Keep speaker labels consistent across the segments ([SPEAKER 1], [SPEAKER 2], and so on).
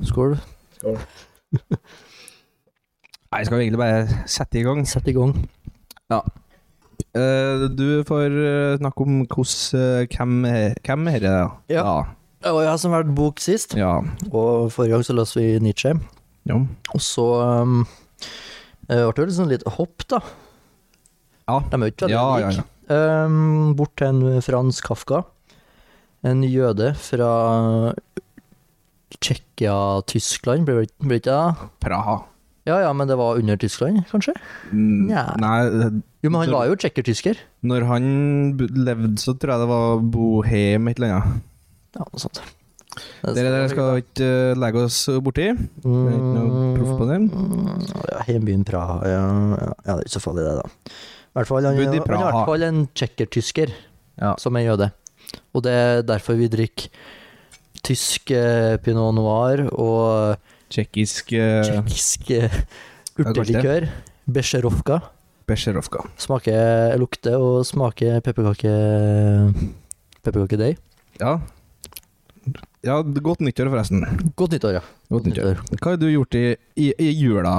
[SPEAKER 1] Skål.
[SPEAKER 2] Nei, skal vi egentlig bare sette i gang?
[SPEAKER 1] Sett i gang.
[SPEAKER 2] Eh, du får eh, snakke om hvordan eh, Hvem, er- hvem er det?
[SPEAKER 1] Ja. Det var jeg som valgte bok sist,
[SPEAKER 2] Ja. ja.
[SPEAKER 1] og forrige gang så leste vi Nietzsche.
[SPEAKER 2] ja.
[SPEAKER 1] Og så um, eh, ble det liksom litt hopp, da.
[SPEAKER 2] Ja.
[SPEAKER 1] De er jo ikke veldig
[SPEAKER 2] Ja, ja,
[SPEAKER 1] like. Um, bort til en Frans Kafka. En jøde fra Tsjekkia-Tyskland, ble det ble det ikke det?
[SPEAKER 2] Praha.
[SPEAKER 1] Ja ja, men det var under Tyskland, kanskje?
[SPEAKER 2] Mm,
[SPEAKER 1] Nja.
[SPEAKER 2] Nei,
[SPEAKER 1] Jo, men han var jo tsjekker-tysker.
[SPEAKER 2] når han bu- levde, så tror jeg det var bohem et eller annet.
[SPEAKER 1] Ja, noe sånt.
[SPEAKER 2] Dere der skal ikke eh, legge oss borti. Vi er ikke noe proff på det.
[SPEAKER 1] Mm, Ja, Hjembyen Praha, ja, ja, ja, det er ikke så farlig det, da. I hvert fall, han,
[SPEAKER 2] Bodde i
[SPEAKER 1] han er i
[SPEAKER 2] Praha.
[SPEAKER 1] hvert fall en tsjekker-tysker
[SPEAKER 2] Ja.
[SPEAKER 1] som er jøde. Og det er derfor vi drikker tysk eh, pinot noir og
[SPEAKER 2] Tsjekkisk uh,
[SPEAKER 1] tsjekkisk eh,
[SPEAKER 2] er godt, det.
[SPEAKER 1] urtelikør. Besjerovka.
[SPEAKER 2] Besjerovka.
[SPEAKER 1] Smaker, eh, lukter og smaker pepperkake eh, pepperkakedeig.
[SPEAKER 2] Ja. ja. Godt nyttår, forresten.
[SPEAKER 1] Godt nyttår, ja.
[SPEAKER 2] Godt nyttår. Hva har du gjort i, i, i jula?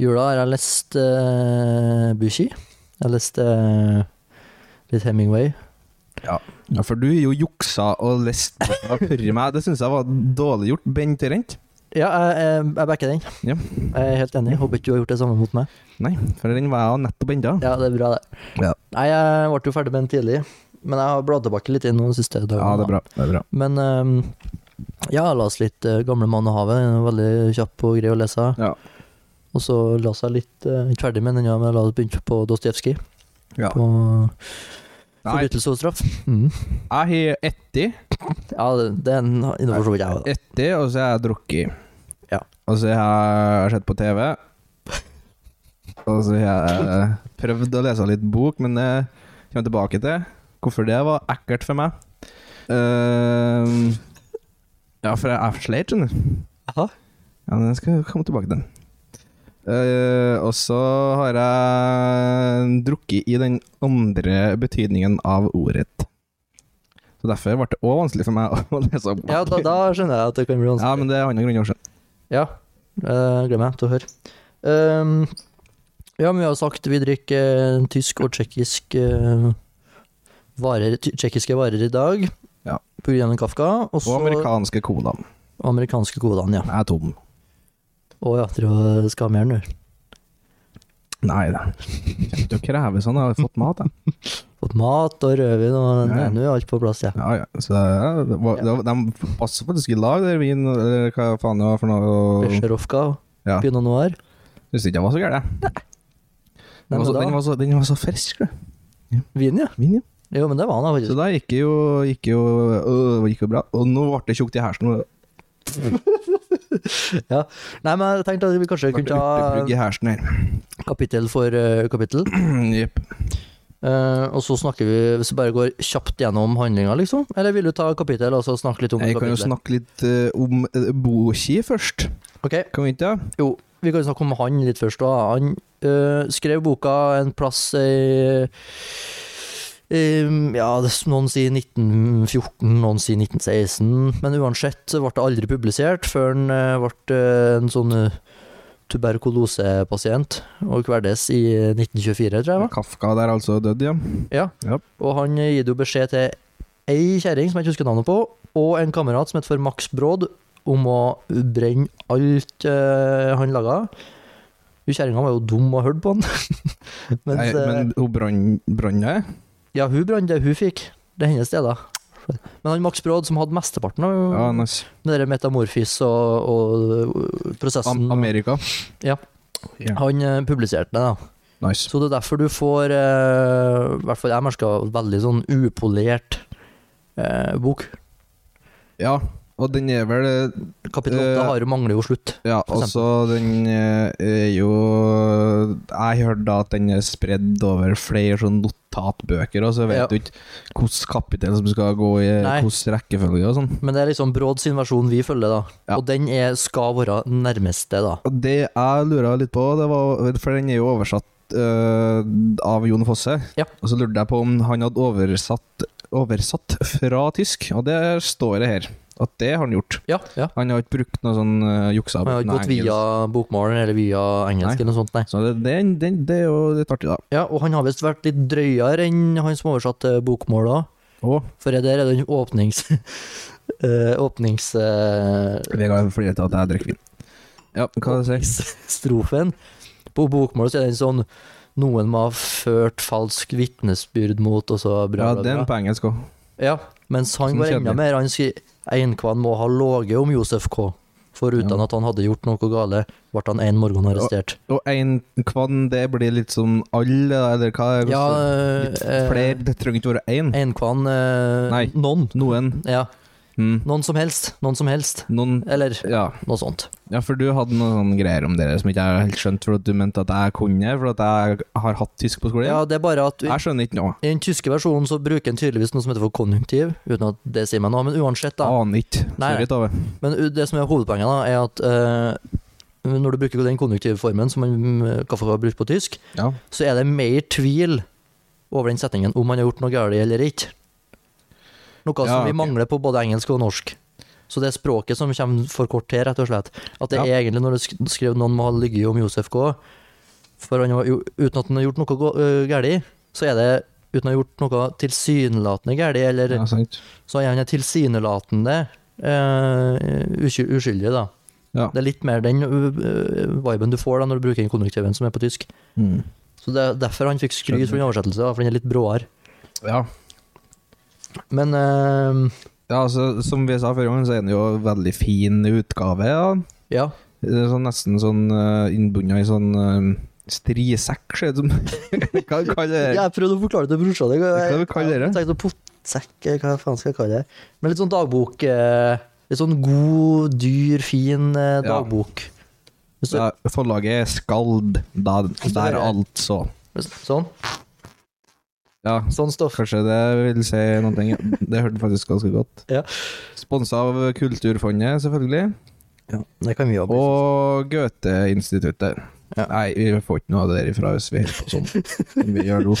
[SPEAKER 1] Jula har jeg lest uh, Bushi. Jeg har lest eh, litt Hemingway.
[SPEAKER 2] Ja, For du er jo juksa og lest boka før meg. Det syns jeg var dårlig gjort. Bent Rent.
[SPEAKER 1] Ja, jeg, jeg, jeg backer den.
[SPEAKER 2] Ja.
[SPEAKER 1] Jeg er helt enig. Håper ikke du har gjort det samme mot meg.
[SPEAKER 2] Nei, for den var jeg nettopp enda.
[SPEAKER 1] Ja, det er bra, det.
[SPEAKER 2] Ja.
[SPEAKER 1] Nei, jeg ble jo ferdig med den tidlig, men jeg har bladd tilbake litt inn de siste dagene.
[SPEAKER 2] Ja, det er
[SPEAKER 1] da.
[SPEAKER 2] bra. Det er bra.
[SPEAKER 1] Men ehm, ja, jeg las litt eh, 'Gamle mann og havet'. Den er Veldig kjapp og grei å lese.
[SPEAKER 2] Ja.
[SPEAKER 1] Og så las jeg litt eh, Ikke ferdig med den, ja, men jeg la- begynte på Dostojevskij.
[SPEAKER 2] Ja.
[SPEAKER 1] På
[SPEAKER 2] Nei,
[SPEAKER 1] 'Forbrytelse og straff'. Mm.
[SPEAKER 2] jeg har etti,
[SPEAKER 1] Ja, det, det er en innover så vidt jeg òg, da.
[SPEAKER 2] etti, og så har jeg drukket.
[SPEAKER 1] Ja.
[SPEAKER 2] Og så har jeg sett på TV. Og så har jeg prøvd å lese litt bok, men det kommer jeg tilbake til. Hvorfor det var ekkelt for meg. Ehm, ja, for jeg er sleit, skjønner du.
[SPEAKER 1] Jaha.
[SPEAKER 2] Ja, den skal jeg komme tilbake til. Eh, og så har jeg drukket i den andre betydningen av ordet. Så derfor ble det òg vanskelig for meg å lese opp.
[SPEAKER 1] Ja, da, da skjønner jeg at det kan bli
[SPEAKER 2] Ja,
[SPEAKER 1] vanskelig.
[SPEAKER 2] men det er andre grunner også.
[SPEAKER 1] Ja, eh, gleder meg til å høre. Ehm, ja, men vi har jo sagt vi drikker eh, tysk og tsjekkisk eh, varer, ty- tsjekkiske varer i dag.
[SPEAKER 2] Ja.
[SPEAKER 1] På grunn av Kafka. Og
[SPEAKER 2] Og
[SPEAKER 1] så
[SPEAKER 2] amerikanske colaen.
[SPEAKER 1] amerikanske kodene, ja.
[SPEAKER 2] Jeg er tom.
[SPEAKER 1] Å ja, det var skammeren, du.
[SPEAKER 2] Nei da. Kommer ikke til å kreve sånn. Jeg har fått mat, jeg.
[SPEAKER 1] Fått mat og rødvin og
[SPEAKER 2] Ja,
[SPEAKER 1] Nei,
[SPEAKER 2] ja.
[SPEAKER 1] nå er alt på plass, ja.
[SPEAKER 2] Ja, ja. Så ja, det var, det var, de passer faktisk i lag, der vin, eller hva faen det var for noe.
[SPEAKER 1] Besjerovka,
[SPEAKER 2] Ja.
[SPEAKER 1] pinot noir.
[SPEAKER 2] Syns ikke den var så gæren, jeg.
[SPEAKER 1] Nei,
[SPEAKER 2] Den var
[SPEAKER 1] men
[SPEAKER 2] så-
[SPEAKER 1] da,
[SPEAKER 2] Den var så- den var så frisk, du.
[SPEAKER 1] Vin, ja.
[SPEAKER 2] Vin, ja.
[SPEAKER 1] Jo, men det var han da,
[SPEAKER 2] Så
[SPEAKER 1] faktisk.
[SPEAKER 2] da gikk det jo, gikk jo, øh, det gikk jo bra. Og nå ble det tjukt i hersen. og det
[SPEAKER 1] Nei, men jeg tenkte at vi kanskje
[SPEAKER 2] ble
[SPEAKER 1] kunne ta
[SPEAKER 2] urtebrygg i hersen her.
[SPEAKER 1] kapittel for eh, kapittel.
[SPEAKER 2] Jepp.
[SPEAKER 1] Eh, og så snakker vi, hvis vi bare går kjapt gjennom handlinga, liksom? Eller vil du ta kapittel og så snakke litt om
[SPEAKER 2] Jeg kan jo
[SPEAKER 1] kapitlet?
[SPEAKER 2] snakke litt eh, om uh, Boki først.
[SPEAKER 1] Ok,
[SPEAKER 2] Kan vi ikke det?
[SPEAKER 1] jo, vi kan jo snakke om han litt først. Da. Han eh, skrev boka en plass i i- ja, det- noen sier 1914, noen sier 1916, men uansett så ble det aldri publisert før han eh, ble eh, en sånn eh, tuberkulosepasient og kverdes i eh, 1924, tror jeg. det var.
[SPEAKER 2] Kafka der altså død, ja.
[SPEAKER 1] Og han eh, gir jo beskjed til ei kjerring som jeg ikke husker navnet på, og en kamerat som heter for Max Bråd, om å brenne alt eh, han laga. Hun Kjerringa var jo dum og hørte på han. Mens,
[SPEAKER 2] Nei,
[SPEAKER 1] eh,
[SPEAKER 2] men hun brann- brann det?
[SPEAKER 1] ja, hun brant det hun fikk. Det er hennes del, da. Men han Max Bråd, som hadde mesteparten av
[SPEAKER 2] Ja,
[SPEAKER 1] ja,
[SPEAKER 2] nice.
[SPEAKER 1] metamorfis og, og eh, prosessen,
[SPEAKER 2] Am Amerika.
[SPEAKER 1] Ja.
[SPEAKER 2] Ja,
[SPEAKER 1] han eh, publiserte det, da.
[SPEAKER 2] Nice.
[SPEAKER 1] Så det er derfor du får eh, I hvert fall jeg merka veldig sånn upolert eh, bok.
[SPEAKER 2] Ja, og den er vel eh,
[SPEAKER 1] Kapittel 8
[SPEAKER 2] Eh,
[SPEAKER 1] har jo mangler jo slutt.
[SPEAKER 2] Ja,
[SPEAKER 1] For
[SPEAKER 2] og så den eh, er jo Jeg hørte da at den er spredd over flere sånne notatbøker, og så vet
[SPEAKER 1] Ja.
[SPEAKER 2] du ikke hvilket kapittel som skal gå i
[SPEAKER 1] Nei.
[SPEAKER 2] hvilken rekkefølge og sånn.
[SPEAKER 1] Men det er liksom Bråd sin versjon vi følger, da.
[SPEAKER 2] Ja.
[SPEAKER 1] Og den er, skal være nærmeste, da.
[SPEAKER 2] Og Det jeg lurer litt på, det var, for den er jo oversatt øh, av Jon Fosse.
[SPEAKER 1] Ja.
[SPEAKER 2] Og så lurte jeg på om han hadde oversatt, oversatt fra tysk, og det står det her. at det har han gjort.
[SPEAKER 1] Ja, ja.
[SPEAKER 2] Han har ikke brukt noe sånn uh, juksa.
[SPEAKER 1] Han har ikke
[SPEAKER 2] brukt noe
[SPEAKER 1] gått
[SPEAKER 2] engelsk.
[SPEAKER 1] via bokmålen eller via engelsk
[SPEAKER 2] Nei.
[SPEAKER 1] eller noe sånt, nei.
[SPEAKER 2] Så det, det, det, det er jo litt artig, da.
[SPEAKER 1] Ja, og han har visst vært litt drøyere enn han som oversatte eh, bokmål da.
[SPEAKER 2] Og
[SPEAKER 1] For det der er den åpnings... eh, åpnings... eh,
[SPEAKER 2] Vegard flirer til at jeg drikker vin. Ja, hva sier du?
[SPEAKER 1] strofen. På bokmål så er den sånn Noen må ha ført falsk vitnesbyrd mot, og så
[SPEAKER 2] Ja,
[SPEAKER 1] bra, bra,
[SPEAKER 2] den
[SPEAKER 1] bra.
[SPEAKER 2] på engelsk òg.
[SPEAKER 1] Ja, mens han
[SPEAKER 2] Som
[SPEAKER 1] går enda
[SPEAKER 2] kjedelig.
[SPEAKER 1] mer. Han sier Einkvann må ha loget om Josef K. Foruten
[SPEAKER 2] Ja.
[SPEAKER 1] at han hadde gjort noe gale, ble han en morgen arrestert.
[SPEAKER 2] Og en kvann, det blir litt som alle, eller hva? er det?
[SPEAKER 1] Ja,
[SPEAKER 2] litt
[SPEAKER 1] eh,
[SPEAKER 2] flere, det trenger ikke være én.
[SPEAKER 1] Einkvann eh,
[SPEAKER 2] Nei.
[SPEAKER 1] Noen.
[SPEAKER 2] Noen.
[SPEAKER 1] Ja,
[SPEAKER 2] Mm.
[SPEAKER 1] noen som helst. Noen som helst.
[SPEAKER 2] Noen
[SPEAKER 1] Eller
[SPEAKER 2] ja.
[SPEAKER 1] noe sånt.
[SPEAKER 2] ja, for du hadde noen sånne greier om det som ikke jeg helt skjønte, for at du mente at jeg kunne, for at jeg har hatt tysk på skolen.
[SPEAKER 1] Ja, det er bare at i
[SPEAKER 2] Jeg skjønner ikke noe.
[SPEAKER 1] i den tyske versjonen så bruker en tydeligvis noe som heter for konjunktiv, uten at det sier meg noe. Men uansett, da.
[SPEAKER 2] Aner ikke.
[SPEAKER 1] Nei, nei.
[SPEAKER 2] Sorry, Tove.
[SPEAKER 1] Men u- det som er hovedpoenget, da, er at eh, når du bruker den konjunktive formen som man mm, kaffe har brukt på tysk,
[SPEAKER 2] Ja.
[SPEAKER 1] så er det mer tvil over den setningen om man har gjort noe galt eller ikke. Noe
[SPEAKER 2] Ja,
[SPEAKER 1] som vi
[SPEAKER 2] ok.
[SPEAKER 1] mangler på både engelsk og norsk. Så det er språket som kommer for kort til, rett og slett. At det
[SPEAKER 2] Ja.
[SPEAKER 1] er egentlig når du sk- skrev noen må ha ligget om Josef K. For han var, jo- uten at han har gjort noe gå- øh, galt, så er det uten å ha gjort noe tilsynelatende galt, eller
[SPEAKER 2] ja, sant.
[SPEAKER 1] så er han en tilsynelatende eh, usky- uskyldig, da.
[SPEAKER 2] Ja.
[SPEAKER 1] Det er litt mer den øh, viben du får da når du bruker den konjunktiven som er på tysk.
[SPEAKER 2] Mm.
[SPEAKER 1] Så det er derfor han fikk skryt for den oversettelsen, da, for den er litt bråere.
[SPEAKER 2] ja.
[SPEAKER 1] Men eh,
[SPEAKER 2] Ja, altså, som vi sa forrige gang, så er den jo en veldig fin utgave. Ja.
[SPEAKER 1] ja.
[SPEAKER 2] Det er sånn, nesten sånn uh, innbundet i sånn eh, strisekk, ser det ut som. hva kaller det?
[SPEAKER 1] Jeg prøvde å forklare det til brorsan din.
[SPEAKER 2] Eh, Hva skal vi kalle det?
[SPEAKER 1] Jeg tenkte pottsekk, hva faen skal jeg kalle det? Men litt sånn dagbok eh, Litt sånn god, dyr, fin eh,
[SPEAKER 2] Ja.
[SPEAKER 1] dagbok. Hvis du,
[SPEAKER 2] Ja, forlaget er Skald. Da, der altså.
[SPEAKER 1] hvis, sånn.
[SPEAKER 2] Ja,
[SPEAKER 1] Sånn stoff.
[SPEAKER 2] kanskje det vil si noe. Ja, Det hørte faktisk ganske godt.
[SPEAKER 1] Ja.
[SPEAKER 2] Sponsa av Kulturfondet, selvfølgelig.
[SPEAKER 1] Det kan vi jobbe med.
[SPEAKER 2] Og Goethe-instituttet.
[SPEAKER 1] Ja.
[SPEAKER 2] Nei, vi får ikke noe av det der ifra hvis vi holder på sånn. som Vi gjør nå.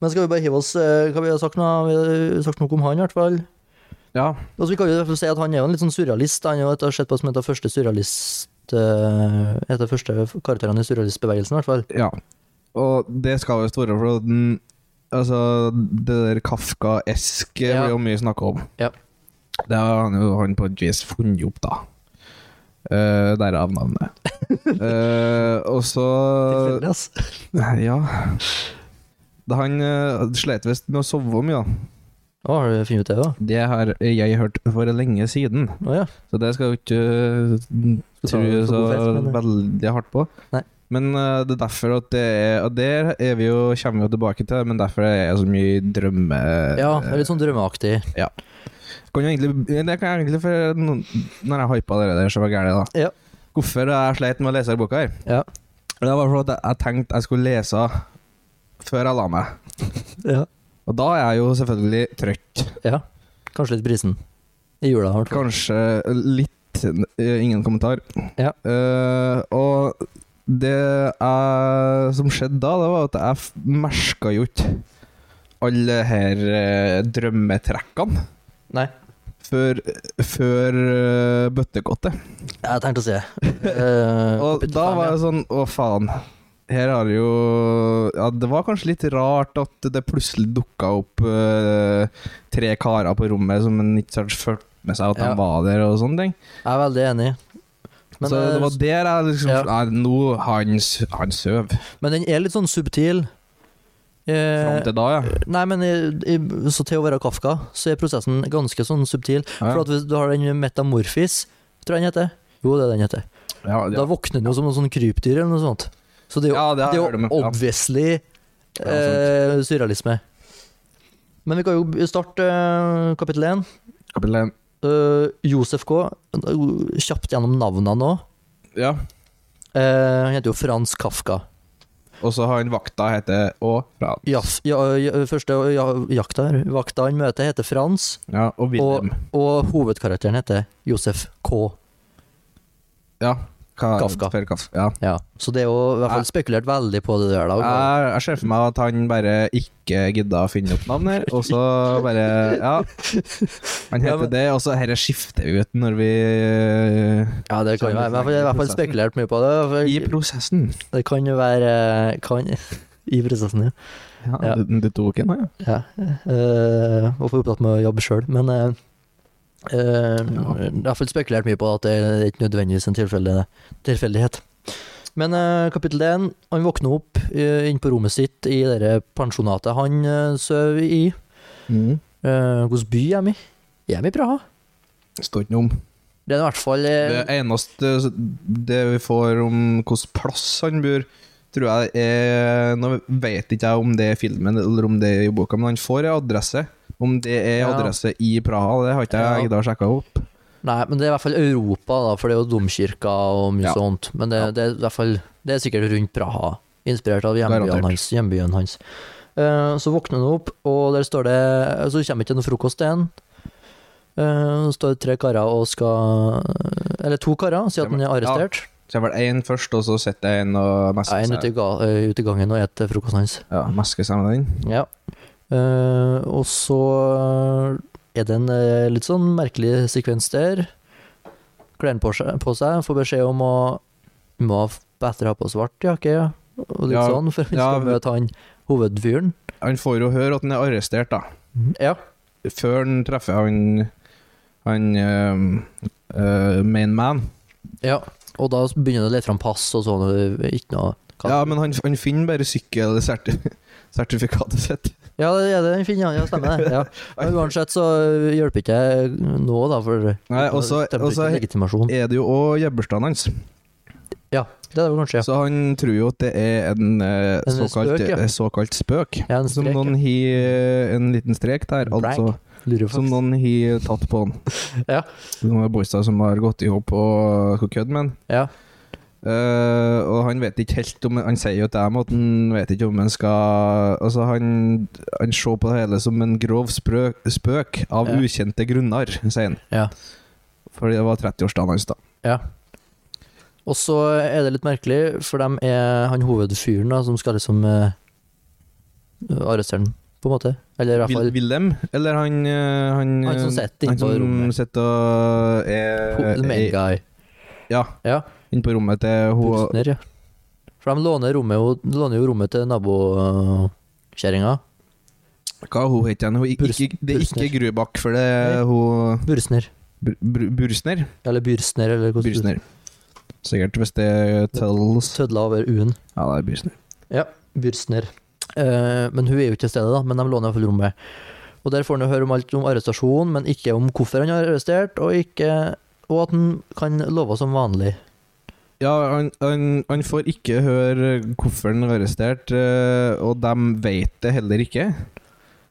[SPEAKER 1] Men skal vi bare hive oss eh, Hva vi har sagt nå? Vi har sagt noe om han, i hvert fall.
[SPEAKER 2] Ja,
[SPEAKER 1] Og så Altså, vi kan jo i hvert fall si at Han er jo en litt sånn surrealist. Han er jo et, har sett på som en av første surrealist eh, En av de første karakterene i surrealistbevegelsen, i hvert fall.
[SPEAKER 2] ja. Og det skal visst være for at den Altså, det der Kafka-eske
[SPEAKER 1] Ja.
[SPEAKER 2] blir jo mye snakka om.
[SPEAKER 1] Ja.
[SPEAKER 2] Det har han jo han på et vis funnet opp, da. Eh, Derav navnet. Eh, og så
[SPEAKER 1] Tilfeldig, ass.
[SPEAKER 2] Ja. Da han uh, slet visst med å sove mye, da.
[SPEAKER 1] Å, har du funnet ut det, da?
[SPEAKER 2] Det har jeg hørt for lenge siden,
[SPEAKER 1] Å ja.
[SPEAKER 2] så det skal jo ikke eh,
[SPEAKER 1] Skal ta
[SPEAKER 2] tro
[SPEAKER 1] det for
[SPEAKER 2] så
[SPEAKER 1] god fest, men-
[SPEAKER 2] veldig hardt på.
[SPEAKER 1] Nei.
[SPEAKER 2] Men eh, det er derfor at det er Og der er vi jo, kommer vi jo tilbake til, men derfor er det så mye drømme... eh,
[SPEAKER 1] ja. det er Litt sånn drømmeaktig.
[SPEAKER 2] Kan jo egentlig, det kan jeg egentlig for noen- Når jeg hypa dere der, så var det gærent, da.
[SPEAKER 1] Ja.
[SPEAKER 2] Hvorfor jeg sleit med å lese denne boka her?
[SPEAKER 1] Ja.
[SPEAKER 2] Det var fordi jeg, jeg tenkte jeg skulle lese før jeg la meg.
[SPEAKER 1] ja.
[SPEAKER 2] Og da er jeg jo selvfølgelig trøtt.
[SPEAKER 1] ja. Kanskje litt brisen. I jula, i hvert fall.
[SPEAKER 2] Kanskje litt eh, Ingen kommentar.
[SPEAKER 1] Ja.
[SPEAKER 2] Eh, og det jeg, som skjedde da, det var at jeg f- merka jo ikke alle her eh, drømmetrekkene
[SPEAKER 1] Nei,
[SPEAKER 2] før, før eh, bøttekottet.
[SPEAKER 1] jeg tenkte å si det. Eh,
[SPEAKER 2] Og
[SPEAKER 1] kapittel
[SPEAKER 2] da
[SPEAKER 1] fem,
[SPEAKER 2] var
[SPEAKER 1] ja.
[SPEAKER 2] jeg sånn Å, faen. Her har jo Ja, det var kanskje litt rart at det plutselig dukka opp eh, tre karer på rommet som en ikke hadde ført med seg at
[SPEAKER 1] Ja.
[SPEAKER 2] de var der, og sånne ting.
[SPEAKER 1] Jeg er veldig enig. Men,
[SPEAKER 2] så det
[SPEAKER 1] eh,
[SPEAKER 2] var der jeg liksom
[SPEAKER 1] ja.
[SPEAKER 2] Nei, nå han, s- han søv.
[SPEAKER 1] men den er litt sånn subtil. Eh,
[SPEAKER 2] Fram til da, ja.
[SPEAKER 1] Nei, men i, i, så til å være Kafka, så er prosessen ganske sånn subtil. For at hvis du har den metamorfis, tror jeg den heter. Jo, det er den heter.
[SPEAKER 2] Ja, ja.
[SPEAKER 1] Da våkner den jo som noe sånn krypdyr eller noe sånt. Så det er jo,
[SPEAKER 2] Ja, det
[SPEAKER 1] det
[SPEAKER 2] har
[SPEAKER 1] er
[SPEAKER 2] jeg
[SPEAKER 1] jo
[SPEAKER 2] hørt om, ja.
[SPEAKER 1] obviously
[SPEAKER 2] Ja,
[SPEAKER 1] eh, surrealisme. Men vi kan jo starte eh, kapittel én.
[SPEAKER 2] Kapittel én.
[SPEAKER 1] Eh, Josef K. eh, Kjapt gjennom navnene nå.
[SPEAKER 2] Ja.
[SPEAKER 1] Eh, han heter jo Frans Kafka.
[SPEAKER 2] Og så har han vakta heter Å fra
[SPEAKER 1] Jaf, ja, ja, første ja, jakta her. Vakta han møter, heter Frans.
[SPEAKER 2] Ja, og Wilhelm.
[SPEAKER 1] Og hovedkarakteren heter Josef K.
[SPEAKER 2] Ja. Hva-
[SPEAKER 1] Kafka.
[SPEAKER 2] For Kafka ja.
[SPEAKER 1] Ja. Så det er jo i hvert fall spekulert veldig på det der, da.
[SPEAKER 2] jeg, jeg ser for meg at han bare ikke gidda å finne opp navn her, og så bare Ja. Han
[SPEAKER 1] Ja,
[SPEAKER 2] heter
[SPEAKER 1] men-
[SPEAKER 2] det, og så herre skifter vi ut når vi eh,
[SPEAKER 1] Ja, det kan jo være. Men jeg har i hvert fall spekulert mye på det.
[SPEAKER 2] I
[SPEAKER 1] For
[SPEAKER 2] prosessen.
[SPEAKER 1] det kan jo være kan, I prosessen, ja. Ja.
[SPEAKER 2] Ja, Du, du tok en, ja.
[SPEAKER 1] ja. Uh, var for opptatt med å jobbe sjøl, men eh, eh, Jeg har i hvert fall spekulert mye på at det er ikke nødvendigvis en tilfeldig- tilfeldighet. Men eh, kapittel én, han våkner opp eh, inne på rommet sitt i det der pensjonatet han uh, sover i.
[SPEAKER 2] Mm.
[SPEAKER 1] Eh, Hvilken by er vi? Er vi i Praha?
[SPEAKER 2] Står ikke noe om.
[SPEAKER 1] Det er i hvert fall
[SPEAKER 2] Det
[SPEAKER 1] eh,
[SPEAKER 2] eneste det vi får om hvilken plass han bor, tror jeg er Nå vet ikke jeg om det er i filmen eller om det er i boka, men han får en adresse. Om det er
[SPEAKER 1] Ja.
[SPEAKER 2] adresse i Praha, det har ikke jeg
[SPEAKER 1] Ja.
[SPEAKER 2] gidda å sjekke opp.
[SPEAKER 1] Nei, men det er i hvert fall Europa, da, for det er jo domkirka og mye
[SPEAKER 2] Ja.
[SPEAKER 1] sånt. Men det,
[SPEAKER 2] Ja.
[SPEAKER 1] det er i hvert fall Det er sikkert rundt Praha. Inspirert av hjembyen
[SPEAKER 2] Garantert.
[SPEAKER 1] hans. Hjembyen hans. Eh, så våkner han opp, og der står det Så kommer ikke noe frokost til han. Eh, så står det tre karer og skal Eller to karer, sier at han er arrestert.
[SPEAKER 2] Så jeg vel én først, og så sitter jeg en og
[SPEAKER 1] Ja, en
[SPEAKER 2] mesker
[SPEAKER 1] ute
[SPEAKER 2] seg,
[SPEAKER 1] i, ga, eh, ute i gangen og spiser frokosten hans.
[SPEAKER 2] ja, mesker seg med den.
[SPEAKER 1] Ja. Eh, og så er det en eh, litt sånn merkelig sekvens der. Kler han på, seg- på seg, får beskjed om å må ha bedre ha på svart jakke ja. og litt
[SPEAKER 2] Ja,
[SPEAKER 1] sånn, for han
[SPEAKER 2] ja,
[SPEAKER 1] skal møte han hovedfyren.
[SPEAKER 2] Han får jo høre at han er arrestert, da.
[SPEAKER 1] Ja.
[SPEAKER 2] Før han treffer han Han eh, eh, main man.
[SPEAKER 1] ja. Og da begynner han å lete fram pass og sånn, og ikke noe Hva-
[SPEAKER 2] Ja, men han, han finner bare sykkelsertifikatet sitt.
[SPEAKER 1] Ja, det er det han finner, ja, stemmer det. Ja. Men uansett så hjelper ikke jeg nå, da, for
[SPEAKER 2] Nei, og så-
[SPEAKER 1] stemmer
[SPEAKER 2] og
[SPEAKER 1] ikke
[SPEAKER 2] så-
[SPEAKER 1] legitimasjon.
[SPEAKER 2] er det jo òg gjebberstaden hans.
[SPEAKER 1] Ja, det er det kanskje, ja.
[SPEAKER 2] Så han tror jo at det er en, eh,
[SPEAKER 1] En
[SPEAKER 2] såkalt,
[SPEAKER 1] spøk,
[SPEAKER 2] spøk,
[SPEAKER 1] ja.
[SPEAKER 2] såkalt spøk.
[SPEAKER 1] Ja, en
[SPEAKER 2] Som
[SPEAKER 1] strek,
[SPEAKER 2] noen har en liten strek der,
[SPEAKER 1] En prank.
[SPEAKER 2] altså.
[SPEAKER 1] Lurer
[SPEAKER 2] Som
[SPEAKER 1] faktisk.
[SPEAKER 2] noen har tatt på han.
[SPEAKER 1] Ja.
[SPEAKER 2] Noen boyser som har gått i hop og skal kødde med han.
[SPEAKER 1] Ja.
[SPEAKER 2] Eh, og han vet ikke helt om Han sier jo til dem at han vet ikke om han skal Altså, han, han ser på det hele som en grov sprø, spøk av
[SPEAKER 1] Ja.
[SPEAKER 2] ukjente grunner, sier han.
[SPEAKER 1] Ja.
[SPEAKER 2] Fordi det var 30-årsdagen hans, da.
[SPEAKER 1] Ja. Og så er det litt merkelig, for dem er han hovedfyren da, som skal liksom eh, arrestere den, på en måte. Eller i hvert
[SPEAKER 2] Vil,
[SPEAKER 1] fall
[SPEAKER 2] Wilhelm, eller han eh, Han,
[SPEAKER 1] Han som sitter inne
[SPEAKER 2] han
[SPEAKER 1] på
[SPEAKER 2] som
[SPEAKER 1] rommet.
[SPEAKER 2] sitter og er,
[SPEAKER 1] ho- the main
[SPEAKER 2] er
[SPEAKER 1] guy.
[SPEAKER 2] Ja,
[SPEAKER 1] Ja,
[SPEAKER 2] inne på rommet til hun
[SPEAKER 1] Bussner, ja. For de låner, rommet, jo- låner jo rommet til nabokjerringa.
[SPEAKER 2] Hva hun heter hun? Ikke,
[SPEAKER 1] Burs-
[SPEAKER 2] ikke, det er ikke
[SPEAKER 1] Bursner.
[SPEAKER 2] Grubakk, for det er hun
[SPEAKER 1] Bursner.
[SPEAKER 2] Bur- Bur- Bursner?
[SPEAKER 1] Eller Byrsner, eller hvordan du-
[SPEAKER 2] Bursner. Sikkert, hvis det er Tells
[SPEAKER 1] Tødla over U-en.
[SPEAKER 2] Ja, det er Bursner.
[SPEAKER 1] Ja, Bursner. Eh, men hun er jo ikke til stede, da, men de låner i hvert fall rommet. Og Der får han jo høre om alt om arrestasjonen, men ikke om hvorfor han er arrestert, og, ikke, og at han kan love som vanlig.
[SPEAKER 2] Ja, han, han, han får ikke høre hvorfor han er arrestert, eh, og de vet det heller ikke,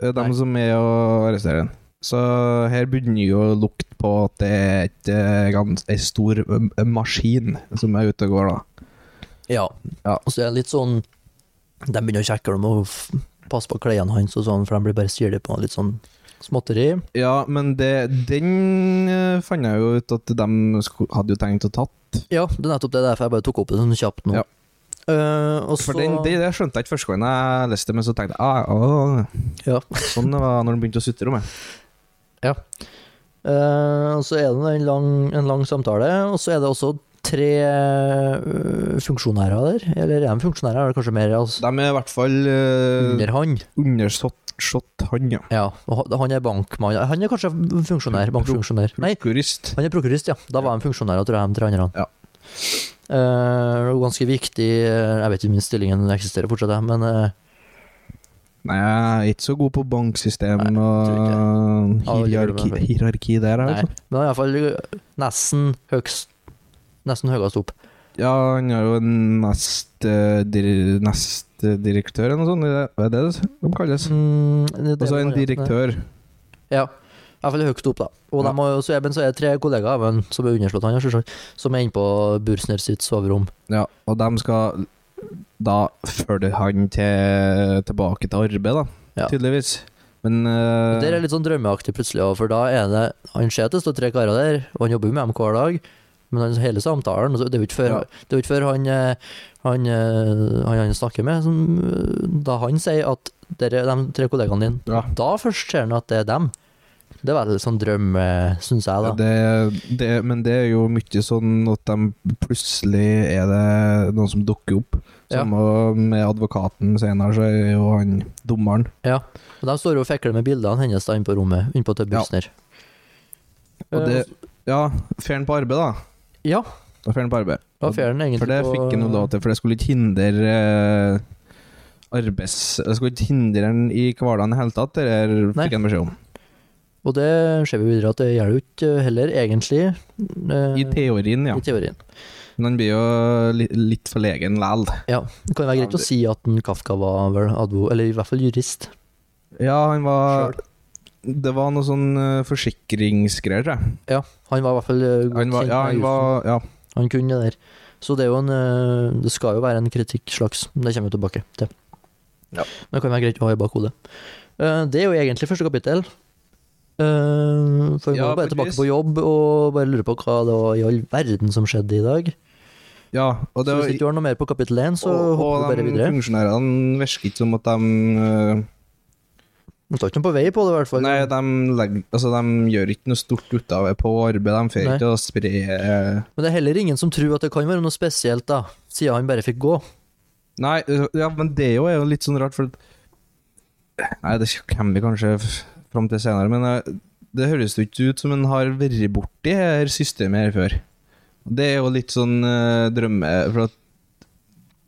[SPEAKER 2] eh, de
[SPEAKER 1] Nei.
[SPEAKER 2] som er og arresterer han. Så her begynner jo å lukte på at det er et, eh, gans, en stor eh, maskin som er ute og går, da.
[SPEAKER 1] Ja.
[SPEAKER 2] Ja.
[SPEAKER 1] Og så er det litt sånn De begynner å sjekke om å f- passe på klærne hans og sånn, for de blir bare styrte på litt sånn småtteri.
[SPEAKER 2] Ja, men det, den eh, fant jeg jo ut at de sko- hadde jo tenkt å tatt.
[SPEAKER 1] Ja, det er nettopp det, derfor jeg bare tok opp det sånn kjapt nå.
[SPEAKER 2] Ja.
[SPEAKER 1] Eh, og så
[SPEAKER 2] For den, det, det skjønte jeg ikke første gang jeg leste det, men så tenkte jeg ah, å,
[SPEAKER 1] Ja.
[SPEAKER 2] sånn det var når den begynte å sutre om meg.
[SPEAKER 1] Eh, og så er det en lang, en lang samtale, og så er det også tre eh, funksjonærer der. Eller er de funksjonærer, er det kanskje mer altså,
[SPEAKER 2] De er i hvert fall uh,
[SPEAKER 1] under han?
[SPEAKER 2] undersått sått han, ja.
[SPEAKER 1] Ja, og han- han er bankmann. Han er kanskje funksjonær, bankfunksjonær. Nei,
[SPEAKER 2] Prokurist.
[SPEAKER 1] han er prokurist, ja. Da var han funksjonær, og tror jeg, de tre andre.
[SPEAKER 2] Ja.
[SPEAKER 1] Eh, og ganske viktig eh, Jeg vet ikke om den stillingen eksisterer fortsatt, jeg, men eh,
[SPEAKER 2] Nei, jeg er ikke så god på banksystem og
[SPEAKER 1] Ja, det gjør
[SPEAKER 2] hierarki,
[SPEAKER 1] du vel.
[SPEAKER 2] hierarki der,
[SPEAKER 1] nei.
[SPEAKER 2] altså.
[SPEAKER 1] Men han er iallfall eh, nesten høgst Nesten høyest opp.
[SPEAKER 2] Ja, han er jo en nest, eh, dir, nest eh, direktør eller noe sånt, er det- er det det de kalles?
[SPEAKER 1] Mm, det- det
[SPEAKER 2] Og så
[SPEAKER 1] er
[SPEAKER 2] en
[SPEAKER 1] varianten der.
[SPEAKER 2] direktør.
[SPEAKER 1] Ja. I hvert fall høyest opp, da. Og
[SPEAKER 2] Ja.
[SPEAKER 1] de har jo- så er, men så er det tre kollegaer men, som er underslått han, ja, selvsagt, som er inne på Bursner sitt soverom.
[SPEAKER 2] Ja, og de skal da følge han til, tilbake til arbeid, da.
[SPEAKER 1] Ja.
[SPEAKER 2] Tydeligvis. Men eh,
[SPEAKER 1] Og Der er litt sånn drømmeaktig plutselig, også, for da er det Han ser at det står tre karer der, og han jobber jo med dem hver dag, Men han, hele samtalen altså, Det er jo ikke før,
[SPEAKER 2] Ja.
[SPEAKER 1] det er jo ikke før han, eh, han, eh, han han snakker med, som, eh, da han sier at dere, de tre kollegaene dine
[SPEAKER 2] Ja.
[SPEAKER 1] Da først ser han at det er dem. Det er veldig sånn drøm, syns jeg, da.
[SPEAKER 2] Ja, det, det, men det er jo mye sånn at de plutselig er det noen som dukker opp.
[SPEAKER 1] Ja.
[SPEAKER 2] Samme med advokaten senere, så er jo han dommeren.
[SPEAKER 1] Og de står jo og fekler med bildene hennes da inne på rommet, inne på til
[SPEAKER 2] Ja.
[SPEAKER 1] Bussner.
[SPEAKER 2] Og det,
[SPEAKER 1] Eh,
[SPEAKER 2] ja, fer han på arbeid, da.
[SPEAKER 1] ja,
[SPEAKER 2] Da fer han på arbeid.
[SPEAKER 1] da fer han egentlig
[SPEAKER 2] For det
[SPEAKER 1] på-
[SPEAKER 2] fikk han jo lov til, for det skulle ikke hindre eh, arbeids... Det skulle ikke hindre han i hverdagen i det hele tatt, det der
[SPEAKER 1] Nei.
[SPEAKER 2] fikk han beskjed om.
[SPEAKER 1] Og det ser vi videre at det gjør det jo ikke heller, egentlig. eh,
[SPEAKER 2] I teorien, ja.
[SPEAKER 1] I teorien.
[SPEAKER 2] Men han blir jo li litt forlegen likevel.
[SPEAKER 1] Ja. Det kan jo være
[SPEAKER 2] Ja,
[SPEAKER 1] greit
[SPEAKER 2] det-
[SPEAKER 1] å si at en Kafka var vel advo, eller i hvert fall jurist.
[SPEAKER 2] Ja, han var
[SPEAKER 1] Sjøl.
[SPEAKER 2] Det var noe sånn eh, forsikringsgreier, tror jeg.
[SPEAKER 1] Han var i hvert fall eh, godt
[SPEAKER 2] Han var,
[SPEAKER 1] kjent
[SPEAKER 2] ja,
[SPEAKER 1] med
[SPEAKER 2] han
[SPEAKER 1] jussen.
[SPEAKER 2] var ja.
[SPEAKER 1] Han kunne det der. Så det er jo en eh, Det skal jo være en kritikk slags, men det kommer vi tilbake til.
[SPEAKER 2] Ja.
[SPEAKER 1] Men det kan være greit å ha i bakhodet. Eh, det er jo egentlig første kapittel. Eh, for vi
[SPEAKER 2] Ja,
[SPEAKER 1] går bare
[SPEAKER 2] på et
[SPEAKER 1] tilbake
[SPEAKER 2] vis.
[SPEAKER 1] på jobb og bare lurer på hva det var i all verden som skjedde i dag.
[SPEAKER 2] ja og det
[SPEAKER 1] så
[SPEAKER 2] var,
[SPEAKER 1] hvis ikke du har noe mer på kapittel én, så
[SPEAKER 2] og,
[SPEAKER 1] hopper vi bare
[SPEAKER 2] og de
[SPEAKER 1] videre.
[SPEAKER 2] funksjonærene virker ikke som at de eh,
[SPEAKER 1] Vi står ikke noe på vei på det, i hvert fall.
[SPEAKER 2] Nei, de, legger, altså, de gjør ikke noe stort ut av det på arbeid. De får
[SPEAKER 1] Nei.
[SPEAKER 2] ikke å spre eh,
[SPEAKER 1] Men det er heller ingen som tror at det kan være noe spesielt, da, siden han bare fikk gå.
[SPEAKER 2] Nei, eh, ja, men det jo er jo litt sånn rart, for at Nei, det kommer vi kanskje f- fram til senere, men eh, det høres jo ikke ut som en har vært borti det her systemet her før. Det er jo litt sånn eh, drømme For at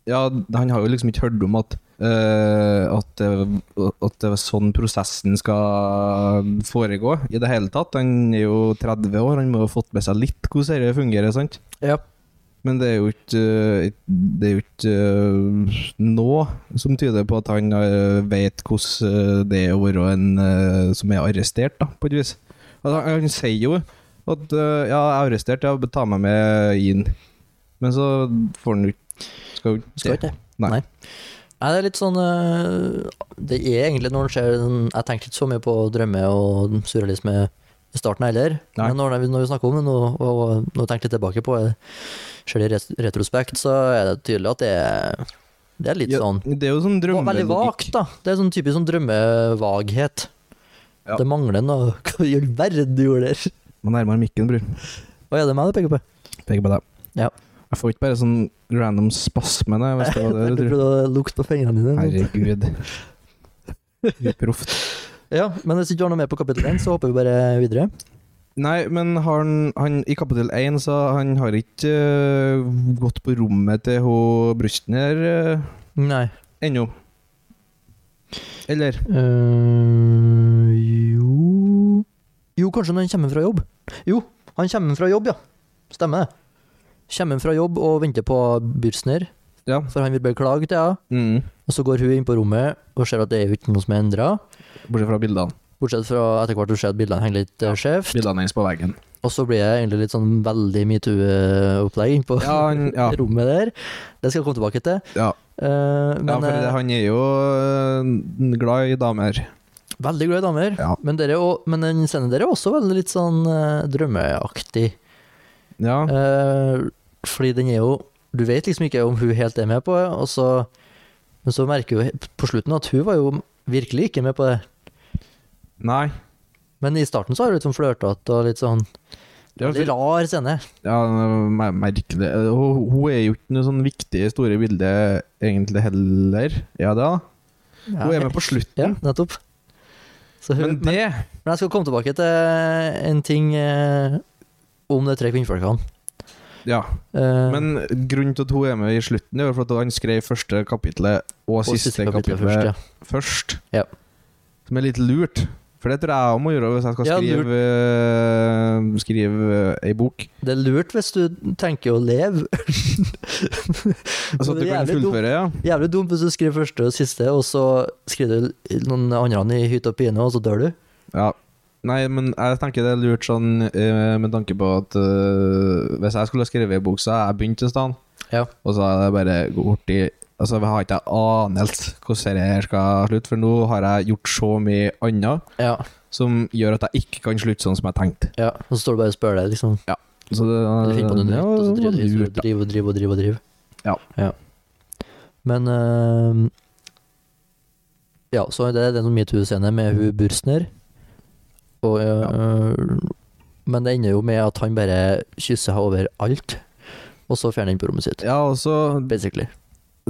[SPEAKER 2] Ja, han har jo liksom ikke hørt om at eh, at, det, at det var sånn prosessen skal foregå i det hele tatt. Han er jo 30 år, han må jo ha fått med seg litt hvordan dette fungerer, sant?
[SPEAKER 1] Ja.
[SPEAKER 2] Men det er jo ikke øh, Det er jo ikke øh, nå som tyder på at han øh, vet hvordan øh, det er å være en øh, som er arrestert, da, på et vis. Altså, han, han sier jo at øh, 'ja, jeg er arrestert, ja, ta meg med inn'. Men så får han jo ikke Skal jo
[SPEAKER 1] Skal
[SPEAKER 2] ikke
[SPEAKER 1] ikke det.
[SPEAKER 2] Nei.
[SPEAKER 1] Nei, det er litt sånn eh, Det er egentlig når det skjer den- Jeg tenkte ikke så mye på drømme og surrealisme i starten heller,
[SPEAKER 2] Nei.
[SPEAKER 1] men når, det, når vi snakker om det nå, og, og nå tenkte jeg tilbake på det, ser det i ret- retrospekt, så er det tydelig at det er, det er litt
[SPEAKER 2] Ja,
[SPEAKER 1] sånn
[SPEAKER 2] Det er jo sånn
[SPEAKER 1] og Veldig
[SPEAKER 2] drømmelogikk.
[SPEAKER 1] vagt, da. Det er sånn typisk sånn drømmevaghet.
[SPEAKER 2] Ja.
[SPEAKER 1] Det mangler noe Hva i all verden du gjorde der?
[SPEAKER 2] Må nærmere mikken, bror.
[SPEAKER 1] Hva er det meg du peker på?
[SPEAKER 2] Peker på deg.
[SPEAKER 1] Ja.
[SPEAKER 2] Jeg får ikke bare sånn random spasme, nei, hvis det var
[SPEAKER 1] Du
[SPEAKER 2] det du tror.
[SPEAKER 1] prøvde å lukte på fingrene dine.
[SPEAKER 2] Herregud. Proft.
[SPEAKER 1] Ja, men hvis du ikke har noe mer på kapittel 1, så hopper vi bare videre.
[SPEAKER 2] Nei, men har han, han i kapittel 1 så han har ikke øh, gått på rommet til hun Brustner øh,
[SPEAKER 1] Nei.
[SPEAKER 2] ennå. Eller?
[SPEAKER 1] eh jo Jo, kanskje når han kommer fra jobb. Jo, han kommer fra jobb, ja. Stemmer det. Kommer fra jobb og venter på Bursner,
[SPEAKER 2] Ja.
[SPEAKER 1] for han vil beklage til henne.
[SPEAKER 2] Mm.
[SPEAKER 1] Og så går hun inn på rommet og ser at det er jo ikke noe som er endra.
[SPEAKER 2] Bortsett fra bildene.
[SPEAKER 1] Bortsett fra etter hvert hun ser at bildene henger litt eh, skjevt.
[SPEAKER 2] Bildene hennes på veggen.
[SPEAKER 1] Og så blir det egentlig litt sånn veldig metoo-opplegg på
[SPEAKER 2] Ja, han, ja,
[SPEAKER 1] rommet der. Det skal jeg komme tilbake til.
[SPEAKER 2] ja.
[SPEAKER 1] Eh, men
[SPEAKER 2] ja for det,
[SPEAKER 1] eh,
[SPEAKER 2] han er jo øh, glad i damer.
[SPEAKER 1] veldig glad i damer.
[SPEAKER 2] Ja.
[SPEAKER 1] Men, dere, er jo- men den scenen der er også veldig litt sånn eh, drømmeaktig.
[SPEAKER 2] Ja.
[SPEAKER 1] Eh, fordi den er jo Du vet liksom ikke om hun helt er med på det, og så, men så merker hun he- på slutten at hun var jo virkelig ikke med på det.
[SPEAKER 2] Nei.
[SPEAKER 1] Men i starten så har hun litt sånn flørtete og litt sånn
[SPEAKER 2] Ja,
[SPEAKER 1] Litt
[SPEAKER 2] for,
[SPEAKER 1] rar scene.
[SPEAKER 2] ja mer- merkelig. Hun, hun er jo ikke noe sånn viktig i store bilde egentlig heller. Ja da. Hun er med på
[SPEAKER 1] Ja,
[SPEAKER 2] slutten.
[SPEAKER 1] nettopp. Så hun,
[SPEAKER 2] Men
[SPEAKER 1] men,
[SPEAKER 2] det
[SPEAKER 1] men jeg skal komme tilbake til en ting eh, om de tre kvinnfolkene.
[SPEAKER 2] Ja.
[SPEAKER 1] Eh,
[SPEAKER 2] Men grunnen til at hun er med i slutten, er jo for at han skrev første kapitlet og,
[SPEAKER 1] og
[SPEAKER 2] siste, kapitlet, først.
[SPEAKER 1] først, ja. Ja.
[SPEAKER 2] Som er litt lurt. For det tror jeg jeg må gjøre hvis jeg skal
[SPEAKER 1] Ja,
[SPEAKER 2] skrive, eh, skrive eh, ei bok.
[SPEAKER 1] Det er lurt hvis du tenker å leve.
[SPEAKER 2] Altså at
[SPEAKER 1] det
[SPEAKER 2] du
[SPEAKER 1] er
[SPEAKER 2] kan
[SPEAKER 1] jævlig dumt.
[SPEAKER 2] fullføre, ja.
[SPEAKER 1] Jævlig dumt hvis du skriver første og siste, og så skriver du noen andre i hytte og pine, og så dør du.
[SPEAKER 2] ja. Nei, men jeg tenker det er lurt sånn eh, med tanke på at eh, hvis jeg skulle ha skrevet ei bok, så har jeg begynt et sted,
[SPEAKER 1] Ja.
[SPEAKER 2] og så er det bare gå bort i Altså, jeg har ikke anelse hvordan dette skal slutte, for nå har jeg gjort så mye annet
[SPEAKER 1] Ja,
[SPEAKER 2] som gjør at jeg ikke kan slutte sånn som jeg tenkte.
[SPEAKER 1] ja. Og så står du bare og spør deg, liksom.
[SPEAKER 2] Ja. Så det,
[SPEAKER 1] Eller finne på noe
[SPEAKER 2] det
[SPEAKER 1] nytt, og så
[SPEAKER 2] var
[SPEAKER 1] drive drive-
[SPEAKER 2] lurt, da.
[SPEAKER 1] drive og drive og drive. og drive.
[SPEAKER 2] Ja.
[SPEAKER 1] Men eh, Ja, så det er den metoo-scenen med hun Bursner. Og, eh, men det ender jo med at han bare kysser henne over alt, og så fjerner han på rommet sitt.
[SPEAKER 2] Ja, og så,
[SPEAKER 1] Basically.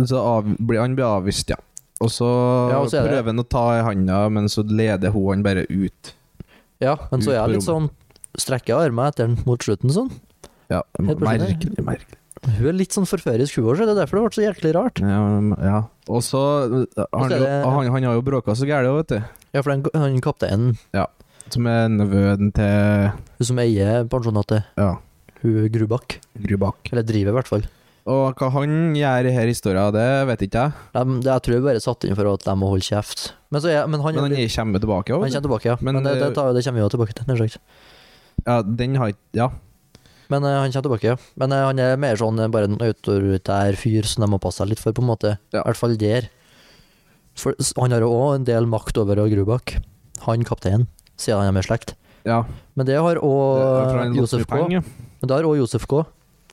[SPEAKER 2] så av, blir han blir avvist, ja. Og så
[SPEAKER 1] Ja, og så er det-
[SPEAKER 2] prøver han å ta i handa, men så leder hun han bare ut.
[SPEAKER 1] Ja, men så
[SPEAKER 2] Ut
[SPEAKER 1] er
[SPEAKER 2] på
[SPEAKER 1] jeg litt sånn Strekker jeg armene etter den mot slutten sånn.
[SPEAKER 2] Ja,
[SPEAKER 1] Helt på siden
[SPEAKER 2] merkelig, merkelig.
[SPEAKER 1] Hun er litt sånn forførisk, hun òg, så det er derfor det ble så jæklig rart.
[SPEAKER 2] Ja, men- ja. Og så eh, han,
[SPEAKER 1] er det-
[SPEAKER 2] han, han har jo bråka så gærent, vet du.
[SPEAKER 1] Ja, for den, han kapteinen,
[SPEAKER 2] Som er nevøen til
[SPEAKER 1] hun som eier pensjonatet,
[SPEAKER 2] ja,
[SPEAKER 1] hun Grubakk,
[SPEAKER 2] Grubakk.
[SPEAKER 1] eller driver i hvert fall
[SPEAKER 2] Og hva han gjør i her historia, det vet ikke jeg.
[SPEAKER 1] de, det, Jeg tror jeg bare satt inn for at de må holde kjeft. Men, så er, men han,
[SPEAKER 2] Men han
[SPEAKER 1] han,
[SPEAKER 2] er- kommer tilbake
[SPEAKER 1] han
[SPEAKER 2] òg.
[SPEAKER 1] kommer tilbake, ja.
[SPEAKER 2] Men eh,
[SPEAKER 1] Men, det,
[SPEAKER 2] det-
[SPEAKER 1] det, tar- det kommer vi jo tilbake til, nær sagt.
[SPEAKER 2] Ja, den har ikke Ja.
[SPEAKER 1] Men eh, han kommer tilbake, ja. Men eh, han er mer sånn eh, bare en autoritær fyr som de må passe seg litt for, på en måte.
[SPEAKER 2] Ja.
[SPEAKER 1] I hvert fall der. For s- han har jo òg en del makt over Grubakk. Han kapteinen, siden han er med slekt.
[SPEAKER 2] ja.
[SPEAKER 1] Men det har
[SPEAKER 2] det er for
[SPEAKER 1] òg
[SPEAKER 2] han
[SPEAKER 1] Josef
[SPEAKER 2] låter
[SPEAKER 1] K.
[SPEAKER 2] penger.
[SPEAKER 1] Men det har også Josef K.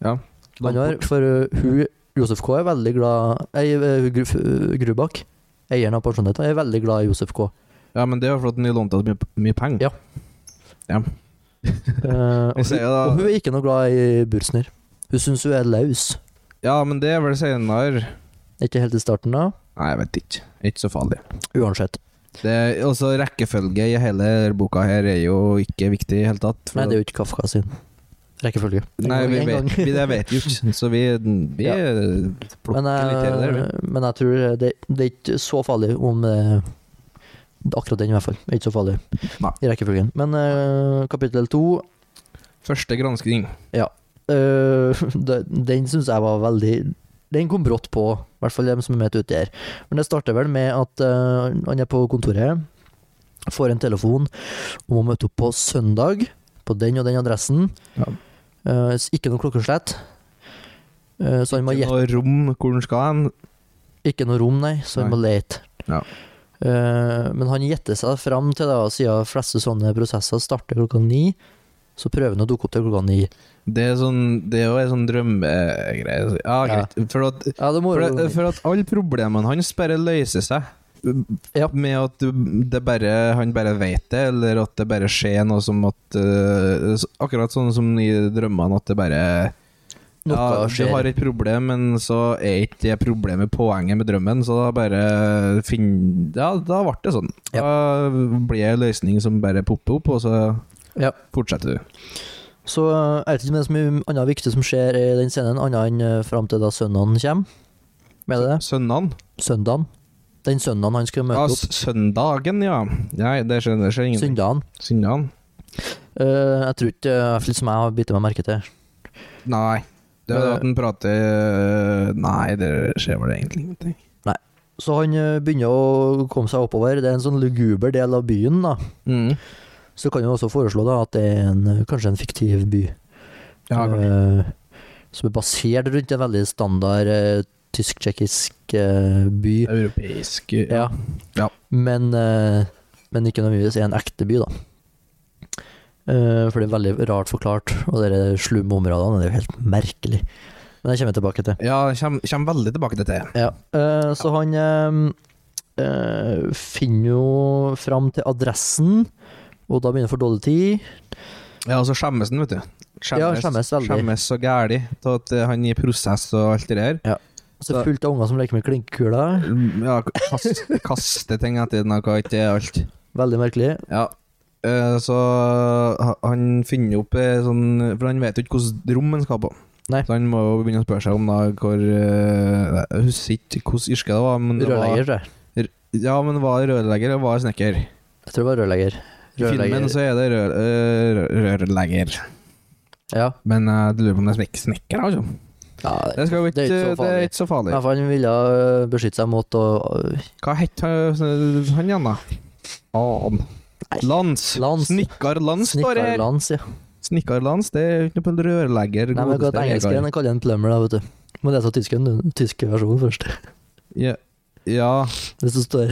[SPEAKER 2] Ja.
[SPEAKER 1] Han har, for uh, hun, Josef K er veldig glad ei, uh, Gru- uh, Grubakk, eieren av pensjonheten, er veldig glad i Josef K.
[SPEAKER 2] Ja, men det er jo fordi han lånte så mye, mye penger.
[SPEAKER 1] Ja. Eh, og,
[SPEAKER 2] Jeg ser
[SPEAKER 1] hun,
[SPEAKER 2] jo da-
[SPEAKER 1] og hun er ikke noe glad i Bursner. Hun syns hun er laus.
[SPEAKER 2] Ja, men det er vel senere
[SPEAKER 1] Ikke helt i starten, da.
[SPEAKER 2] Nei, jeg vet ikke. Ikke så farlig.
[SPEAKER 1] Uansett.
[SPEAKER 2] Det er også rekkefølge i hele denne boka her er jo ikke viktig i det hele tatt. for-
[SPEAKER 1] Nei, det er jo ikke Kafka sin rekkefølge. En
[SPEAKER 2] Nei,
[SPEAKER 1] gang-
[SPEAKER 2] vi
[SPEAKER 1] en gang.
[SPEAKER 2] vet, vi, det vet vi jo ikke, så vi, vi
[SPEAKER 1] Ja.
[SPEAKER 2] plukker
[SPEAKER 1] men, eh,
[SPEAKER 2] litt her og der. vi.
[SPEAKER 1] men jeg tror det, det er ikke så farlig om eh, Akkurat den, i hvert fall. Det er ikke så farlig
[SPEAKER 2] Nei.
[SPEAKER 1] i rekkefølgen. Men eh, kapittel to
[SPEAKER 2] Første gransking.
[SPEAKER 1] Eh, det- den syns jeg var veldig Den kom brått på, i hvert fall dem som er med uti her. Men det starter vel med at eh, han er på kontoret, får en telefon om å møte opp på søndag, på den og den adressen.
[SPEAKER 2] Ja.
[SPEAKER 1] Eh, s- ikke noe klokkeslett. Eh, så han må
[SPEAKER 2] Ikke
[SPEAKER 1] gjette
[SPEAKER 2] noe rom hvor den skal hen.
[SPEAKER 1] Ikke noe rom, nei, så han
[SPEAKER 2] Nei.
[SPEAKER 1] må lete.
[SPEAKER 2] Ja.
[SPEAKER 1] Eh, men han gjetter seg fram til, da, siden fleste sånne prosesser starter klokka ni, så prøver han å dukke opp til klokka ni.
[SPEAKER 2] Det er, sånn, det er jo en sånn drømmegreie.
[SPEAKER 1] Ja.
[SPEAKER 2] Ja, greit. For, at,
[SPEAKER 1] Ja, det må
[SPEAKER 2] for,
[SPEAKER 1] jo-
[SPEAKER 2] at, for at alle problemene hans bare løser seg.
[SPEAKER 1] Ja.
[SPEAKER 2] Med at du- det bare, han bare vet det, eller at det bare skjer noe som at eh, s- Akkurat sånn som i drømmene, at det bare
[SPEAKER 1] Noe
[SPEAKER 2] ja,
[SPEAKER 1] skjer.
[SPEAKER 2] Du har et problem, men så er ikke det problemet poenget med drømmen, så da bare finn Ja, da ble det sånn. Da blir det en løsning som bare popper opp, og så
[SPEAKER 1] Ja.
[SPEAKER 2] fortsetter du.
[SPEAKER 1] Så eh, jeg vet ikke om det er så mye annet viktig som skjer i den scenen, annet enn eh, fram til da søndagen kommer. Med det?
[SPEAKER 2] Søndagen?
[SPEAKER 1] Søndagen. Den søndagen han skal
[SPEAKER 2] Ja,
[SPEAKER 1] møte opp.
[SPEAKER 2] s- søndagen, ja. Nei, det skjer, det skjer ingenting.
[SPEAKER 1] Søndagen.
[SPEAKER 2] Søndagen?
[SPEAKER 1] Eh, jeg tror ikke eh, i hvert fall som jeg har bitt meg merke til.
[SPEAKER 2] Nei. Det er at han prater Nei, det skjer vel egentlig ingenting.
[SPEAKER 1] Så han eh, begynner å komme seg oppover. Det er en sånn luguber del av byen, da.
[SPEAKER 2] Mm.
[SPEAKER 1] Så kan jo også foreslå da at det er en, eh, kanskje en fiktiv by.
[SPEAKER 2] Ja, kanskje.
[SPEAKER 1] eh, som er basert rundt en veldig standard eh, tysk-tsjekkisk eh, by.
[SPEAKER 2] Europeisk
[SPEAKER 1] Ja.
[SPEAKER 2] Ja.
[SPEAKER 1] Men, eh, men ikke nødvendigvis er en ekte by, da. Eh, for det er veldig rart forklart, og de slumme områdene det er jo helt merkelig. Men det kommer jeg tilbake til.
[SPEAKER 2] Ja, kommer kjem veldig tilbake til det.
[SPEAKER 1] Ja. eh, så han eh, eh, finner jo fram til adressen, og da begynner for dårlig tid.
[SPEAKER 2] Ja, og så skjemmes han, vet du.
[SPEAKER 1] Ja, skjemmes veldig.
[SPEAKER 2] skjemmes så gæli av at eh, han gir prosess og alt det der.
[SPEAKER 1] Så
[SPEAKER 2] Da-
[SPEAKER 1] fullt av unger som leker med klinkekuler.
[SPEAKER 2] Ja, kast, kaste ting etter den og hva ikke er alt.
[SPEAKER 1] Veldig merkelig.
[SPEAKER 2] Ja. Eh, Så ha- han finner opp eh, sånn For han vet jo ikke hvilket rom han skal på.
[SPEAKER 1] Nei.
[SPEAKER 2] Så han må jo begynne å spørre seg om da hvor eh, Jeg husker ikke hvilket yrke det var. Men det
[SPEAKER 1] Rørlegger, tror jeg.
[SPEAKER 2] Var, ja, men var det rørlegger eller var det snekker?
[SPEAKER 1] Jeg tror det var rørlegger.
[SPEAKER 2] I filmen altså. så er det rør, eh, rør- rørlegger.
[SPEAKER 1] Ja.
[SPEAKER 2] Men eh, jeg lurer på om det er snek- snekker, altså.
[SPEAKER 1] ja.
[SPEAKER 2] Det, skal jo
[SPEAKER 1] Det er
[SPEAKER 2] ikke,
[SPEAKER 1] ikke så
[SPEAKER 2] det
[SPEAKER 1] farlig.
[SPEAKER 2] er ikke så farlig.
[SPEAKER 1] I hvert fall han ville eh, beskytte seg mot å
[SPEAKER 2] Hva het han han igjen, da? An.
[SPEAKER 1] Nei.
[SPEAKER 2] Lans.
[SPEAKER 1] Lans.
[SPEAKER 2] Snikkar Lans står det her.
[SPEAKER 1] Snikkerlands, ja.
[SPEAKER 2] Snikkar Lans, det er jo ikke noe på en rørlegger.
[SPEAKER 1] Nei, men godt
[SPEAKER 2] godeste
[SPEAKER 1] engelsk
[SPEAKER 2] Vegard.
[SPEAKER 1] den kaller jeg en plumber, da, vet du. Må lese tysken, den tyske versjonen først.
[SPEAKER 2] Ja. ja.
[SPEAKER 1] Hvis du står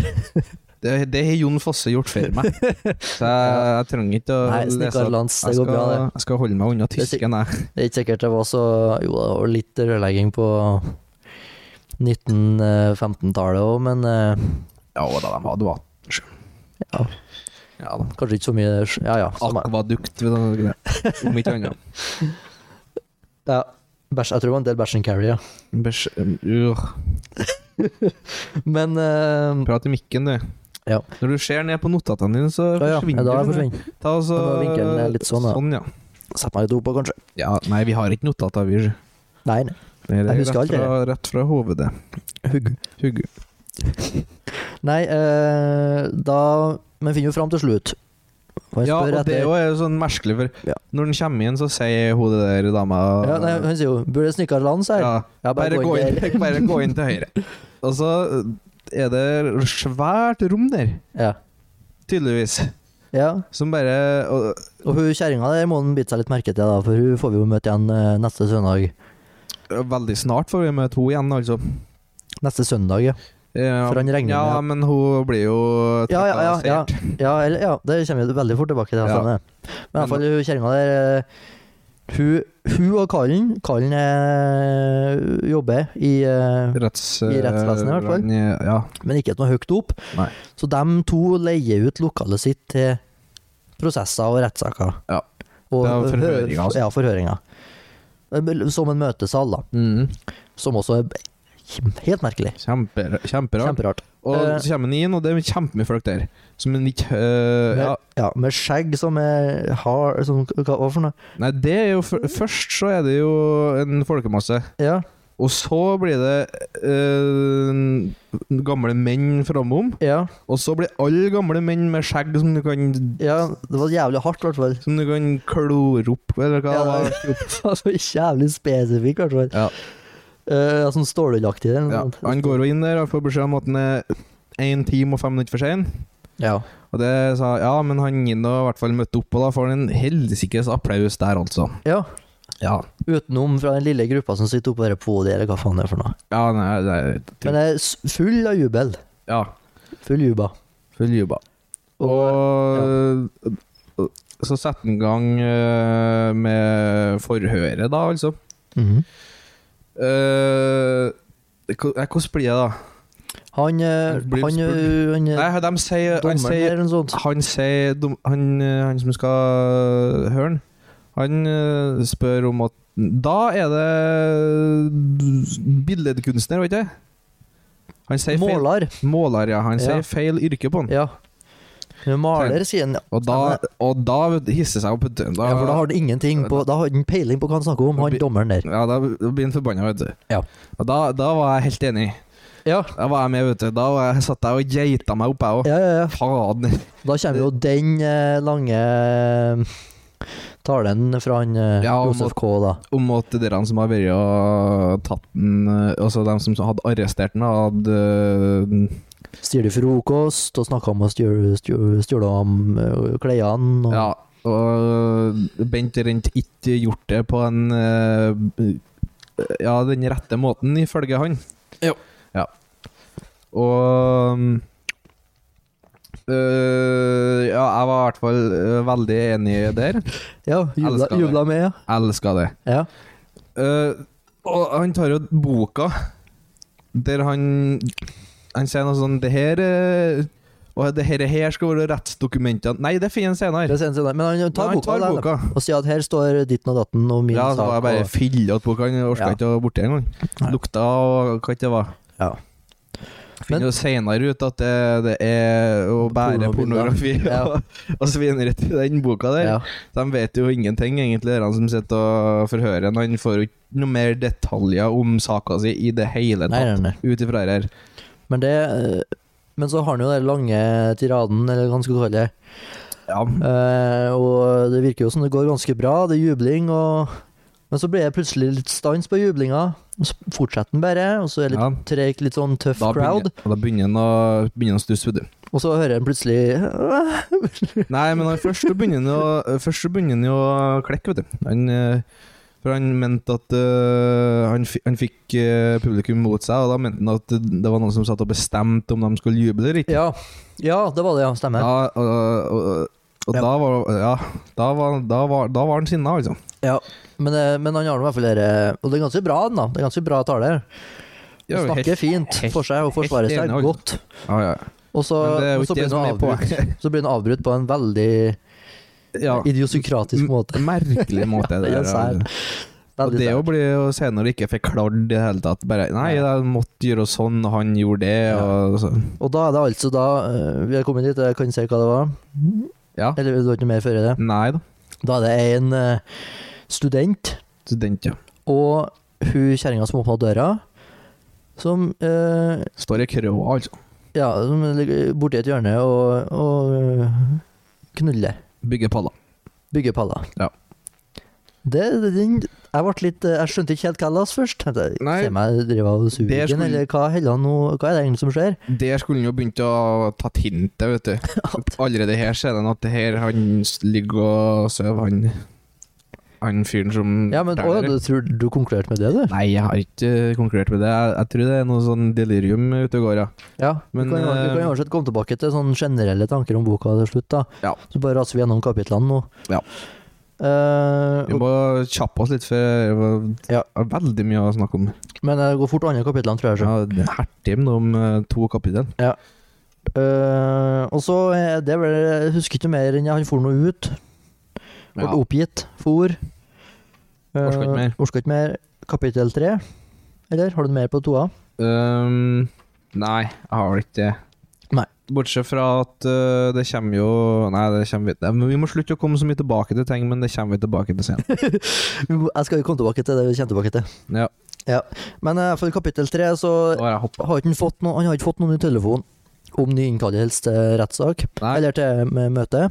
[SPEAKER 2] Det, det har Jon Fosse gjort før meg. Så jeg, jeg trenger ikke å
[SPEAKER 1] Nei,
[SPEAKER 2] lese
[SPEAKER 1] snekker
[SPEAKER 2] opp.
[SPEAKER 1] Lantz, det
[SPEAKER 2] Jeg
[SPEAKER 1] går
[SPEAKER 2] skal,
[SPEAKER 1] bra, det.
[SPEAKER 2] jeg skal holde meg unna
[SPEAKER 1] er sikk-
[SPEAKER 2] tysken, jeg.
[SPEAKER 1] Det er ikke sikkert det var så Jo, det var litt rørlegging på 1915-tallet òg, men eh,
[SPEAKER 2] Ja da, de hadde vatt.
[SPEAKER 1] ja,
[SPEAKER 2] Ja da.
[SPEAKER 1] kanskje ikke så mye Ja ja. samme.
[SPEAKER 2] Akvadukt, vet du. hva det er. om ikke annet.
[SPEAKER 1] ja bæsj, jeg tror det var en del bæsj and carry, ja.
[SPEAKER 2] Bæsj
[SPEAKER 1] øh,
[SPEAKER 2] uh,
[SPEAKER 1] Men eh,
[SPEAKER 2] Prat i mikken, du.
[SPEAKER 1] Ja.
[SPEAKER 2] Når du ser ned på notatene dine, så
[SPEAKER 1] ja, ja,
[SPEAKER 2] forsvinner
[SPEAKER 1] da
[SPEAKER 2] du.
[SPEAKER 1] forsvinner
[SPEAKER 2] Ta og så,
[SPEAKER 1] Da var vinkelen, eh, litt sånn, da.
[SPEAKER 2] ja.
[SPEAKER 1] Sett meg litt opp, kanskje.
[SPEAKER 2] ja. Nei, vi har ikke notater, vi.
[SPEAKER 1] Nei, nei.
[SPEAKER 2] Det er
[SPEAKER 1] Jeg husker
[SPEAKER 2] rett
[SPEAKER 1] aldri
[SPEAKER 2] fra, rett fra hovedet. Hugg. Hugg.
[SPEAKER 1] nei eh, da Men finner jo fram til slutt. For han
[SPEAKER 2] Ja,
[SPEAKER 1] spør
[SPEAKER 2] og det
[SPEAKER 1] etter-
[SPEAKER 2] er jo er jo sånn merkelig, for
[SPEAKER 1] Ja.
[SPEAKER 2] når den kommer inn, så sier hun det der dama
[SPEAKER 1] ja, nei, Han sier jo 'Burde snekker Lantz her?'
[SPEAKER 2] ja,
[SPEAKER 1] Ja,
[SPEAKER 2] bare, gå inn,
[SPEAKER 1] der.
[SPEAKER 2] bare gå inn til høyre. Og så er det svært rom der,
[SPEAKER 1] Ja.
[SPEAKER 2] tydeligvis,
[SPEAKER 1] ja.
[SPEAKER 2] som bare og,
[SPEAKER 1] Og hun kjerringa der må han bite seg litt merke til, da, for hun får vi jo møte igjen eh, neste søndag.
[SPEAKER 2] Veldig snart får vi møte henne igjen, altså.
[SPEAKER 1] Neste søndag, ja.
[SPEAKER 2] Ja,
[SPEAKER 1] For han regner
[SPEAKER 2] ja,
[SPEAKER 1] med-
[SPEAKER 2] men hun blir jo
[SPEAKER 1] Ja, ja, ja, ja.
[SPEAKER 2] trakassert.
[SPEAKER 1] Ja, eller, ja, det kommer vi veldig fort tilbake til. sånn, Ja.
[SPEAKER 2] Ja.
[SPEAKER 1] Men i hvert fall hun kjerringa der eh, Hun, hun og Kallen Kallen eh, jobber i eh,
[SPEAKER 2] Retts,
[SPEAKER 1] I rettsvesenet, i hvert fall.
[SPEAKER 2] Ja.
[SPEAKER 1] Men ikke noe høyt opp.
[SPEAKER 2] Nei.
[SPEAKER 1] Så de to leier ut lokalet sitt til prosesser og rettssaker.
[SPEAKER 2] Ja.
[SPEAKER 1] Og
[SPEAKER 2] Det er forhøringer,
[SPEAKER 1] hø-
[SPEAKER 2] altså.
[SPEAKER 1] Ja, forhøringer. Som en møtesal, da.
[SPEAKER 2] Mm.
[SPEAKER 1] Som også er b- helt merkelig.
[SPEAKER 2] Kjempe, kjemperart.
[SPEAKER 1] Kjemperart.
[SPEAKER 2] Og
[SPEAKER 1] Eh.
[SPEAKER 2] så kommer han inn, og det er kjempemye folk der. Som en ikke øh,
[SPEAKER 1] Med,
[SPEAKER 2] ja.
[SPEAKER 1] ja. med skjegg som er hard som, Hva hva for noe?
[SPEAKER 2] Nei, det er jo f Først så er det jo en folkemasse.
[SPEAKER 1] Ja.
[SPEAKER 2] Og så blir det øh, gamle menn framom.
[SPEAKER 1] ja.
[SPEAKER 2] Og så blir alle gamle menn med skjegg som du kan
[SPEAKER 1] Ja, det var jævlig hardt, i hvert fall.
[SPEAKER 2] Som du kan klore opp, eller hva
[SPEAKER 1] Ja,
[SPEAKER 2] det var.
[SPEAKER 1] det var så Altså, jævlig spesifikk, i hvert fall.
[SPEAKER 2] Ja.
[SPEAKER 1] Eh, sånn stålaktig eller
[SPEAKER 2] Ja,
[SPEAKER 1] noe sånt.
[SPEAKER 2] han går jo inn der og får beskjed om at han er én time og fem minutter for sein.
[SPEAKER 1] Ja.
[SPEAKER 2] Og det sa ja, men han inn og i hvert fall møtte opp, og da får han en helsikes applaus der, altså.
[SPEAKER 1] ja.
[SPEAKER 2] Ja.
[SPEAKER 1] Utenom fra den lille gruppa som sitter oppå det podiet, eller hva faen det er for noe.
[SPEAKER 2] Ja, nei, det
[SPEAKER 1] Men
[SPEAKER 2] er
[SPEAKER 1] det er s- full av jubel.
[SPEAKER 2] Ja.
[SPEAKER 1] Full juba.
[SPEAKER 2] Full juba.
[SPEAKER 1] Og,
[SPEAKER 2] Og så setter han i gang eh, med forhøret, da, altså.
[SPEAKER 1] Mhm.
[SPEAKER 2] Eh, hva- nei, Hvordan blir det, da?
[SPEAKER 1] Han eh,
[SPEAKER 2] Det blir
[SPEAKER 1] han, eh, han, eh,
[SPEAKER 2] Nei, de sier, han
[SPEAKER 1] Dommeren
[SPEAKER 2] sier
[SPEAKER 1] eller noe sånt.
[SPEAKER 2] Han sier dom- han, eh, han som skal høre han, han eh, spør om at Da er det billedkunstner, vet du? Han sier feil
[SPEAKER 1] Måler.
[SPEAKER 2] Måler, ja. Han
[SPEAKER 1] Ja.
[SPEAKER 2] sier feil yrke på han.
[SPEAKER 1] Ja. Maler, sier han.
[SPEAKER 2] Og da, og da vet du, hisser seg opp. vet du. Da,
[SPEAKER 1] ja, for da har han ingenting på Da har han peiling på hva han snakker om, han
[SPEAKER 2] Bi-
[SPEAKER 1] dommeren der.
[SPEAKER 2] ja, da blir han forbanna, vet du.
[SPEAKER 1] Ja.
[SPEAKER 2] Og da, da var jeg helt enig.
[SPEAKER 1] Ja,
[SPEAKER 2] Da var jeg med, vet du. Da var jeg, satt jeg og geita meg opp, jeg òg.
[SPEAKER 1] ja, ja. ja.
[SPEAKER 2] Faen.
[SPEAKER 1] Da kommer jo den eh, lange eh, talen fra han eh,
[SPEAKER 2] Ja, om
[SPEAKER 1] Josef K, da.
[SPEAKER 2] om at dere som har vært og tatt den eh, Altså de som hadde arrestert den, hadde eh,
[SPEAKER 1] Stjele frokost og snakke om å stjøle- stjø- stjøle om eh, klærne. Og...
[SPEAKER 2] Ja. Og Bent Rent ikke gjort det på en eh, Ja, den rette måten, ifølge han.
[SPEAKER 1] Jo.
[SPEAKER 2] Ja. Og mm, eh, Ja, jeg var i hvert fall eh, veldig enig der.
[SPEAKER 1] Ja, jubla,
[SPEAKER 2] Elsker det.
[SPEAKER 1] jubla med, ja.
[SPEAKER 2] Elska det.
[SPEAKER 1] ja.
[SPEAKER 2] Eh, og han tar jo boka der han Han sier noe sånn Det her eh, Og det her, her skal være rettsdokumentene Nei, det finner han senere.
[SPEAKER 1] Det er sent senere. Men han tar
[SPEAKER 2] Men han
[SPEAKER 1] boka
[SPEAKER 2] tar
[SPEAKER 1] der, da,
[SPEAKER 2] boka.
[SPEAKER 1] og sier at her står ditten og datten og min
[SPEAKER 2] Ja, så
[SPEAKER 1] sak.
[SPEAKER 2] var jeg bare
[SPEAKER 1] og...
[SPEAKER 2] fylla ut boka. Han orka
[SPEAKER 1] Ja.
[SPEAKER 2] ikke å borti engang.
[SPEAKER 1] Nei.
[SPEAKER 2] Lukta og hva ikke det var.
[SPEAKER 1] Ja. Men-
[SPEAKER 2] Finner jo senere ut at det, det er å bære pornografi
[SPEAKER 1] Pornobilder. Ja.
[SPEAKER 2] og, og svineri til den boka der.
[SPEAKER 1] Ja.
[SPEAKER 2] De vet jo ingenting, egentlig, de som sitter og forhører han. Han får jo ikke noe mer detaljer om saka si i det hele
[SPEAKER 1] Nei,
[SPEAKER 2] tatt.
[SPEAKER 1] nei, nei.
[SPEAKER 2] Ut ifra det her.
[SPEAKER 1] Men det eh, Men så har han jo den lange tiraden, eller hva han skal kalle det.
[SPEAKER 2] Ja.
[SPEAKER 1] Eh, og det virker jo som det går ganske bra, det er jubling og Men så blir det plutselig litt stans på jublinga, og så fortsetter den bare, og så er det litt
[SPEAKER 2] ja.
[SPEAKER 1] treg, litt sånn tøff
[SPEAKER 2] Da
[SPEAKER 1] crowd,
[SPEAKER 2] begynner, da begynner han å, begynner han å stusse, vet du.
[SPEAKER 1] og så hører en plutselig «Åh!»
[SPEAKER 2] Nei, men han, først så begynner han å- først så begynner han jo å klekke, vet du. Han eh, For han mente at øh, han, fi- han fikk øh, publikum mot seg, og da mente han at det var noen som satt og bestemte om de skulle juble eller ikke.
[SPEAKER 1] Ja. ja, det var det, ja. Stemmer.
[SPEAKER 2] Ja, og, og, og
[SPEAKER 1] Ja.
[SPEAKER 2] da var Ja, da var, da var, da var han sinna, altså.
[SPEAKER 1] Ja, men, eh, men han har nå i hvert fall dere Og det er ganske bra, han da. Det er ganske bra taler.
[SPEAKER 2] Ja,
[SPEAKER 1] Han snakker fint
[SPEAKER 2] helt-
[SPEAKER 1] for seg og forsvarer
[SPEAKER 2] helt
[SPEAKER 1] seg
[SPEAKER 2] enig, altså.
[SPEAKER 1] godt.
[SPEAKER 2] Ja, ja.
[SPEAKER 1] Og så,
[SPEAKER 2] Men det er jo
[SPEAKER 1] og så
[SPEAKER 2] ikke
[SPEAKER 1] blir
[SPEAKER 2] det
[SPEAKER 1] han
[SPEAKER 2] som er
[SPEAKER 1] avbrutt,
[SPEAKER 2] poenget.
[SPEAKER 1] så blir han avbrutt på en veldig
[SPEAKER 2] Ja.
[SPEAKER 1] idiosynkratisk måte.
[SPEAKER 2] Merkelig måte.
[SPEAKER 1] Ja, det er
[SPEAKER 2] der,
[SPEAKER 1] sær.
[SPEAKER 2] altså. Og
[SPEAKER 1] Veldig
[SPEAKER 2] det å
[SPEAKER 1] sært.
[SPEAKER 2] bli å se når du ikke fikk klart i det hele tatt Bare Nei, jeg måtte gjøre sånn, og han gjorde det, og så
[SPEAKER 1] Og da er det altså da eh, Vi har kommet dit, jeg kan si hva det var.
[SPEAKER 2] Ja.
[SPEAKER 1] Eller det var ikke noe mer før i det.
[SPEAKER 2] Nei da.
[SPEAKER 1] Da er det en eh, student
[SPEAKER 2] Student, ja.
[SPEAKER 1] og hun kjerringa som åpna døra, som eh,
[SPEAKER 2] Står i krøa, altså.
[SPEAKER 1] Ja, som ligger borti et hjørne og, og eh, knuller.
[SPEAKER 2] Bygger paller.
[SPEAKER 1] Bygge paller.
[SPEAKER 2] Ja.
[SPEAKER 1] Det, det, den, jeg ble litt eh, Jeg skjønte ikke helt hva jeg las først. Tenkte jeg,
[SPEAKER 2] Nei,
[SPEAKER 1] Se meg drive av
[SPEAKER 2] det
[SPEAKER 1] sugen,
[SPEAKER 2] skulle-
[SPEAKER 1] eller hva, heller, nå, hva er det egentlig som skjer?
[SPEAKER 2] Der skulle han jo begynt å ta hintet, vet du.
[SPEAKER 1] At-
[SPEAKER 2] Allerede her ser han at det her han s- ligger og sover, han Han fyren som
[SPEAKER 1] Ja, men å, ja, du tror du konkluderte med det, du?
[SPEAKER 2] Nei, jeg har ikke eh, konkurrert med det. Jeg, jeg tror det er noe sånn delirium ute og går, ja.
[SPEAKER 1] Ja.
[SPEAKER 2] Men,
[SPEAKER 1] du kan jo- du kan jo
[SPEAKER 2] eh,
[SPEAKER 1] uansett komme tilbake til sånne generelle tanker om boka til slutt, da.
[SPEAKER 2] Ja.
[SPEAKER 1] Så bare raser vi gjennom kapitlene nå.
[SPEAKER 2] Ja.
[SPEAKER 1] Eh,
[SPEAKER 2] Vi
[SPEAKER 1] og,
[SPEAKER 2] må kjappe oss litt, for det var
[SPEAKER 1] Ja.
[SPEAKER 2] er veldig mye å snakke om.
[SPEAKER 1] men eh, det går fort andre kapitlene, tror jeg. så.
[SPEAKER 2] Ja, det er Hertim om eh, to kapittel.
[SPEAKER 1] Eh, og så er det vel Jeg husker ikke mer enn han for noe ut. Og
[SPEAKER 2] Ja.
[SPEAKER 1] Oppgitt. For. Eh,
[SPEAKER 2] Orsker ikke mer.
[SPEAKER 1] Orsker ikke mer. Kapittel tre. Eller har du mer på toa?
[SPEAKER 2] Øhm, Ehm, nei, jeg har vel ikke det.
[SPEAKER 1] Nei.
[SPEAKER 2] Bortsett fra at øh, det kommer jo Nei, det kommer vi Nei, men Vi må slutte å komme så mye tilbake til ting, men det kommer vi tilbake til senere.
[SPEAKER 1] Vi må- Jeg skal jo komme tilbake til det vi kommer tilbake til.
[SPEAKER 2] ja.
[SPEAKER 1] Men eh, for kapittel tre så
[SPEAKER 2] Da har jeg hoppet.
[SPEAKER 1] har ikke han fått noe, han har ikke fått noen i telefonen om ny innkallelse til rettssak,
[SPEAKER 2] Nei.
[SPEAKER 1] eller til m- møte.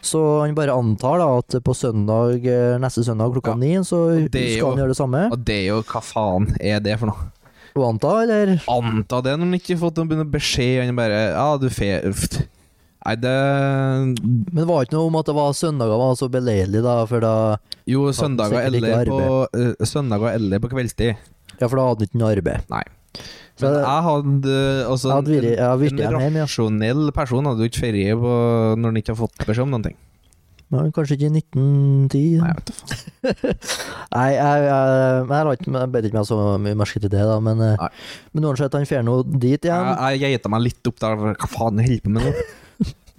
[SPEAKER 1] Så han bare antar da at på søndag, eh, neste søndag klokka
[SPEAKER 2] Ja.
[SPEAKER 1] ni, så
[SPEAKER 2] Og det er
[SPEAKER 1] skal han
[SPEAKER 2] jo-
[SPEAKER 1] gjøre det samme.
[SPEAKER 2] Og det er jo Hva faen er det for noe?
[SPEAKER 1] Og anta, eller?
[SPEAKER 2] Anta det når han ikke har fått noen beskjed. Han bare Ja, du fe... Uff. Nei, det
[SPEAKER 1] Men det var ikke noe om at det var søndager var så beleilig, da, for da
[SPEAKER 2] Jo,
[SPEAKER 1] Faen,
[SPEAKER 2] søndager
[SPEAKER 1] sikkert ikke
[SPEAKER 2] eller på, øh, søndager eller på kveldstid.
[SPEAKER 1] Ja, for da hadde han ikke noe arbeid.
[SPEAKER 2] Nei.
[SPEAKER 1] Så
[SPEAKER 2] Men
[SPEAKER 1] jeg,
[SPEAKER 2] jeg hadde altså,
[SPEAKER 1] hadde vært- jeg hadde
[SPEAKER 2] En
[SPEAKER 1] virkelig en hjemme, ja.
[SPEAKER 2] rasjonell person hadde jo ikke ferie på når han ikke har fått beskjed om noen ting.
[SPEAKER 1] Men kanskje ikke i 1910.
[SPEAKER 2] Nei,
[SPEAKER 1] Nei,
[SPEAKER 2] jeg vet da faen.
[SPEAKER 1] jeg, jeg, men jeg, la ikke- jeg bet ikke meg så mye merke til det, da. Men, eh,
[SPEAKER 2] Nei.
[SPEAKER 1] men uansett, han drar nå dit igjen.
[SPEAKER 2] Jeg, jeg geita meg litt opp der. for Hva faen holder jeg på med nå?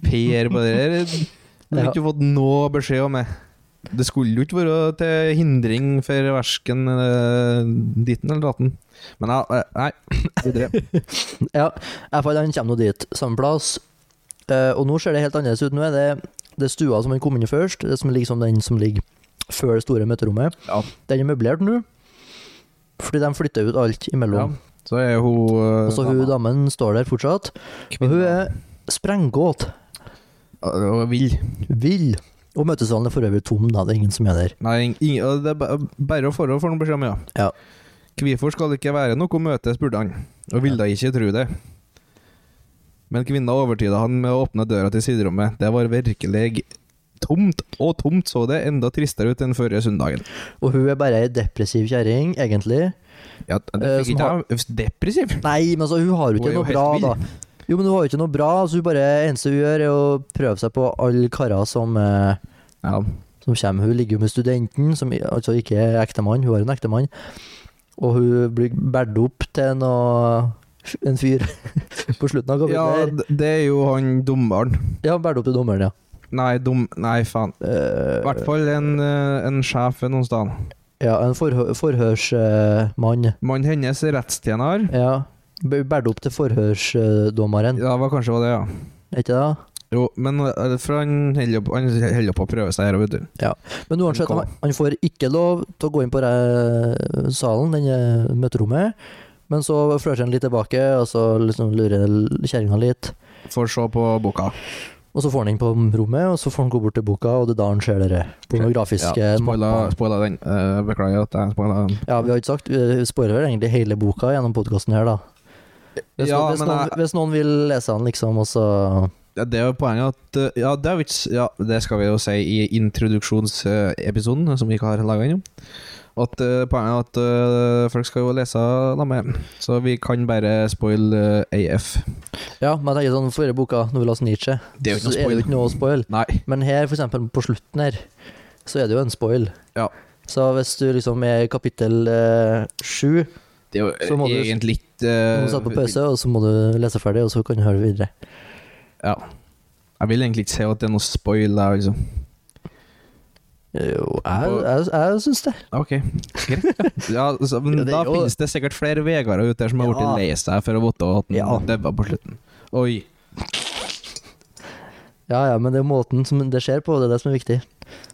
[SPEAKER 2] Per på det der Du har
[SPEAKER 1] Ja.
[SPEAKER 2] ikke fått noe beskjed om det. Det skulle jo ikke være til hindring for verken eh, ditten eller datten. Men jeg, eh, nei, videre.
[SPEAKER 1] Ja, jeg fant han kommer nå dit, samme plass. Eh, og nå ser det helt annerledes ut. Nå er det, det er stua som han kom inn i først, det som ligger som den som ligger før det store møterommet.
[SPEAKER 2] Ja.
[SPEAKER 1] Den er møblert nå, fordi de flytter ut alt
[SPEAKER 2] Ja.
[SPEAKER 1] imellom.
[SPEAKER 2] Så er hun eh,
[SPEAKER 1] Og så hun
[SPEAKER 2] dama-
[SPEAKER 1] damen står der fortsatt, og hun
[SPEAKER 2] kvinne.
[SPEAKER 1] er sprenggåt,
[SPEAKER 2] Og vill.
[SPEAKER 1] vill. Og møtesalen er for øvrig tom, da. Det er ingen som er der.
[SPEAKER 2] Nei, ing- og det er ba- bare å forhold for noen beskjed om, ja.
[SPEAKER 1] Ja.
[SPEAKER 2] Hvorfor skal det ikke være noe møte, spurte han, og ville ikke tro det. Men kvinna overtyda han med å åpne døra til siderommet. Det var virkelig tomt, og tomt så det enda tristere ut enn forrige søndagen.
[SPEAKER 1] Og hun er bare ei depressiv kjerring, egentlig.
[SPEAKER 2] Ja, det
[SPEAKER 1] Eh,
[SPEAKER 2] fikk
[SPEAKER 1] som
[SPEAKER 2] ikke jeg depressiv.
[SPEAKER 1] Nei, men altså, hun har jo
[SPEAKER 2] Hun
[SPEAKER 1] ikke
[SPEAKER 2] er jo
[SPEAKER 1] noe
[SPEAKER 2] helt
[SPEAKER 1] bra,
[SPEAKER 2] vill.
[SPEAKER 1] da. Jo, men hun har jo ikke noe bra, så hun bare eneste hun gjør, er å prøve seg på alle karer som eh,
[SPEAKER 2] Ja.
[SPEAKER 1] som kommer. Hun ligger jo med studenten, som i- altså ikke er ektemann, hun har en ektemann. Og hun blir båret opp til noe, en fyr på slutten av
[SPEAKER 2] ja,
[SPEAKER 1] kapittelet.
[SPEAKER 2] d- det er jo han dommeren.
[SPEAKER 1] Ja, båret opp til dommeren, ja.
[SPEAKER 2] Nei, dom... Nei, faen. I hvert
[SPEAKER 1] Eh,
[SPEAKER 2] fall en, eh, en sjef noen sted.
[SPEAKER 1] ja, en forhø forhørsmann.
[SPEAKER 2] Mannen hennes er rettstjener.
[SPEAKER 1] ja. B- Båret opp til forhørsdommeren,
[SPEAKER 2] Ja, det var kanskje det, ja.
[SPEAKER 1] er ikke det?
[SPEAKER 2] Jo, men eh, for han holder jo på- han holder på å prøve seg her, vet du.
[SPEAKER 1] Men uansett,
[SPEAKER 2] Kom.
[SPEAKER 1] han, han får ikke lov til å gå inn på eh, salen, denne møterommet. Men så flørter han litt tilbake, og så liksom lurer kjerringa litt.
[SPEAKER 2] For å se på boka.
[SPEAKER 1] Og så får han inn på rommet, og så får han gå bort til boka, og det er da han ser dere pornografiske
[SPEAKER 2] Ja, spoila,
[SPEAKER 1] mappa.
[SPEAKER 2] spoila den. Eh, beklager at jeg spoila den.
[SPEAKER 1] Ja, vi har ikke sagt Vi spoiler egentlig hele boka gjennom podkasten her, da. Hvis,
[SPEAKER 2] Ja,
[SPEAKER 1] noen, hvis,
[SPEAKER 2] men
[SPEAKER 1] noen,
[SPEAKER 2] jeg-
[SPEAKER 1] hvis noen vil lese den, liksom, og så
[SPEAKER 2] Ja, det er jo poenget at eh, Ja, det, er jo ikke, s- ja, det skal vi jo si i introduksjonsepisoden, som vi ikke har laga ennå. At eh, Poenget er at eh, folk skal jo lese la meg, så vi kan bare spoil eh, AF.
[SPEAKER 1] Ja, men jeg tenker sånn forrige boka, Novelas Nietzsche,
[SPEAKER 2] Det er jo ikke noe
[SPEAKER 1] så er det jo ikke noe å spoil.
[SPEAKER 2] Nei.
[SPEAKER 1] Men her, for eksempel på slutten her, så er det jo en spoil.
[SPEAKER 2] Ja.
[SPEAKER 1] Så hvis du liksom er i kapittel eh, sju,
[SPEAKER 2] Det er
[SPEAKER 1] Så må
[SPEAKER 2] jo
[SPEAKER 1] du-
[SPEAKER 2] egentlig
[SPEAKER 1] må
[SPEAKER 2] ikke eh,
[SPEAKER 1] du sette på pause, og så må du lese ferdig, og så kan du høre videre.
[SPEAKER 2] Ja. Jeg vil egentlig ikke si at det er noe spoil der, liksom.
[SPEAKER 1] Jo, jeg, jeg, jeg syns det.
[SPEAKER 2] Ok, greit. Ja, så, men
[SPEAKER 1] Ja, det er
[SPEAKER 2] da
[SPEAKER 1] jo-
[SPEAKER 2] finnes det sikkert flere Vegarder ute der som har blitt
[SPEAKER 1] Ja.
[SPEAKER 2] lei seg for å vite at han
[SPEAKER 1] Ja.
[SPEAKER 2] daua på slutten. Oi.
[SPEAKER 1] Ja, ja, men det er måten som det skjer på, det er det som er viktig.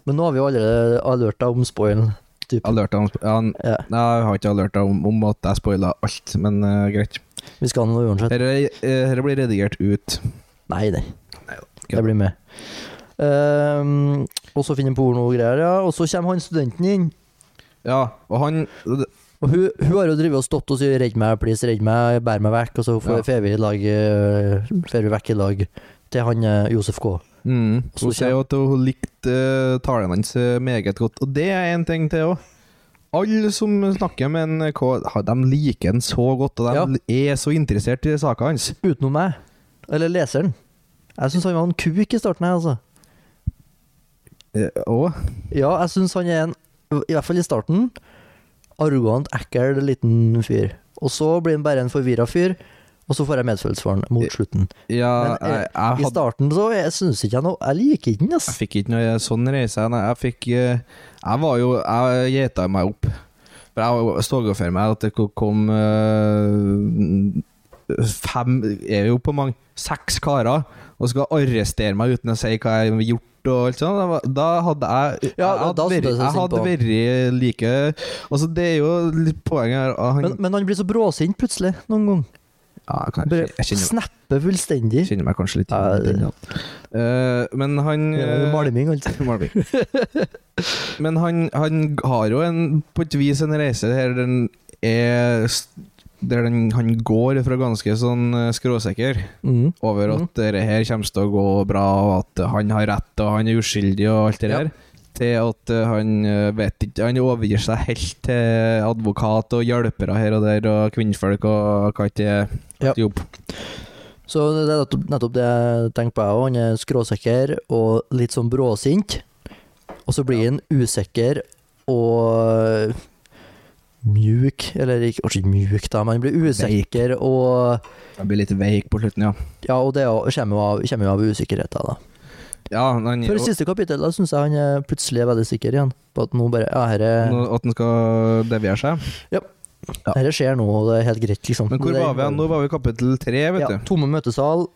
[SPEAKER 1] Men nå har vi jo allerede alerta om spoilen. typ.
[SPEAKER 2] Alerta om ja, han-
[SPEAKER 1] Ja,
[SPEAKER 2] Nei, jeg har ikke alerta om, om at jeg spoila alt, men eh, greit.
[SPEAKER 1] vi skal nå uansett.
[SPEAKER 2] Dette her blir redigert ut.
[SPEAKER 1] Nei, nei. Jeg blir med. Ehm, og så finner han pornogreier, ja. Og så kommer han studenten inn.
[SPEAKER 2] Ja, og han
[SPEAKER 1] Og hun, hun har jo drevet og stått og sagt 'redd meg, please, redd meg, bær meg vekk', og så får
[SPEAKER 2] Ja.
[SPEAKER 1] fer vi i lag øh, fer vi vekk i lag til han øh, Josef K.
[SPEAKER 2] mm,
[SPEAKER 1] Så
[SPEAKER 2] Hun sier jo at hun likte eh, talen hans eh, meget godt, og det er en ting til òg. Alle som snakker med en K, ha, de liker han så godt, og de er så interessert i saka hans.
[SPEAKER 1] Utenom meg. Eller leseren. Jeg syns han var en kuk i starten her, altså.
[SPEAKER 2] Eh, Og
[SPEAKER 1] Ja, jeg syns han er en, i hvert fall i starten, arrogant, ekkel liten fyr. Og så blir han bare en forvirra fyr, og så får jeg medfølelse for han mot slutten.
[SPEAKER 2] Ja,
[SPEAKER 1] Men, eh,
[SPEAKER 2] jeg, jeg,
[SPEAKER 1] I
[SPEAKER 2] hadde,
[SPEAKER 1] starten så jeg syns ikke jeg noe Jeg liker ikke den, ass.
[SPEAKER 2] jeg fikk ikke noe sånn reise. Nei, jeg fikk eh, Jeg var jo Jeg gjeta meg opp. For jeg så jo for meg at det ko- kom eh, Fem Er jo på mange Seks karer og skal arrestere meg uten å si hva jeg har gjort og alt sånt. Da var- Da hadde jeg
[SPEAKER 1] Ja,
[SPEAKER 2] Jeg hadde
[SPEAKER 1] da
[SPEAKER 2] vært-
[SPEAKER 1] stod det seg
[SPEAKER 2] jeg
[SPEAKER 1] synd
[SPEAKER 2] hadde vært like Altså, det er jo litt poenget her. og Han,
[SPEAKER 1] Men, men han blir så bråsint plutselig, noen gang.
[SPEAKER 2] ja, jeg, kan,
[SPEAKER 1] Bare
[SPEAKER 2] jeg, kjenner,
[SPEAKER 1] snapper fullstendig.
[SPEAKER 2] jeg kjenner meg kanskje litt
[SPEAKER 1] Ja,
[SPEAKER 2] igjen i den, ja. Eh, Men han
[SPEAKER 1] Ja,
[SPEAKER 2] eh,
[SPEAKER 1] Malming, altså.
[SPEAKER 2] Malvik. Men han, han har jo en, på et vis en reise her den er s- Der den, han går fra ganske sånn eh, skråsikker
[SPEAKER 1] Mm.
[SPEAKER 2] over at
[SPEAKER 1] Mhm.
[SPEAKER 2] dette her kommer til å gå bra, og at han har rett og han er uskyldig og alt det
[SPEAKER 1] Ja.
[SPEAKER 2] der, til at eh, han eh, vet ikke Han overgir seg helt til advokat og hjelpere her og der, og kvinnfolk og hva ikke det er.
[SPEAKER 1] Ja.
[SPEAKER 2] Jobb.
[SPEAKER 1] Så det er nettopp, nettopp det jeg tenker på, jeg òg. Han er skråsikker og litt sånn bråsint. Og så blir han usikker og mjuk, eller ikke, kanskje ikke mjuk, da, men han blir usikker og
[SPEAKER 2] Jeg blir litt veik på slutten, ja.
[SPEAKER 1] Ja, og det er jo- kommer jo av, kommer jo av usikkerheten, da.
[SPEAKER 2] ja han,
[SPEAKER 1] For i siste kapittel da syns jeg han er plutselig er veldig sikker igjen. På at nå bare Ja, herre,
[SPEAKER 2] Nå- at han skal deviere seg. ja.
[SPEAKER 1] herre skjer nå, og det er helt greit, liksom.
[SPEAKER 2] Men hvor
[SPEAKER 1] Det-
[SPEAKER 2] var vi? igjen? Nå var vi i kapittel tre, vet
[SPEAKER 1] Ja,
[SPEAKER 2] du.
[SPEAKER 1] tomme møtesal.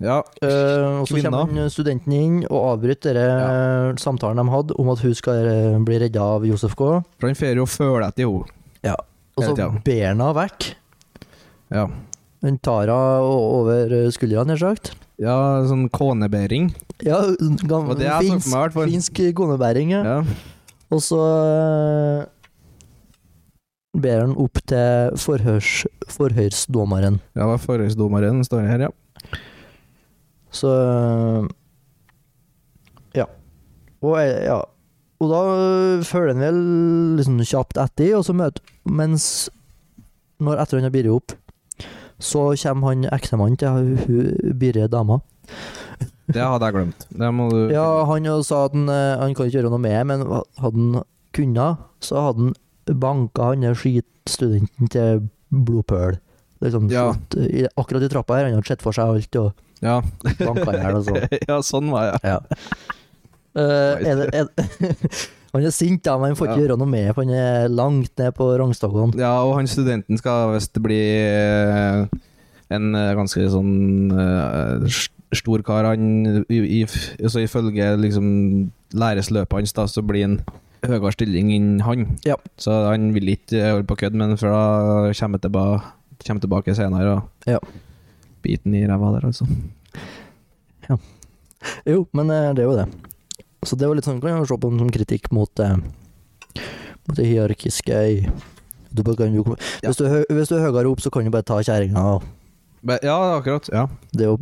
[SPEAKER 2] Ja.
[SPEAKER 1] Eh, og så
[SPEAKER 2] Kvinner.
[SPEAKER 1] kommer han, studenten inn og avbryter dere eh, samtalen de hadde om at hun skal eh, bli redda av Josef K.
[SPEAKER 2] For han får jo føle etter henne.
[SPEAKER 1] Og så
[SPEAKER 2] Hele tiden.
[SPEAKER 1] ber han henne vekk.
[SPEAKER 2] Ja.
[SPEAKER 1] Han tar henne o- over eh, skuldra, nær sagt.
[SPEAKER 2] ja, sånn konebæring.
[SPEAKER 1] Ja, gam,
[SPEAKER 2] Og det er sånn
[SPEAKER 1] finsk,
[SPEAKER 2] for meg, i hvert fall.
[SPEAKER 1] finsk konebæring. Ja.
[SPEAKER 2] Ja.
[SPEAKER 1] Og så eh, ber han opp til forhørs, forhørsdommeren.
[SPEAKER 2] Ja, var forhørsdommeren står her, ja.
[SPEAKER 1] Så Ja. Og, jeg- ja. og da følger han vel liksom kjapt etter, og så møter Mens når etter han har biret opp, så kommer han ektemannen til hun- hun birre dama.
[SPEAKER 2] Det hadde jeg glemt. Det må du
[SPEAKER 1] Ja, han jo sa at han, eh, han kan ikke gjøre noe med men hadde han kunnet, så hadde han banka han der skitstudenten til blodpøl. Liksom,
[SPEAKER 2] Ja.
[SPEAKER 1] slått i- Akkurat i trappa her, han hadde sett for seg alt og
[SPEAKER 2] Ja.
[SPEAKER 1] banka i hjel og sånn.
[SPEAKER 2] ja, sånn var jeg.
[SPEAKER 1] Ja. Eh, er det, er det, han er sint, da, men han får ikke
[SPEAKER 2] Ja.
[SPEAKER 1] gjøre noe med for han er langt ned på rangstokkene.
[SPEAKER 2] Ja, og han studenten skal visst bli eh, en eh, ganske sånn eh, s- stor kar. Han i, i, Så ifølge liksom læresløpet hans, da, så blir han høyere stilling enn han.
[SPEAKER 1] Ja.
[SPEAKER 2] Så han vil ikke eh, holde på kødd, men for da kommer han tilbake, kommer tilbake senere og
[SPEAKER 1] Ja.
[SPEAKER 2] biter han i ræva der, altså.
[SPEAKER 1] Jo, men eh, det er jo det. Så det var litt sånn, kan jeg jo se på som kritikk mot, eh, mot det hierarkiske i du bare kan jo, komme-
[SPEAKER 2] Ja.
[SPEAKER 1] hvis, du, er hø- hvis du er høyere opp, så kan du bare ta kjerringa. og
[SPEAKER 2] Men- Ja, akkurat. Ja.
[SPEAKER 1] det er jo-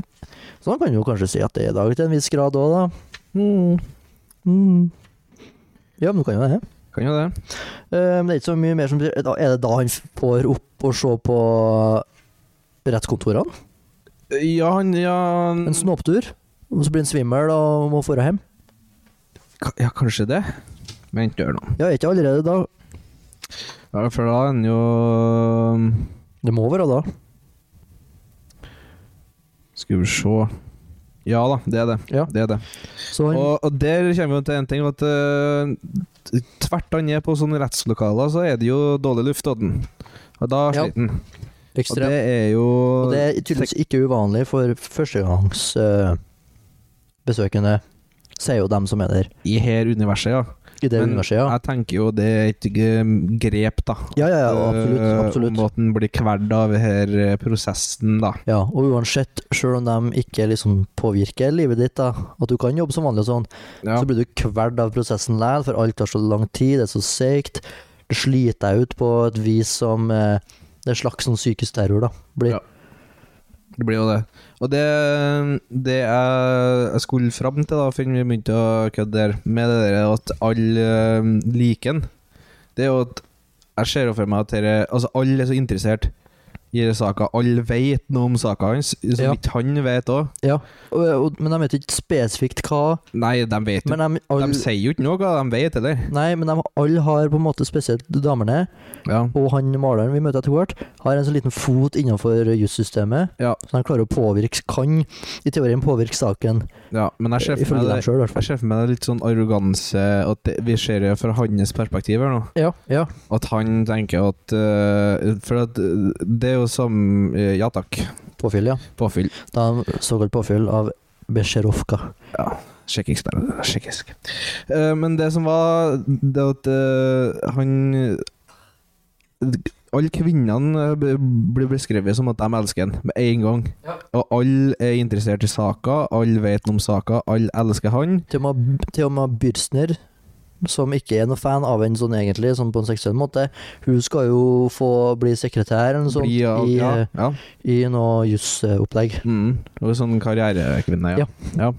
[SPEAKER 1] Så han kan jo kanskje si at det er i dag til en viss grad òg, da.
[SPEAKER 2] Mm.
[SPEAKER 1] Mm. Ja, men du kan jo det.
[SPEAKER 2] Kan jo det.
[SPEAKER 1] Eh, men det er ikke så mye mer som betyr da- Er det da han får opp og se på eh, rettskontorene?
[SPEAKER 2] Ja, han ja, han-
[SPEAKER 1] En snåptur? Og så blir han svimmel og må dra hjem?
[SPEAKER 2] Ka- ja, kanskje det. Men ikke gjør noe.
[SPEAKER 1] Ja, er ikke allerede da?
[SPEAKER 2] Ja, for da er han jo
[SPEAKER 1] Det må være da.
[SPEAKER 2] Skal vi se Ja da, det er det.
[SPEAKER 1] Ja.
[SPEAKER 2] det, er det.
[SPEAKER 1] Så han,
[SPEAKER 2] Og, og der kommer vi til en ting at eh, tvert han er på sånne rettslokaler, så er det jo dårlig luft av den. Og da
[SPEAKER 1] Ja.
[SPEAKER 2] sliter han. Og
[SPEAKER 1] ekstrem.
[SPEAKER 2] det er jo
[SPEAKER 1] Og det er tydeligvis ikke uvanlig for førstegangsbesøkende, sier jo dem som er der,
[SPEAKER 2] i her universet, ja.
[SPEAKER 1] i det
[SPEAKER 2] Men
[SPEAKER 1] universet, ja.
[SPEAKER 2] jeg tenker jo det er et g- grep, da.
[SPEAKER 1] Ja, ja, ja, absolutt.
[SPEAKER 2] Eh,
[SPEAKER 1] absolutt.
[SPEAKER 2] Om at den blir kverd av her eh, prosessen, da.
[SPEAKER 1] Ja, og uansett, sjøl om de ikke liksom påvirker livet ditt, da, at du kan jobbe som vanlig og sånn,
[SPEAKER 2] Ja.
[SPEAKER 1] så blir du kverd av prosessen likevel, for alt tar så lang tid, det er så seigt. Det sliter deg ut på et vis som eh, Det er slags sånn psykisk terror, da. Blir.
[SPEAKER 2] Ja. Det blir jo det. Og det, det jeg, jeg skulle fram til, da, før vi begynte å kødde der, med det der at alle eh, liker den, det er jo at jeg ser jo for meg at dere, altså alle er så interessert i denne saka. Alle vet noe om saka hans, som
[SPEAKER 1] Ja.
[SPEAKER 2] ikke han vet òg.
[SPEAKER 1] Og, og, men de vet ikke spesifikt hva
[SPEAKER 2] Nei, de vet jo
[SPEAKER 1] Men de,
[SPEAKER 2] De
[SPEAKER 1] alle,
[SPEAKER 2] sier jo ikke noe hva de vet, eller?
[SPEAKER 1] nei, men de alle har på en måte, spesielt damene,
[SPEAKER 2] Ja.
[SPEAKER 1] og han maleren vi møter etter hvert, har en sånn liten fot innenfor jussystemet,
[SPEAKER 2] Ja.
[SPEAKER 1] så han klarer å påvirke, kan i teorien påvirke saken,
[SPEAKER 2] ja. Men jeg ser for
[SPEAKER 1] ifølge
[SPEAKER 2] meg
[SPEAKER 1] dem
[SPEAKER 2] det.
[SPEAKER 1] sjøl, i hvert
[SPEAKER 2] Jeg
[SPEAKER 1] fall.
[SPEAKER 2] ser for meg det litt sånn arroganse At det, Vi ser det fra hans perspektiv her nå.
[SPEAKER 1] Ja, ja.
[SPEAKER 2] At han tenker at eh, For at eh, det er jo som eh, Ja takk,
[SPEAKER 1] Påfyll, ja.
[SPEAKER 2] påfyll.
[SPEAKER 1] Da såkalt påfyll av Besjerovka.
[SPEAKER 2] Tsjekkisk der. Tsjekkisk. Eh, men det som var Det at eh, han Alle kvinnene b- blir beskrevet som at de elsker han med en gang. Og alle er interessert i saka, alle vet noe om saka, alle elsker han.
[SPEAKER 1] Til og med, til og med Byrstner, som ikke er noen fan av henne sånn egentlig, sånn på en seksuell måte, hun skal jo få bli sekretær eller noe sånt
[SPEAKER 2] Blir av-
[SPEAKER 1] Sånn i, eh,
[SPEAKER 2] ja,
[SPEAKER 1] i
[SPEAKER 2] ja.
[SPEAKER 1] noe jussopplegg.
[SPEAKER 2] Mm. Og sånn karrierekvinne, ja.
[SPEAKER 1] Ja.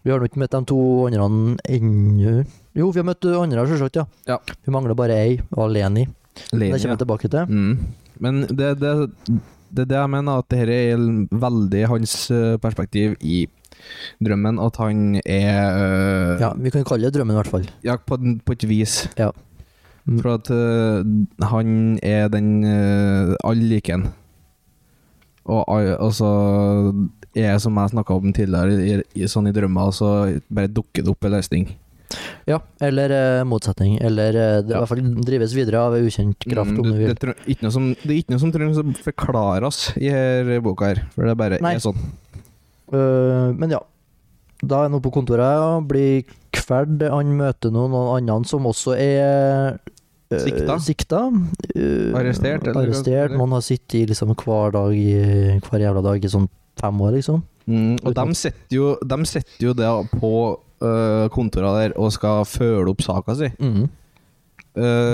[SPEAKER 1] Vi har nå ikke møtt de to andre ennå. Jo, vi har møtt andre, selvsagt, ja.
[SPEAKER 2] Ja.
[SPEAKER 1] Hun mangler bare ei, og alene i. Det
[SPEAKER 2] Leni,
[SPEAKER 1] kommer
[SPEAKER 2] ja.
[SPEAKER 1] jeg tilbake til.
[SPEAKER 2] Mm. Men det, det, det er det jeg mener, at dette er veldig hans eh, perspektiv i drømmen. At han er øh,
[SPEAKER 1] Ja, vi kan kalle det drømmen i hvert fall.
[SPEAKER 2] ja, på, den- på et vis.
[SPEAKER 1] Ja. Mm.
[SPEAKER 2] For at øh, han er den øh, alle liker han. Og, al- og så er det som jeg snakka om tidligere, i, i, sånn i drømmer, så bare dukker det opp en løsning.
[SPEAKER 1] Ja, eller eh, motsetning, eller eh, det,
[SPEAKER 2] Ja.
[SPEAKER 1] i hvert fall drives videre av ukjent kraft,
[SPEAKER 2] Mm,
[SPEAKER 1] om
[SPEAKER 2] du-
[SPEAKER 1] du vil.
[SPEAKER 2] det, treng- ikke noe som, det er ikke noe som trengs å forklares i her boka her, for det bare
[SPEAKER 1] Nei.
[SPEAKER 2] er sånn.
[SPEAKER 1] Øh, men ja. Da er han oppe på kontoret og blir kverd. Han møter noen, noen andre som også er øh,
[SPEAKER 2] Sikta.
[SPEAKER 1] sikta. Øh,
[SPEAKER 2] Arrestert, eller-
[SPEAKER 1] arrestert. Noen har sittet i liksom hver dag i, hver jævla dag i sånn fem år, liksom.
[SPEAKER 2] Mm, og
[SPEAKER 1] Uten
[SPEAKER 2] de setter, jo, de setter jo det på øh, kontorene der og skal følge opp saka si. Øh,
[SPEAKER 1] Men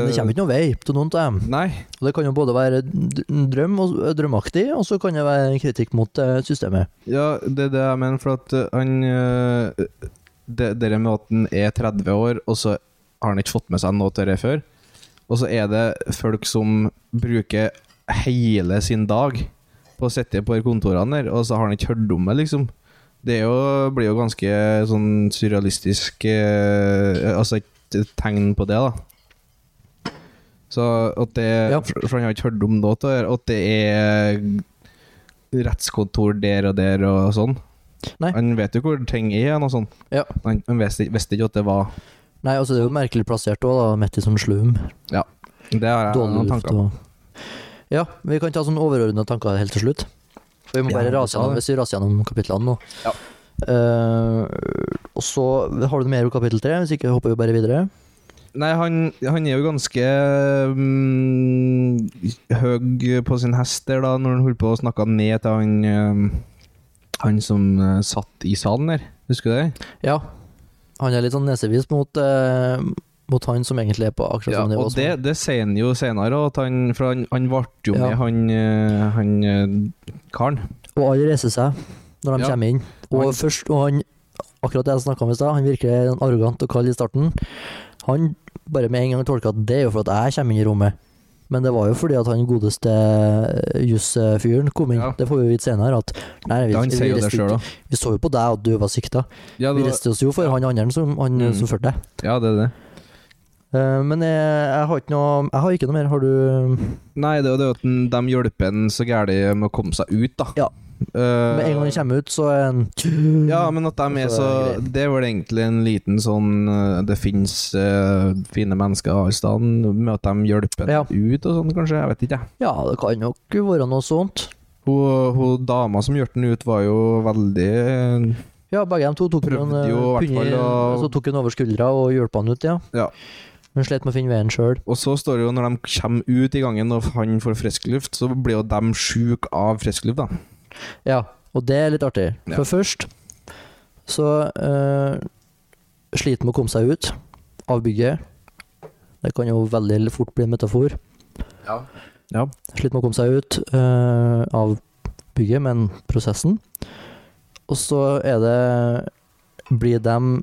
[SPEAKER 1] det kommer ikke noen vei til noen av dem.
[SPEAKER 2] Nei.
[SPEAKER 1] Og det kan jo både være d- en drøm og drømmaktig, og så kan det være en kritikk mot eh, systemet.
[SPEAKER 2] Ja, det er det jeg mener, for at øh, han øh, det, Dere med at han er 30 år, og så har han ikke fått med seg noe til det før. Og så er det folk som bruker hele sin dag på å sitte på de kontorene der, og så har han ikke hørt om det, liksom. Det er jo, blir jo ganske sånn surrealistisk eh, Altså et et tegn på det, da. Så at det
[SPEAKER 1] Ja.
[SPEAKER 2] For for han har ikke hørt om noe til det, og at det er rettskontor der og der og sånn.
[SPEAKER 1] Nei.
[SPEAKER 2] Han vet jo hvor ting er og noe sånt.
[SPEAKER 1] Ja.
[SPEAKER 2] Han, han visste, visste ikke at det var
[SPEAKER 1] Nei, altså det er jo merkelig plassert òg, da, midt i sånn slum.
[SPEAKER 2] Det har jeg
[SPEAKER 1] Dårlig
[SPEAKER 2] noen
[SPEAKER 1] luft
[SPEAKER 2] tanker om.
[SPEAKER 1] og Ja, vi kan ta sånne overordna tanker helt til slutt. Vi må
[SPEAKER 2] Ja,
[SPEAKER 1] bare
[SPEAKER 2] vi
[SPEAKER 1] rase
[SPEAKER 2] kan
[SPEAKER 1] gjennom
[SPEAKER 2] det.
[SPEAKER 1] hvis vi raser gjennom kapitlene nå.
[SPEAKER 2] Ja.
[SPEAKER 1] Eh, og så har du noe mer om kapittel tre, hvis ikke hopper vi bare videre.
[SPEAKER 2] Nei, han, han er jo ganske mm, høy på sin hest der, da, når han holdt på å snakke ned til han eh, Han som eh, satt i salen der. Husker du det?
[SPEAKER 1] Ja. Han er litt sånn nesevis mot, eh, mot han som egentlig er på akkurat
[SPEAKER 2] Ja,
[SPEAKER 1] samme nivå.
[SPEAKER 2] og
[SPEAKER 1] som-
[SPEAKER 2] det, det sier han jo senere, at han, for han, han ble jo
[SPEAKER 1] Ja.
[SPEAKER 2] med han, eh, han eh, karen.
[SPEAKER 1] Og alle reiser seg når de
[SPEAKER 2] Ja.
[SPEAKER 1] kommer inn. Og
[SPEAKER 2] Han-
[SPEAKER 1] først, og han Akkurat det jeg snakka om i stad, han virker arrogant og kald i starten. Han bare med en gang tolka at det er jo for at jeg kommer inn i rommet. Men det var jo fordi at han godeste eh, jusfyren kom inn.
[SPEAKER 2] Ja.
[SPEAKER 1] Det får vi vite senere. At, nei, vi,
[SPEAKER 2] Han sier jo det
[SPEAKER 1] reiste
[SPEAKER 2] sjøl
[SPEAKER 1] ikke-
[SPEAKER 2] òg.
[SPEAKER 1] vi så jo på deg at du var sikta. Vi
[SPEAKER 2] Ja, det var-
[SPEAKER 1] reiste oss jo for han andre som, han,
[SPEAKER 2] Mm.
[SPEAKER 1] som førte deg.
[SPEAKER 2] ja, det er det.
[SPEAKER 1] Eh, men jeg, jeg har ikke noe Jeg har ikke noe mer. Har du
[SPEAKER 2] Nei, det er jo det at den- de hjelper en så gærent med å komme seg ut, da.
[SPEAKER 1] Ja.
[SPEAKER 2] Eh,
[SPEAKER 1] Med en gang han kommer ut, så er han
[SPEAKER 2] Ja, men at de er
[SPEAKER 1] Så er
[SPEAKER 2] så
[SPEAKER 1] Altså, det greit.
[SPEAKER 2] Det er vel egentlig en liten sånn eh, Det fins fine mennesker av stand, med at de hjelper
[SPEAKER 1] Ja.
[SPEAKER 2] ut og sånn, kanskje. Jeg vet ikke, jeg.
[SPEAKER 1] Ja, det kan nok være noe sånt.
[SPEAKER 2] Hun, hun dama som hjalp den ut, var jo veldig eh,
[SPEAKER 1] Ja, begge de to tok
[SPEAKER 2] Prøvde
[SPEAKER 1] hun, eh,
[SPEAKER 2] jo i hvert
[SPEAKER 1] punni-
[SPEAKER 2] fall å-
[SPEAKER 1] Så tok hun over skuldra og hjalp han ut, ja.
[SPEAKER 2] Ja.
[SPEAKER 1] Men slet med å finne veien sjøl.
[SPEAKER 2] Og så står det jo når de kommer ut i gangen og han får frisk luft, så blir jo de sjuke av frisk luft, da.
[SPEAKER 1] Ja, og det er litt artig.
[SPEAKER 2] Ja.
[SPEAKER 1] For først så eh, sliter med å komme seg ut av bygget. Det kan jo veldig fort bli en metafor.
[SPEAKER 2] Ja. Ja.
[SPEAKER 1] Sliter med å komme seg ut eh, av bygget, men prosessen. Og så er det Blir de,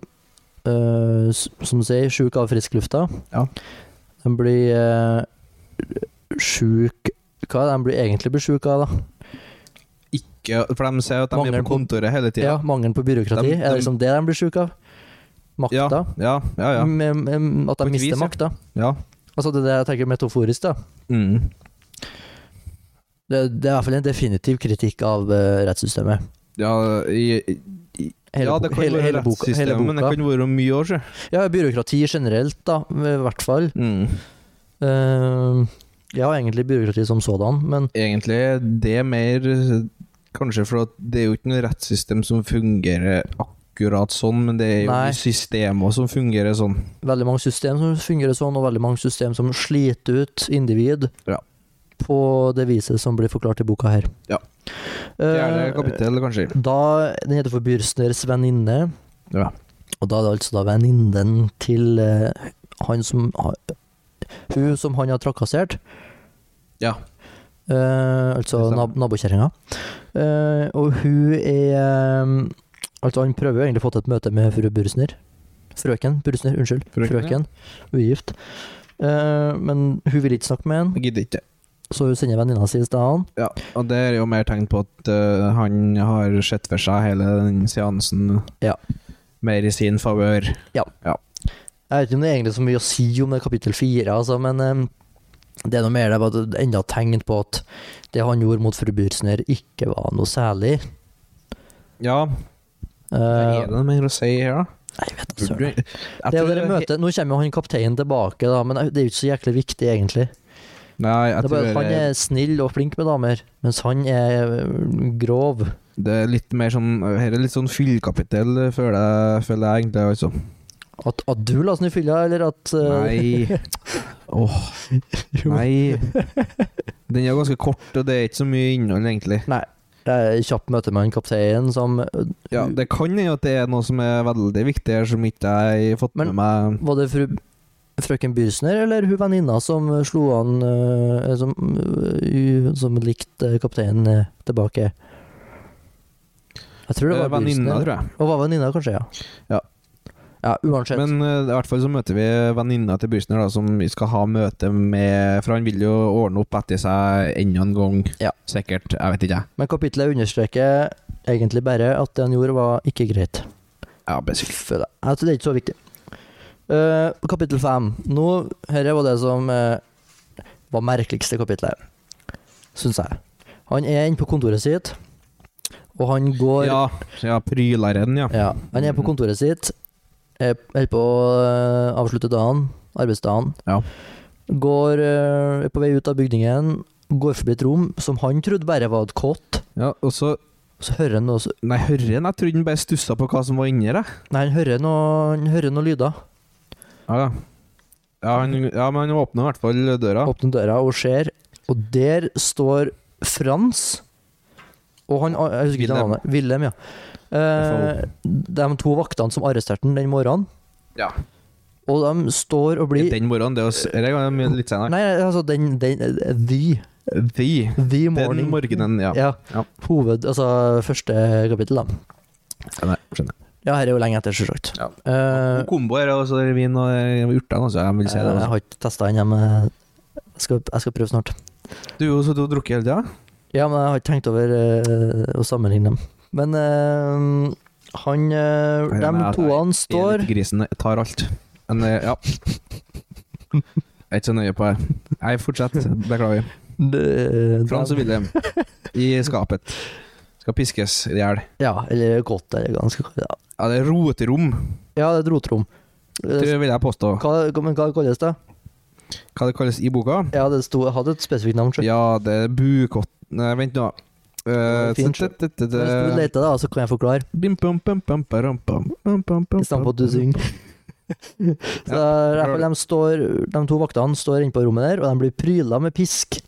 [SPEAKER 1] eh, s- som du sier, sjuke av frisk lufta.
[SPEAKER 2] Ja.
[SPEAKER 1] De blir uh, sjuke Hva er det de blir, egentlig blir sjuke av, da?
[SPEAKER 2] Ikke, for de sier jo at de
[SPEAKER 1] Mangel
[SPEAKER 2] er på
[SPEAKER 1] på-
[SPEAKER 2] kontoret hele
[SPEAKER 1] Ja,
[SPEAKER 2] tida.
[SPEAKER 1] Mangelen på byråkrati.
[SPEAKER 2] De-
[SPEAKER 1] er
[SPEAKER 2] de-
[SPEAKER 1] det liksom det de blir sjuke av?
[SPEAKER 2] ja,
[SPEAKER 1] Makta?
[SPEAKER 2] ja, ja. ja,
[SPEAKER 1] Med- med- At
[SPEAKER 2] På et
[SPEAKER 1] de
[SPEAKER 2] vis,
[SPEAKER 1] mister
[SPEAKER 2] ja.
[SPEAKER 1] makta.
[SPEAKER 2] ja.
[SPEAKER 1] Altså, det er det jeg tenker metaforisk, da.
[SPEAKER 2] Mm.
[SPEAKER 1] Det, det er i hvert fall en definitiv kritikk av eh, rettssystemet.
[SPEAKER 2] ja i, i,
[SPEAKER 1] Hele,
[SPEAKER 2] ja,
[SPEAKER 1] bo-
[SPEAKER 2] det kan
[SPEAKER 1] hele,
[SPEAKER 2] være
[SPEAKER 1] hele boka. Hele
[SPEAKER 2] rettssystemet, men det
[SPEAKER 1] boka.
[SPEAKER 2] kan være mye òg, sjø.
[SPEAKER 1] Ja, byråkrati generelt, da, i hvert fall.
[SPEAKER 2] Mm.
[SPEAKER 1] Eh, ja, egentlig byråkrati som sådan, men
[SPEAKER 2] Egentlig, det er mer Kanskje for at det er jo ikke noe rettssystem som fungerer akkurat sånn, men det er jo
[SPEAKER 1] Nei.
[SPEAKER 2] systemer som fungerer sånn.
[SPEAKER 1] veldig mange system som fungerer sånn, og veldig mange system som sliter ut individ
[SPEAKER 2] Ja.
[SPEAKER 1] på det viset som blir forklart i boka her.
[SPEAKER 2] Ja. Fjerde
[SPEAKER 1] Eh,
[SPEAKER 2] kapittel, kanskje.
[SPEAKER 1] da, den heter for Byrstners venninne,
[SPEAKER 2] Ja.
[SPEAKER 1] og da er det altså da venninnen til eh, han som har- Hun som han har trakassert.
[SPEAKER 2] Ja.
[SPEAKER 1] Eh, altså
[SPEAKER 2] Det stemmer.
[SPEAKER 1] nab nabokjerringa. Eh, og hun er eh, Altså, han prøver jo egentlig å få til et møte med fru Bursner. Frøken Bursner, unnskyld.
[SPEAKER 2] Frøken, ja.
[SPEAKER 1] Frøken. Hun er gift. Eh, men hun vil ikke snakke med han,
[SPEAKER 2] Jeg gidder ikke.
[SPEAKER 1] så hun sender venninna si i stedet.
[SPEAKER 2] Ja, og det er jo mer tegn på at eh, han har sett for seg hele den seansen
[SPEAKER 1] Ja.
[SPEAKER 2] mer i sin favør.
[SPEAKER 1] Jeg vet ikke om det er egentlig så mye å si om det er kapittel fire, altså, men eh, det er noe mer der med at det enda et tegn på at det han gjorde mot fru Bursner, ikke var noe særlig.
[SPEAKER 2] Ja, hva
[SPEAKER 1] Eh,
[SPEAKER 2] er det mer å si her, da?
[SPEAKER 1] nei, jeg vet da
[SPEAKER 2] Tror du-
[SPEAKER 1] søren.
[SPEAKER 2] Jeg
[SPEAKER 1] Det er jo
[SPEAKER 2] tror-
[SPEAKER 1] dere møter, Nå kommer jo han kapteinen tilbake, da, men det er jo ikke så jæklig viktig, egentlig.
[SPEAKER 2] Nei, jeg
[SPEAKER 1] Det er bare at
[SPEAKER 2] tror eh,
[SPEAKER 1] Han
[SPEAKER 2] det-
[SPEAKER 1] er snill og flink med damer, mens han er øh, grov.
[SPEAKER 2] det er litt mer sånn Her er litt sånn fyllkapittel, føler jeg, føler jeg egentlig, altså.
[SPEAKER 1] At, at du la oss ned i fylla, eller at øh,
[SPEAKER 2] Nei. Åh, nei. Den er ganske kort, og det er ikke så mye innhold, egentlig.
[SPEAKER 1] Det er et kjapt møte med han kapteinen som øh,
[SPEAKER 2] Ja, Det kan hende at det er noe som er veldig viktig her, som ikke jeg har fått med
[SPEAKER 1] Men-
[SPEAKER 2] meg.
[SPEAKER 1] Var det fru frøken Byrsner eller hun venninna som øh, slo han øh, eh, Som, øh, i- som likte kapteinen øh, tilbake? Jeg tror det
[SPEAKER 2] Eh,
[SPEAKER 1] var
[SPEAKER 2] Venninna,
[SPEAKER 1] Byrstner.
[SPEAKER 2] tror jeg.
[SPEAKER 1] Og var venninna, kanskje, ja.
[SPEAKER 2] Ja.
[SPEAKER 1] Ja, uansett.
[SPEAKER 2] Men eh, i hvert fall så møter vi venninna til Bursner, da, som vi skal ha møte med For han vil jo ordne opp etter seg enda en gang,
[SPEAKER 1] Ja.
[SPEAKER 2] sikkert. Jeg vet ikke, jeg.
[SPEAKER 1] Men kapitlet understreker egentlig bare at det han gjorde, var ikke greit.
[SPEAKER 2] Ja, basically.
[SPEAKER 1] Føler jeg. Jeg tror det er ikke så viktig. Eh, kapittel fem. Nå, dette var det som eh, var merkeligste kapitlet, syns jeg. Han er inne på kontoret sitt, og han går
[SPEAKER 2] Ja, ja, pryleren, ja.
[SPEAKER 1] Ja, han er på
[SPEAKER 2] Mhm.
[SPEAKER 1] kontoret sitt, er- holder på å eh, avslutte dagen, arbeidsdagen.
[SPEAKER 2] Ja.
[SPEAKER 1] Går eh, er på vei ut av bygningen, går forbi et rom som han trodde bare var et kott.
[SPEAKER 2] ja. Og så
[SPEAKER 1] Så hører han noe så-
[SPEAKER 2] Nei, hører han? Jeg trodde han bare stussa på hva som var inni der.
[SPEAKER 1] Nei, han hører noe, han hører noe lyder.
[SPEAKER 2] Ja, ja. Ja, han, ja, men han åpner i hvert fall døra.
[SPEAKER 1] Åpner døra og ser, og der står Frans og han Jeg husker ikke
[SPEAKER 2] Wilhelm.
[SPEAKER 1] navnet. Wilhelm, ja. Eh, de to vaktene som arresterte han den morgenen.
[SPEAKER 2] Ja.
[SPEAKER 1] Og de står og blir
[SPEAKER 2] Den morgenen, det er oss Eller ja, men litt senere.
[SPEAKER 1] Eh, Nei, altså den, den The,
[SPEAKER 2] Vi.
[SPEAKER 1] the
[SPEAKER 2] Den
[SPEAKER 1] morning.
[SPEAKER 2] morgenen, ja.
[SPEAKER 1] Ja.
[SPEAKER 2] Ja.
[SPEAKER 1] Hoved... Altså første kapittel, da.
[SPEAKER 2] Skjønner. skjønner.
[SPEAKER 1] Ja, dette er jo lenge etter, selvsagt.
[SPEAKER 2] Ja.
[SPEAKER 1] Eh,
[SPEAKER 2] God kombo her, og så er det vin og eh, urtene også. Jeg vil si det altså.
[SPEAKER 1] jeg
[SPEAKER 2] også.
[SPEAKER 1] har ikke testa den, jeg, men jeg skal, jeg skal prøve snart.
[SPEAKER 2] Du har jo sittet og drukket hele tida.
[SPEAKER 1] Ja, men jeg har ikke tenkt over eh, å sammenligne dem. Men eh, han eh, De
[SPEAKER 2] Nei, nei, altså,
[SPEAKER 1] toene står
[SPEAKER 2] Grisen tar alt. Men eh, ja. Jeg er ikke så nøye på det. Nei, fortsett. Beklager.
[SPEAKER 1] de-
[SPEAKER 2] Frans og Wilhelm i skapet. Skal piskes i hjel.
[SPEAKER 1] Ja, eller godt, eller ganske godt. Ja,
[SPEAKER 2] Ja, det er roterom,
[SPEAKER 1] ja det er et rotrom.
[SPEAKER 2] tror
[SPEAKER 1] Eh,
[SPEAKER 2] jeg vil jeg påstå.
[SPEAKER 1] Hva, hva- men hva kalles det?
[SPEAKER 2] Hva det kalles i boka?
[SPEAKER 1] Ja, det sto, jeg hadde et spesifikt navn. sjø.
[SPEAKER 2] Ja, det er bukott... Nei, vent nå. Eh,
[SPEAKER 1] Fint.
[SPEAKER 2] tut, tut, tut, tut.
[SPEAKER 1] Men Hvis du leter, da, så kan jeg forklare,
[SPEAKER 2] Bim, bum, bum, bum, bum, bum, bum, bum, bum,
[SPEAKER 1] i stedet for at du synger. Så i hvert fall de, står, de to vaktene står inne på rommet der, og de blir pryla med pisk.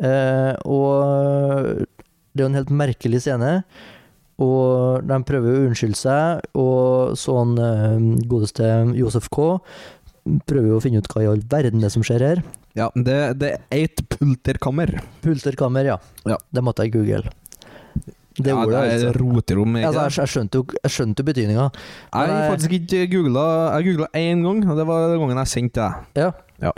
[SPEAKER 1] Eh, og det er jo en helt merkelig scene. Og de prøver å unnskylde seg, og sånn eh, godeste Josef K. prøver jo å finne ut hva i all verden det er som skjer her.
[SPEAKER 2] Ja, det, det er et pulterkammer.
[SPEAKER 1] Pulterkammer, ja.
[SPEAKER 2] Ja.
[SPEAKER 1] Det måtte jeg google. Det
[SPEAKER 2] ja,
[SPEAKER 1] ordet,
[SPEAKER 2] det er
[SPEAKER 1] altså.
[SPEAKER 2] roterom. ikke
[SPEAKER 1] altså
[SPEAKER 2] det?
[SPEAKER 1] jeg, jeg skjønte jo jeg skjønte jo betydninga.
[SPEAKER 2] Jeg har faktisk ikke googla Jeg googla én gang, og det var den gangen jeg sendte deg.
[SPEAKER 1] Ja.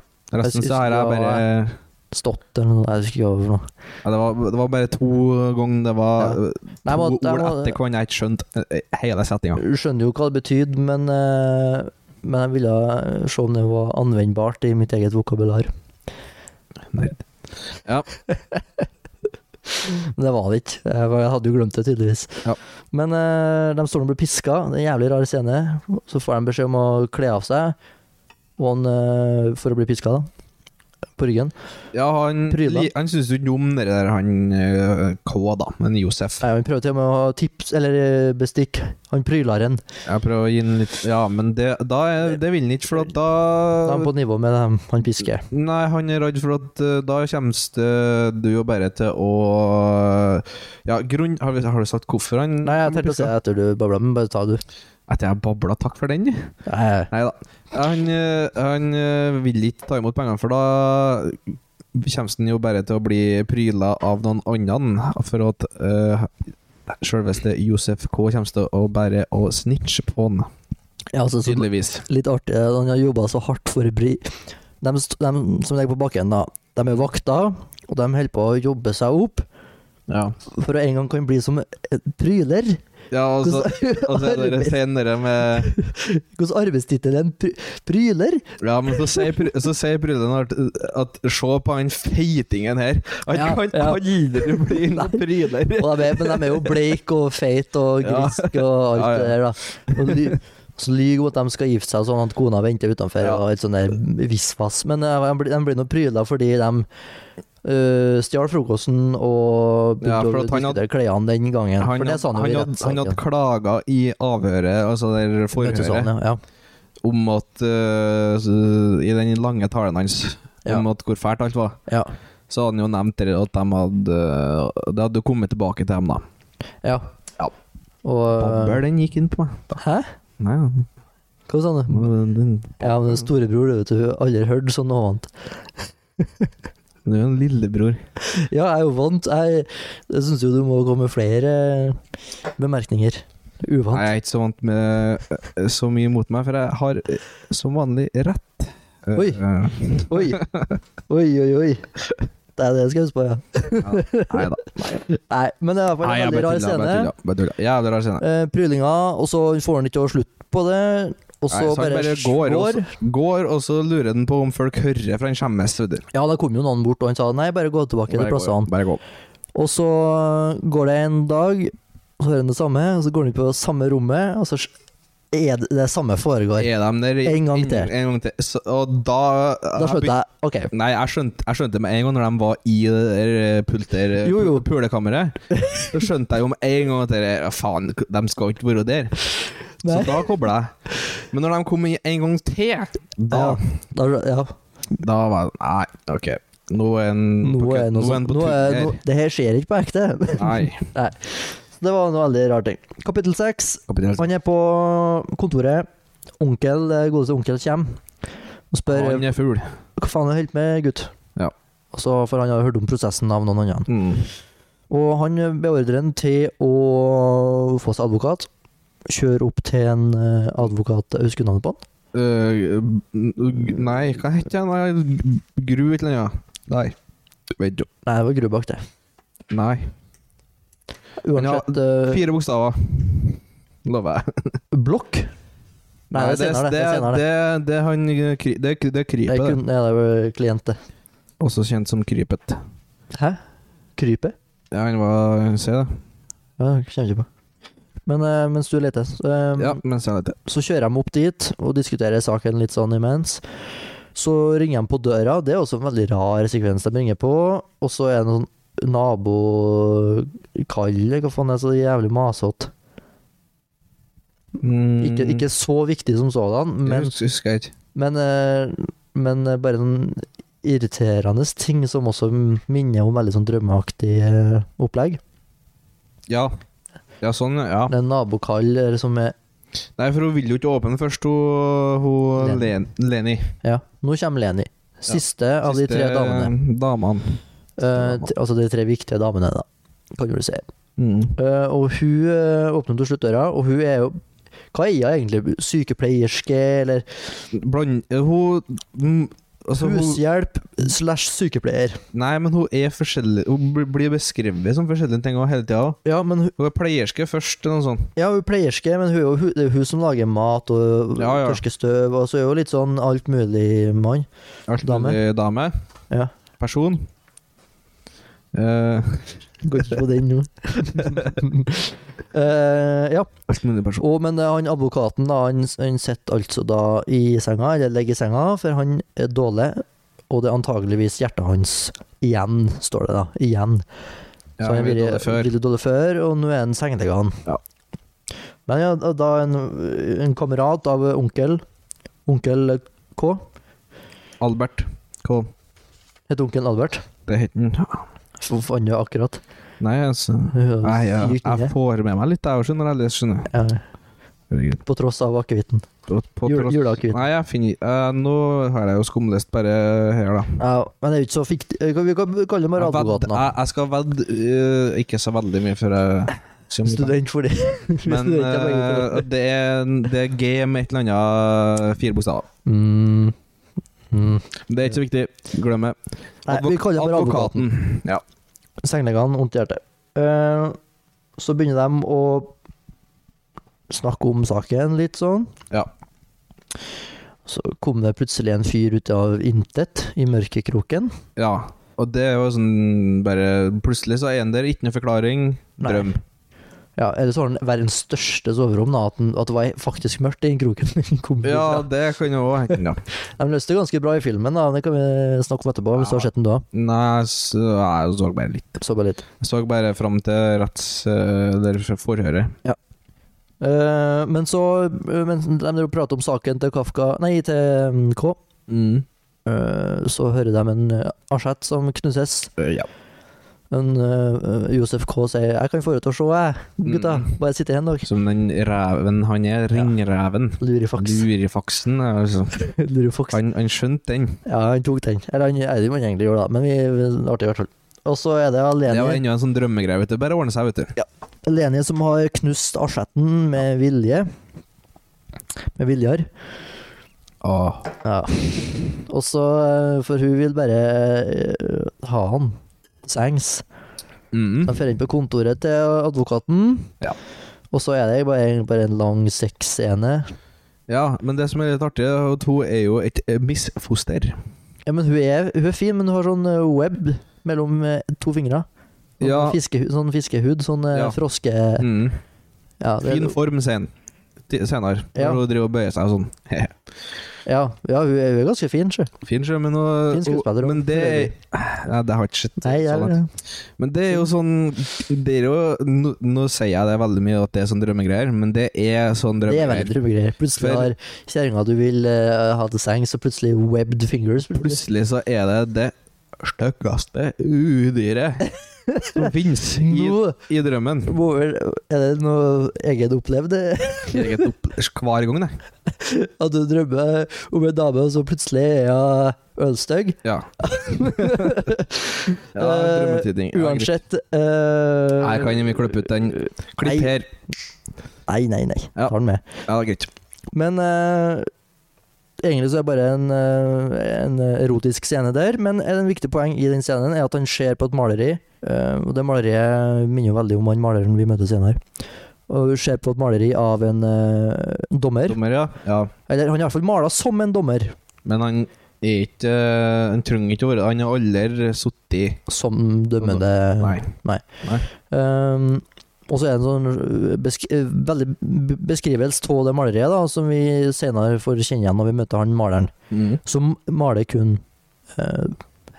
[SPEAKER 1] Jeg
[SPEAKER 2] Resten så har jeg
[SPEAKER 1] synes det
[SPEAKER 2] bare
[SPEAKER 1] var- Stått eller noe. Jeg husker ikke hva det var for noe.
[SPEAKER 2] ja, det, var, det var bare to ganger det var
[SPEAKER 1] Ja.
[SPEAKER 2] eh,
[SPEAKER 1] Nei, jeg må- jeg
[SPEAKER 2] to
[SPEAKER 1] må-
[SPEAKER 2] ord etter hverandre jeg ikke skjønte eh, hele setninga.
[SPEAKER 1] Jeg skjønner jo hva det betydde, men, eh, men jeg ville se om det var anvendbart i mitt eget vokabular.
[SPEAKER 2] Nerd. Ja.
[SPEAKER 1] Men det var det ikke. Jeg var- Jeg hadde jo glemt det, tydeligvis.
[SPEAKER 2] Ja.
[SPEAKER 1] Men eh, de står og blir piska. Det er en jævlig rar scene. Så får de beskjed om å kle av seg og han, eh, for å bli piska, da. På ryggen.
[SPEAKER 2] Ja, han,
[SPEAKER 1] Pryla.
[SPEAKER 2] li- han syns jo ikke om det der, han eh, K, da, men Josef.
[SPEAKER 1] Nei, Han prøver til og med å tips eller eh, bestikk. Han prylaren.
[SPEAKER 2] Jeg prøver å gi han litt Ja, men det, da er, det vil han ikke, for at
[SPEAKER 1] Da er han
[SPEAKER 2] da
[SPEAKER 1] på nivå med dem han pisker.
[SPEAKER 2] Nei, han er redd for at eh, da kommer du jo bare til å Ja, grunn Har, vi, har du sagt hvorfor han
[SPEAKER 1] Nei, jeg tenkte å si det etter du babla, men bare ta du.
[SPEAKER 2] Etter jeg babla, takk for den.
[SPEAKER 1] Nei,
[SPEAKER 2] Nei da. Han, eh, han eh, vil ikke ta imot pengene, for da kommer han jo bare til å bli pryla av noen andre. For at uh, selveste Josef K kommer til å bare å snitche på han,
[SPEAKER 1] ja, altså, så,
[SPEAKER 2] tydeligvis.
[SPEAKER 1] litt artig. eh, Han har jobba så hardt for å bli De, st- de som ligger på bakken, da, de er vakter, og de holder på å jobbe seg opp
[SPEAKER 2] Ja.
[SPEAKER 1] for å en gang kan bli som en pryler.
[SPEAKER 2] ja og så og så er det
[SPEAKER 1] Hvordan
[SPEAKER 2] senere med
[SPEAKER 1] hvordan arbeidstittel er en pry- pryler?
[SPEAKER 2] Ja, men så sier pr- så sier brillene at, at Se på han feitingen her. Han
[SPEAKER 1] Ja,
[SPEAKER 2] kan
[SPEAKER 1] ja.
[SPEAKER 2] aldri bli noen pryler.
[SPEAKER 1] Og de er, men de er jo bleik og feit og
[SPEAKER 2] Ja.
[SPEAKER 1] grisk og alt
[SPEAKER 2] Ja, ja.
[SPEAKER 1] det der, da. Og ly, så lyver hun at de skal gifte seg, sånn at kona venter utenfor.
[SPEAKER 2] Ja.
[SPEAKER 1] Og et sånt der visvas. Men eh, de blir- de blir nå pryla fordi de eh, stjal frokosten og begynte
[SPEAKER 2] Ja, for
[SPEAKER 1] å
[SPEAKER 2] at han
[SPEAKER 1] diskutere klærne den gangen.
[SPEAKER 2] Han
[SPEAKER 1] for det
[SPEAKER 2] hadde,
[SPEAKER 1] sa han
[SPEAKER 2] han,
[SPEAKER 1] jo i
[SPEAKER 2] hadde, han
[SPEAKER 1] rettssaken.
[SPEAKER 2] hadde klaga i avhøret, altså der
[SPEAKER 1] Møtesalen,
[SPEAKER 2] forhøret,
[SPEAKER 1] sånn, ja.
[SPEAKER 2] om at eh, s- I den lange talen hans
[SPEAKER 1] Ja.
[SPEAKER 2] om at hvor fælt alt var,
[SPEAKER 1] Ja.
[SPEAKER 2] så hadde han jo nevnt det at de hadde Det hadde jo kommet tilbake til dem, da.
[SPEAKER 1] ja.
[SPEAKER 2] Ja.
[SPEAKER 1] Og
[SPEAKER 2] Babber, den gikk inn på meg.
[SPEAKER 1] Hæ?
[SPEAKER 2] Nei, ja.
[SPEAKER 1] Hva sa du?
[SPEAKER 2] den,
[SPEAKER 1] Ja, men storebror, det vet du, har aldri hørt sånn noe annet.
[SPEAKER 2] den er jo en lillebror.
[SPEAKER 1] Ja, jeg er jo vant. Jeg, jeg syns jo du må komme med flere bemerkninger.
[SPEAKER 2] Nei,
[SPEAKER 1] Uvant.
[SPEAKER 2] jeg er ikke så vant med eh, så mye mot meg, for jeg har eh, som vanlig rett. Eh,
[SPEAKER 1] Oi.
[SPEAKER 2] eh,
[SPEAKER 1] Oi, oi, oi. oi. Det er det jeg skal huske på, ja.
[SPEAKER 2] Nei da.
[SPEAKER 1] Nei, men det er i hvert fall
[SPEAKER 2] Nei,
[SPEAKER 1] en
[SPEAKER 2] jeg
[SPEAKER 1] veldig
[SPEAKER 2] bare
[SPEAKER 1] rar
[SPEAKER 2] tuller,
[SPEAKER 1] scene.
[SPEAKER 2] jeg bare tuller. Jævlig rar scene.
[SPEAKER 1] Eh, Prylinga, og så får han ikke å slutte på det. Og så
[SPEAKER 2] Nei, så han
[SPEAKER 1] bare,
[SPEAKER 2] bare går, og Går, og så lurer den på om folk hører, for han skjemmes. vet du.
[SPEAKER 1] Ja, da kom jo noen bort, og han sa nei, bare gå tilbake til
[SPEAKER 2] Bare
[SPEAKER 1] plassene.
[SPEAKER 2] gå, Bare gå.
[SPEAKER 1] Og så går det en dag, og så hører han det samme, og så går han på samme rommet, og så er det det samme foregår.
[SPEAKER 2] Er de der
[SPEAKER 1] En gang til.
[SPEAKER 2] En gang til. Så, og da
[SPEAKER 1] Da skjønte jeg OK.
[SPEAKER 2] Nei, jeg skjønte, jeg skjønte med en gang når de var i det der eh, pulter...
[SPEAKER 1] Jo, jo.
[SPEAKER 2] Pulekammeret. Så skjønte jeg jo med en gang at det der, faen, de skal ikke være der. Så
[SPEAKER 1] Nei.
[SPEAKER 2] da kobla jeg. Men når de kom i en gang til, da
[SPEAKER 1] Ja, da, ja.
[SPEAKER 2] Da var det Nei, OK. Nå er en
[SPEAKER 1] Nå
[SPEAKER 2] på
[SPEAKER 1] er
[SPEAKER 2] kødd-
[SPEAKER 1] noe
[SPEAKER 2] en
[SPEAKER 1] sånt.
[SPEAKER 2] på
[SPEAKER 1] Nå er
[SPEAKER 2] tur
[SPEAKER 1] noe, det her skjer ikke på ekte.
[SPEAKER 2] her. Nei.
[SPEAKER 1] Så det var en veldig rar ting. Kapittel seks.
[SPEAKER 2] Kapittel
[SPEAKER 1] Han er på kontoret. Onkel, eh, godeste onkel kommer og spør
[SPEAKER 2] Han er fugl.
[SPEAKER 1] hva faen er det du holder på med, gutt.
[SPEAKER 2] Ja.
[SPEAKER 1] Og så For han har hørt om prosessen av noen andre.
[SPEAKER 2] Mm.
[SPEAKER 1] Og han beordrer ham til å få seg advokat. kjører opp til en eh, advokat Jeg husker navnet på han.
[SPEAKER 2] Eh, g- nei, hva heter den? Nei, Gru et eller annet? Nei. Vet du.
[SPEAKER 1] Nei, det var Grubak, det.
[SPEAKER 2] Nei.
[SPEAKER 1] Uansett eh,
[SPEAKER 2] Fire bokstaver. Lover jeg.
[SPEAKER 1] Blokk? Nei, det er senere, det. Det er senere.
[SPEAKER 2] det, det, det, er han, eh, kry- det, er- det er
[SPEAKER 1] Det er
[SPEAKER 2] Krypet.
[SPEAKER 1] kun, ja, det var klient, det.
[SPEAKER 2] Også kjent som Krypet.
[SPEAKER 1] Hæ? Krypet?
[SPEAKER 2] Ja, han var Se, da.
[SPEAKER 1] Ja, jeg kommer ikke på. Men eh, mens du leter, så, eh,
[SPEAKER 2] Ja, men se litt.
[SPEAKER 1] så kjører de opp dit og diskuterer saken litt sånn imens. Så ringer de på døra, det er også en veldig rar sekvens de ringer på. Og så er det en sånn nabokall, eller hva faen er det så jævlig masete.
[SPEAKER 2] Mm,
[SPEAKER 1] Ikke, ikke så viktig som sådan, men,
[SPEAKER 2] Jeg husker jeg ikke.
[SPEAKER 1] men, eh, men eh, bare sånn irriterende ting som også minner om veldig sånn drømmeaktig eh, opplegg.
[SPEAKER 2] Ja. Ja, sånn, ja.
[SPEAKER 1] Det er en nabokall eh, som er
[SPEAKER 2] Nei, for hun ville jo ikke åpne først, hun, hun Len- Leni.
[SPEAKER 1] Ja, nå kommer Leni. Siste av de tre
[SPEAKER 2] Siste um,
[SPEAKER 1] damene.
[SPEAKER 2] damene.
[SPEAKER 1] Eh, t- altså de tre viktige damene, da, kan du si.
[SPEAKER 2] Mm.
[SPEAKER 1] Eh, og hun eh, åpner til slutt døra, og hun er jo Hva er hun egentlig? Sykepleierske, eller
[SPEAKER 2] Bland... eh, Hun mm, Altså, hun
[SPEAKER 1] hushjelp slash sykepleier?
[SPEAKER 2] Nei, men hun er forskjellig Hun bl- blir beskrevet som forskjellige ting også hele tida.
[SPEAKER 1] Ja, men hun,
[SPEAKER 2] Hun er pleierske først, eller noe sånt.
[SPEAKER 1] ja, hun er pleierske, men hun, er jo hun, det er jo hun som lager mat og
[SPEAKER 2] Ja, ja.
[SPEAKER 1] tørker støv, og så er hun litt sånn alt mulig mann.
[SPEAKER 2] Alt
[SPEAKER 1] Dame.
[SPEAKER 2] mulig dame.
[SPEAKER 1] Ja.
[SPEAKER 2] Person. Eh,
[SPEAKER 1] Går ikke på den nå. Eh, ja.
[SPEAKER 2] alt mulig person.
[SPEAKER 1] Og, men eh, han advokaten da, han, han sitter altså da i senga, eller ligger i senga, for han er dårlig, og det er antageligvis hjertet hans igjen, står det da. Igjen.
[SPEAKER 2] Ja,
[SPEAKER 1] Så han
[SPEAKER 2] jeg vet
[SPEAKER 1] har
[SPEAKER 2] det før.
[SPEAKER 1] vært veldig dårlig før, og nå er han sengeliggende.
[SPEAKER 2] Ja.
[SPEAKER 1] Men ja, da- da en, en kamerat av onkel, onkel K,
[SPEAKER 2] Albert. Hva
[SPEAKER 1] heter onkel Albert.
[SPEAKER 2] det heter han?
[SPEAKER 1] Hvor faen er det akkurat?
[SPEAKER 2] Nei, altså Nei, ja. jeg får med meg litt, jeg òg, skjønner jeg. Ellers skjønner jeg.
[SPEAKER 1] Ja,
[SPEAKER 2] Herregud.
[SPEAKER 1] På tross av akevitten.
[SPEAKER 2] På- på
[SPEAKER 1] Jul,
[SPEAKER 2] tross-
[SPEAKER 1] juleakevitten.
[SPEAKER 2] Nei, jeg finner eh, Nå har jeg jo skumlest bare her, da.
[SPEAKER 1] Ja, men det er jo ikke så fiktig. Vi kan vi kaller det bare
[SPEAKER 2] Jeg, ved,
[SPEAKER 1] advokaten da.
[SPEAKER 2] jeg, jeg skal vedde eh, ikke så veldig mye før jeg kommer på.
[SPEAKER 1] Student for det.
[SPEAKER 2] Men
[SPEAKER 1] Student er begge to.
[SPEAKER 2] eh, det, er, det er G med et eller annet fire bokstaver.
[SPEAKER 1] Mm. Mm.
[SPEAKER 2] Det er ikke så viktig. Glem det.
[SPEAKER 1] Nei,
[SPEAKER 2] Advok-
[SPEAKER 1] vi kaller ham bare advokaten.
[SPEAKER 2] Ja.
[SPEAKER 1] Sengeliggende, vondt i hjertet. Eh, så begynner de å snakke om saken litt sånn.
[SPEAKER 2] Ja.
[SPEAKER 1] Så kom det plutselig en fyr ut av intet i mørkekroken.
[SPEAKER 2] ja. Og det er jo sånn bare Plutselig så er han der, ikke noe forklaring.
[SPEAKER 1] Nei.
[SPEAKER 2] Drøm.
[SPEAKER 1] Ja, Eller så har han verdens største soverom, da, at, den, at det var faktisk mørkt i den kroken. den kom fra.
[SPEAKER 2] Ja, det kan jo òg hende, ja.
[SPEAKER 1] De løste det ganske bra i filmen, da. det kan vi snakke om etterpå. hvis du har sett den da.
[SPEAKER 2] Nei, så, jeg så bare litt.
[SPEAKER 1] Så bare litt.
[SPEAKER 2] Jeg så bare fram til retts... eh, Eller forhøret.
[SPEAKER 1] Eh, men så eh, Mens de driver og prater om saken til Kafka Nei, til mm, K,
[SPEAKER 2] Mm.
[SPEAKER 1] eh, så hører de en eh, asjett som knuses.
[SPEAKER 2] Eh, Ja.
[SPEAKER 1] En, eh, Josef K sier 'Jeg kan få deg til å se, jeg, gutta.
[SPEAKER 2] Mm.
[SPEAKER 1] Bare sitte her en dag.'
[SPEAKER 2] Som den reven han er. Ringreven.
[SPEAKER 1] Lurifaks.
[SPEAKER 2] Lurifaksen. Altså.
[SPEAKER 1] Lurifaks.
[SPEAKER 2] Han, han skjønte den.
[SPEAKER 1] Ja, han tok den. Eller han jeg vet ikke hva han egentlig gjorde, da, men vi, vi- artig i hvert fall. Og så er det
[SPEAKER 2] Det var
[SPEAKER 1] Leni,
[SPEAKER 2] enda en sånn drømmegreie. vet du. Bare ordne seg, vet du.
[SPEAKER 1] Leni som har knust asjetten med vilje. Med viljar.
[SPEAKER 2] Åh.
[SPEAKER 1] Ja. Og så eh, For hun vil bare eh, ha han. Sengs.
[SPEAKER 2] Mm.
[SPEAKER 1] De drar inn på kontoret til advokaten,
[SPEAKER 2] Ja.
[SPEAKER 1] og så er det bare, bare en lang sexscene.
[SPEAKER 2] Ja, men det som er litt artig, er at hun er jo et eh, misfoster.
[SPEAKER 1] Ja, men hun er, hun er fin, men hun har sånn eh, web mellom eh, to fingre. Sånn,
[SPEAKER 2] Ja.
[SPEAKER 1] fiskehud, sånn fiskehud, sånn eh,
[SPEAKER 2] Ja.
[SPEAKER 1] froske...
[SPEAKER 2] Mm.
[SPEAKER 1] Ja, det,
[SPEAKER 2] Fin form sen. ti- senere, når
[SPEAKER 1] Ja.
[SPEAKER 2] hun driver og bøyer seg og sånn.
[SPEAKER 1] ja, ja hun, er, hun er ganske fin, sjø.
[SPEAKER 2] Fin sjø, men, hun-
[SPEAKER 1] Fin skuespiller,
[SPEAKER 2] hun- men
[SPEAKER 1] hun.
[SPEAKER 2] det er- Nei, det sånn har jeg ikke sett.
[SPEAKER 1] Nei,
[SPEAKER 2] så
[SPEAKER 1] jeg,
[SPEAKER 2] langt. Men det er jo sånn det er jo, nå, nå sier jeg det veldig mye at det er sånn drømmegreier, men det er sånn
[SPEAKER 1] det er veldig
[SPEAKER 2] drømmegreier.
[SPEAKER 1] drømmegreier. Plutselig
[SPEAKER 2] For-
[SPEAKER 1] har kjerringa du vil eh, ha til sengs, og plutselig webbed fingers. Plutselig.
[SPEAKER 2] Plutselig så er det det styggeste udyret som finnes i,
[SPEAKER 1] Nå
[SPEAKER 2] i drømmen.
[SPEAKER 1] må vel- er det noe eget opplevd? eh?
[SPEAKER 2] Jeg er opp, hver gang, det.
[SPEAKER 1] At du drømmer om en dame, og så plutselig er hun ølstygg?
[SPEAKER 2] Ja.
[SPEAKER 1] Eh,
[SPEAKER 2] ja drømmetyding. Ja, greit.
[SPEAKER 1] Uansett eh,
[SPEAKER 2] Her kan vi klippe ut den. Klipp
[SPEAKER 1] Nei.
[SPEAKER 2] her.
[SPEAKER 1] Nei, nei, nei.
[SPEAKER 2] Ja.
[SPEAKER 1] Tar den med.
[SPEAKER 2] Ja, det er greit.
[SPEAKER 1] Men eh, egentlig så er det bare en, eh, en erotisk scene der. Men en viktig poeng i den scenen er at han ser på et maleri. eh, og det maleriet minner jo veldig om han maleren vi møter senere. Og ser på et maleri av en eh, dommer.
[SPEAKER 2] Dommer, ja. ja.
[SPEAKER 1] Eller han er iallfall mala som en dommer.
[SPEAKER 2] Men han er ikke eh, Han trenger ikke å være Han har aldri sittet
[SPEAKER 1] Som dømmende
[SPEAKER 2] Nei.
[SPEAKER 1] Um, og så er det en sånn besk eh, veldig b- beskrivelse av det maleriet, da, som vi senere får kjenne igjen når vi møter han maleren,
[SPEAKER 2] Mm.
[SPEAKER 1] som maler kun eh,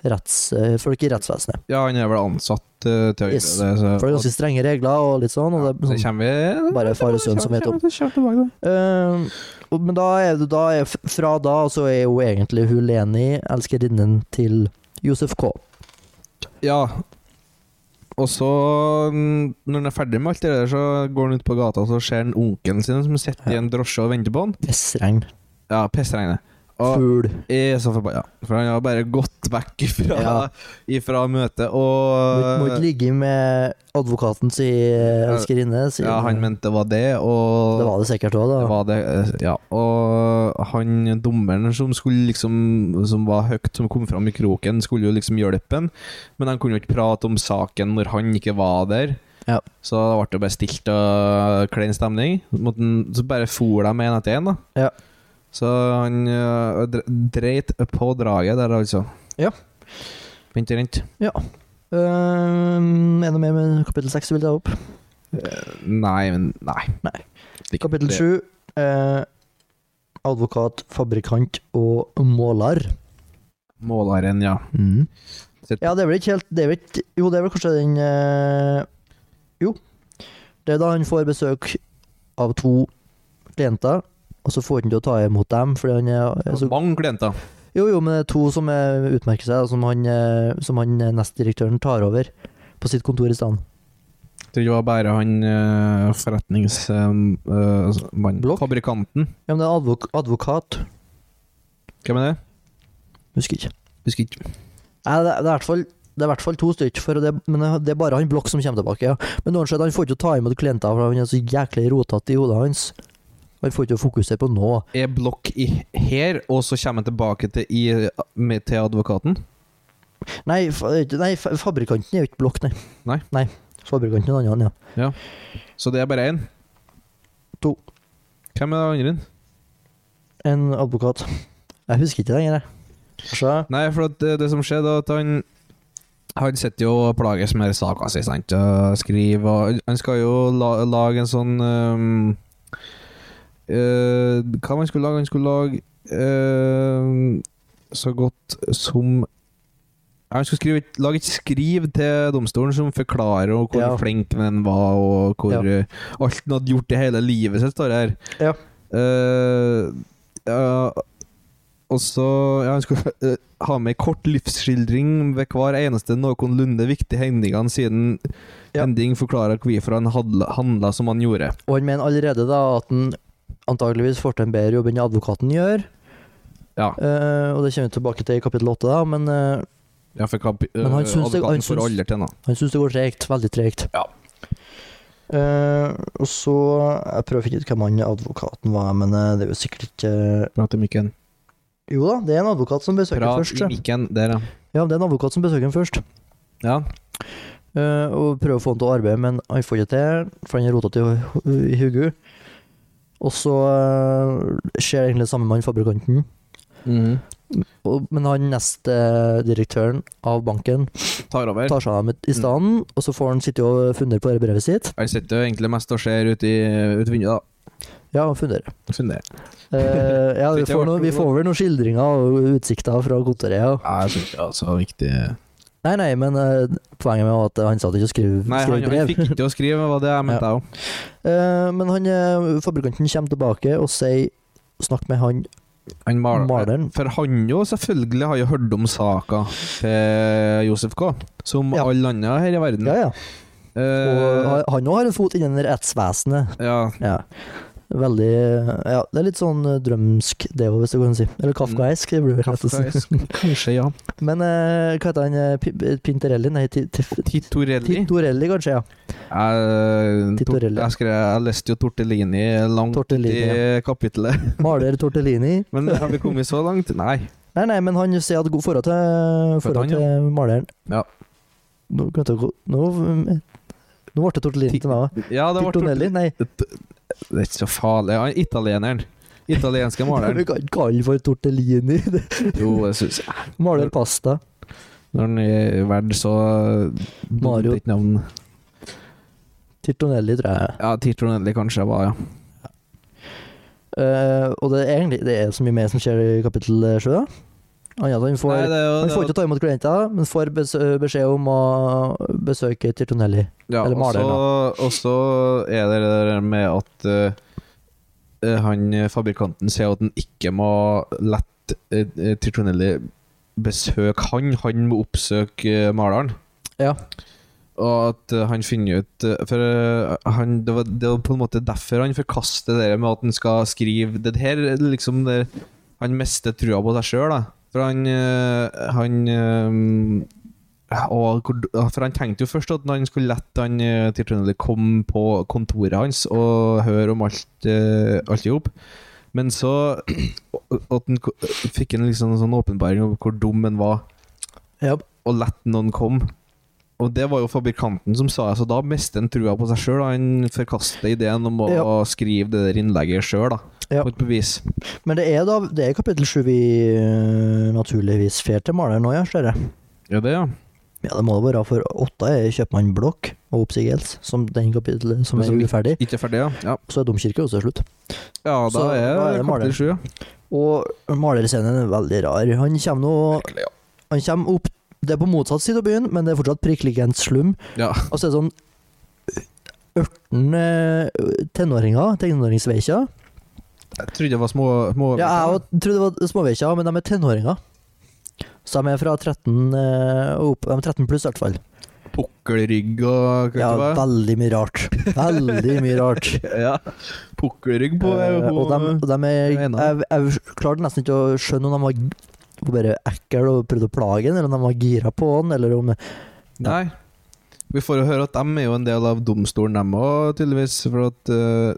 [SPEAKER 1] retts, eh, folk i rettsvesenet.
[SPEAKER 2] Ja, han er vel ansatt eh, til å gjøre
[SPEAKER 1] Yes.
[SPEAKER 2] det. Så,
[SPEAKER 1] For det er ganske strenge regler og litt sånn. Og det, er
[SPEAKER 2] det
[SPEAKER 1] sånn
[SPEAKER 2] kommer vi
[SPEAKER 1] bare far og sønn som vet om.
[SPEAKER 2] Kommer- kommer tilbake da.
[SPEAKER 1] Eh, og- men da er du da er, Fra da så er jo egentlig hun Leni elskerinnen til Josef K.
[SPEAKER 2] Ja. Og så, mm, når han er ferdig med alt det der, så går han ut på gata og så ser han onkelen sin som sitter i en drosje og venter på han.
[SPEAKER 1] Pissregn.
[SPEAKER 2] Ja, pissregnet. Og
[SPEAKER 1] Fugl.
[SPEAKER 2] jeg er så forbanna, for han har bare gått vekk ifra,
[SPEAKER 1] Ja.
[SPEAKER 2] ifra møtet
[SPEAKER 1] Må ikke- må ikke
[SPEAKER 2] og
[SPEAKER 1] ligge med advokaten si eh, elskerinne. sier-
[SPEAKER 2] Ja, han mente det var det, og
[SPEAKER 1] Det var det sikkert òg, da.
[SPEAKER 2] Det var det, eh, ja. Og han dommeren som skulle liksom Som var høyt, som kom fram i kroken, skulle jo liksom hjelpe han, men han kunne jo ikke prate om saken når han ikke var der.
[SPEAKER 1] Ja.
[SPEAKER 2] Så da ble det bare stilt og klein stemning. Så måtte han- Så bare for de en etter en da.
[SPEAKER 1] Ja.
[SPEAKER 2] Så han eh, dre- dreit på draget der, altså.
[SPEAKER 1] Ja.
[SPEAKER 2] Vent og vent.
[SPEAKER 1] Ehm, er det noe mer med kapittel seks du vil ta opp?
[SPEAKER 2] Nei, men nei.
[SPEAKER 1] Nei.
[SPEAKER 2] Det-
[SPEAKER 1] Kapittel
[SPEAKER 2] det-
[SPEAKER 1] sju. eh, advokat, fabrikant og måler.
[SPEAKER 2] Måleren, ja. Sitt-
[SPEAKER 1] Ja, det er vel ikke helt det er vel ikke, Jo, det er vel kanskje den eh, Jo. Det er da han får besøk av to klienter, og så får han ikke å ta imot dem fordi han er, altså er så
[SPEAKER 2] Mange klienter.
[SPEAKER 1] Jo, jo, men det er to som eh, utmerker seg, og som han, eh, som han eh, nestdirektøren tar over på sitt kontor i stedet.
[SPEAKER 2] Tror det var bare han uh, forretningsmannen
[SPEAKER 1] Blokk?
[SPEAKER 2] eh, altså, Fabrikanten.
[SPEAKER 1] Ja, men det er advok advokat.
[SPEAKER 2] Hvem er det?
[SPEAKER 1] Husker ikke.
[SPEAKER 2] Husker ikke.
[SPEAKER 1] Nei, det, det er i hvert fall det er i hvert fall to stykker, for det, men det er bare han Blokk som kommer tilbake. Ja. Men uansett, han får ikke ta imot klienter, for han er så jæklig rotete i hodet hans. Han får ikke fokusere på noe.
[SPEAKER 2] Er Blokk i her, og så kommer han tilbake til, i, med, til advokaten?
[SPEAKER 1] Nei, fa nei fa fabrikanten er jo ikke Blokk, nei.
[SPEAKER 2] Nei.
[SPEAKER 1] Fabrikanten er en annen, ja.
[SPEAKER 2] Så det er bare én?
[SPEAKER 1] To.
[SPEAKER 2] Hvem er den andre?
[SPEAKER 1] En advokat. Jeg husker ikke lenger, jeg. Altså, Så,
[SPEAKER 2] Nei, for at eh, det, det som skjedde, var at han han sitter jo og plages med saka si, sant, og skriver og Han skal jo la, lage en sånn ehm, eh, Hva man skulle lage? Han skulle lage ehm, så godt som Ja, Han skulle skrive, et- lage et skriv til domstolen som forklarer jo hvor
[SPEAKER 1] Ja.
[SPEAKER 2] flink den var, og hvor
[SPEAKER 1] Ja.
[SPEAKER 2] eh, alt han hadde gjort i hele livet sitt, står det her.
[SPEAKER 1] Ja.
[SPEAKER 2] Eh, ja, og så ja, Han skulle eh, ha med kort livsskildring ved hver eneste noenlunde viktige hendingene, siden
[SPEAKER 1] Ja.
[SPEAKER 2] hending forklarer hvorfor han hadla- handla som han gjorde.
[SPEAKER 1] og han mener allerede da at han antageligvis får til en bedre jobb enn advokaten gjør,
[SPEAKER 2] Ja,
[SPEAKER 1] eh, og det kommer vi tilbake til i kapittel åtte, da, men eh,
[SPEAKER 2] ja for hva, eh,
[SPEAKER 1] Men han syns det- han
[SPEAKER 2] advokaten får
[SPEAKER 1] syns-
[SPEAKER 2] aldri til noe.
[SPEAKER 1] Han syns det går tregt. Veldig tregt.
[SPEAKER 2] Ja.
[SPEAKER 1] Eh, og så Jeg prøver å finne ut hvem han advokaten var, men eh, det er jo sikkert ikke eh,
[SPEAKER 2] Prat i mikken.
[SPEAKER 1] Jo da, det er en advokat som besøker
[SPEAKER 2] Prat
[SPEAKER 1] først.
[SPEAKER 2] i
[SPEAKER 1] ja.
[SPEAKER 2] mikken, der, ja.
[SPEAKER 1] Ja, det er en advokat som besøker ham først.
[SPEAKER 2] ja.
[SPEAKER 1] Eh, og prøver å få han til å arbeide, men han får ikke til, for han er rotete i ho- i hodet. Og så eh, skjer egentlig det samme med han fabrikanten.
[SPEAKER 2] Mhm.
[SPEAKER 1] Og, men han neste eh, direktøren av banken
[SPEAKER 2] Tar over.
[SPEAKER 1] tar seg av dem i stedet,
[SPEAKER 2] Mm.
[SPEAKER 1] og så får han sitte og fundere på det brevet sitt.
[SPEAKER 2] Han sitter jo egentlig mest og ser ut, i, ut vinduet, da.
[SPEAKER 1] Ja, og fundere.
[SPEAKER 2] Funderer.
[SPEAKER 1] Eh, ja, vi
[SPEAKER 2] Synes jeg
[SPEAKER 1] får,
[SPEAKER 2] var
[SPEAKER 1] noe, vi
[SPEAKER 2] noe-
[SPEAKER 1] får vel noen skildringer og utsikter fra kontoret. Ja.
[SPEAKER 2] Ja, jeg syns det er så viktig
[SPEAKER 1] Nei, nei, men eh, poenget med var at han satt ikke og skrev,
[SPEAKER 2] Nei, han,
[SPEAKER 1] skrev
[SPEAKER 2] han
[SPEAKER 1] brev.
[SPEAKER 2] fikk ikke til å skrive, var det jeg mente, jeg òg.
[SPEAKER 1] Eh, men han, eh, fabrikanten kommer tilbake og sier Snakk med han
[SPEAKER 2] Han maler.
[SPEAKER 1] maleren.
[SPEAKER 2] For han jo selvfølgelig har jo hørt om saka til Josef K. Som
[SPEAKER 1] Ja.
[SPEAKER 2] alle andre her i verden.
[SPEAKER 1] Ja, ja.
[SPEAKER 2] Mm. Eh,
[SPEAKER 1] Og ha- han òg har en fot innen rettsvesenet.
[SPEAKER 2] ja.
[SPEAKER 1] Ja. Veldig Ja, det er litt sånn eh, drømsk, det òg, hvis du kan si.
[SPEAKER 2] Mm.
[SPEAKER 1] Eller kafkaisk. Det blir vel rett og slett.
[SPEAKER 2] Kafkaisk. Kanskje, ja.
[SPEAKER 1] Men eh, hva heter han eh, Pi- Pinterelli? Nei, Ti- Tif-
[SPEAKER 2] Titorelli.
[SPEAKER 1] Titorelli, kanskje, ja.
[SPEAKER 2] Jeg, eh,
[SPEAKER 1] Titorelli.
[SPEAKER 2] jeg, skrev, jeg leste jo Tortellini langt
[SPEAKER 1] Tortellini,
[SPEAKER 2] i kapittelet.
[SPEAKER 1] Maler Tortellini.
[SPEAKER 2] Men har vi kommet så langt? Nei.
[SPEAKER 1] Nei, nei, men han sier at god forhold til, forhold
[SPEAKER 2] han, ja.
[SPEAKER 1] til maleren.
[SPEAKER 2] Ja.
[SPEAKER 1] Nå, kan jeg ta- nå, mm, nå ble det tortellini til meg òg.
[SPEAKER 2] Ja, det var
[SPEAKER 1] Tortonelli? Nei,
[SPEAKER 2] Det er ikke så farlig. Han italieneren. Italienske
[SPEAKER 1] du
[SPEAKER 2] maleren.
[SPEAKER 1] kan ikke kalle for tortellini. Det-
[SPEAKER 2] Jo, det syns jeg.
[SPEAKER 1] Maler pasta.
[SPEAKER 2] Når han er verd, så
[SPEAKER 1] Mario.
[SPEAKER 2] Dumt Ikke navn.
[SPEAKER 1] Tortonelli, tror jeg.
[SPEAKER 2] Ja, Titorelli kanskje var, ja.
[SPEAKER 1] Eh, og det er egentlig det er så mye mer som skjer i kapittel eh, sju. da. Annet at han får,
[SPEAKER 2] Nei, det er jo-
[SPEAKER 1] han
[SPEAKER 2] det er
[SPEAKER 1] får
[SPEAKER 2] jo-
[SPEAKER 1] ikke ta imot klienter, men får bes- eh, beskjed om å besøke Tortonelli.
[SPEAKER 2] Ja,
[SPEAKER 1] Eller maleren,
[SPEAKER 2] og så- Og så er det det der med at eh, han eh, fabrikanten sier at han ikke må lette uh, Tritronelli besøke han. Han må oppsøke eh, maleren.
[SPEAKER 1] Ja.
[SPEAKER 2] Og at eh, han finner ut eh, For eh, han, det, var, det var på en måte derfor han forkaster det der med at han skal skrive Det her er liksom det, Han mister trua på seg sjøl, da. For han, eh, han eh, og, hvor- ja, for han tenkte jo først at han skulle lette han eh, til Trøndelag komme på kontoret hans og høre om alt eh, alt i hop. Men så at han, ko- fikk han liksom en sånn åpenbaring om hvor dum han var,
[SPEAKER 1] Ja.
[SPEAKER 2] og lette noen komme. Og det var jo fabrikanten som sa det, så da mistet han trua på seg sjøl. Han forkasta ideen om å
[SPEAKER 1] Ja.
[SPEAKER 2] skrive det der innlegget sjøl, da.
[SPEAKER 1] Ja.
[SPEAKER 2] På et bevis.
[SPEAKER 1] Men det er da Det er kapittel sju vi eh, naturligvis fer til maleren nå, ja, ser jeg.
[SPEAKER 2] Ja, det, ja.
[SPEAKER 1] Ja, det må det være, for åtta er kjøpmann Blokk og oppsigelse, som den kapitlet som er
[SPEAKER 2] Som-
[SPEAKER 1] uferdig.
[SPEAKER 2] Ikke ferdig, ja. Ja,
[SPEAKER 1] Så er domkirke også til slutt.
[SPEAKER 2] ja da
[SPEAKER 1] Så da er
[SPEAKER 2] er
[SPEAKER 1] det
[SPEAKER 2] det
[SPEAKER 1] maler.
[SPEAKER 2] kapittel sju, ja.
[SPEAKER 1] Og malerscenen er veldig rar. Han kommer nå
[SPEAKER 2] Virkelig,
[SPEAKER 1] Han kommer opp Det er på motsatt side av byen, men det er fortsatt prikkligent slum.
[SPEAKER 2] Ja.
[SPEAKER 1] Og så er det sånn ørten eh, tenåringer, tenåringsveikjer.
[SPEAKER 2] Jeg trodde det var små, små
[SPEAKER 1] Ja, jeg også trodde det var småveikjer, men de er tenåringer. Så de er fra 13 eh, og opp, de er 13 pluss, i hvert fall.
[SPEAKER 2] Pukkelrygg og hva
[SPEAKER 1] Ja,
[SPEAKER 2] det var?
[SPEAKER 1] veldig mye rart. Veldig mye rart.
[SPEAKER 2] Ja. Pukkelrygg på
[SPEAKER 1] Eh, og dem, og dem er,
[SPEAKER 2] det er en
[SPEAKER 1] jeg,
[SPEAKER 2] av
[SPEAKER 1] jeg klarte nesten ikke å skjønne om de var g- bare ekkel og prøvde å plage han, eller om de var gira på han, eller om
[SPEAKER 2] Nei. Vi får jo høre at dem er jo en del av domstolen, dem òg, tydeligvis. For at eh,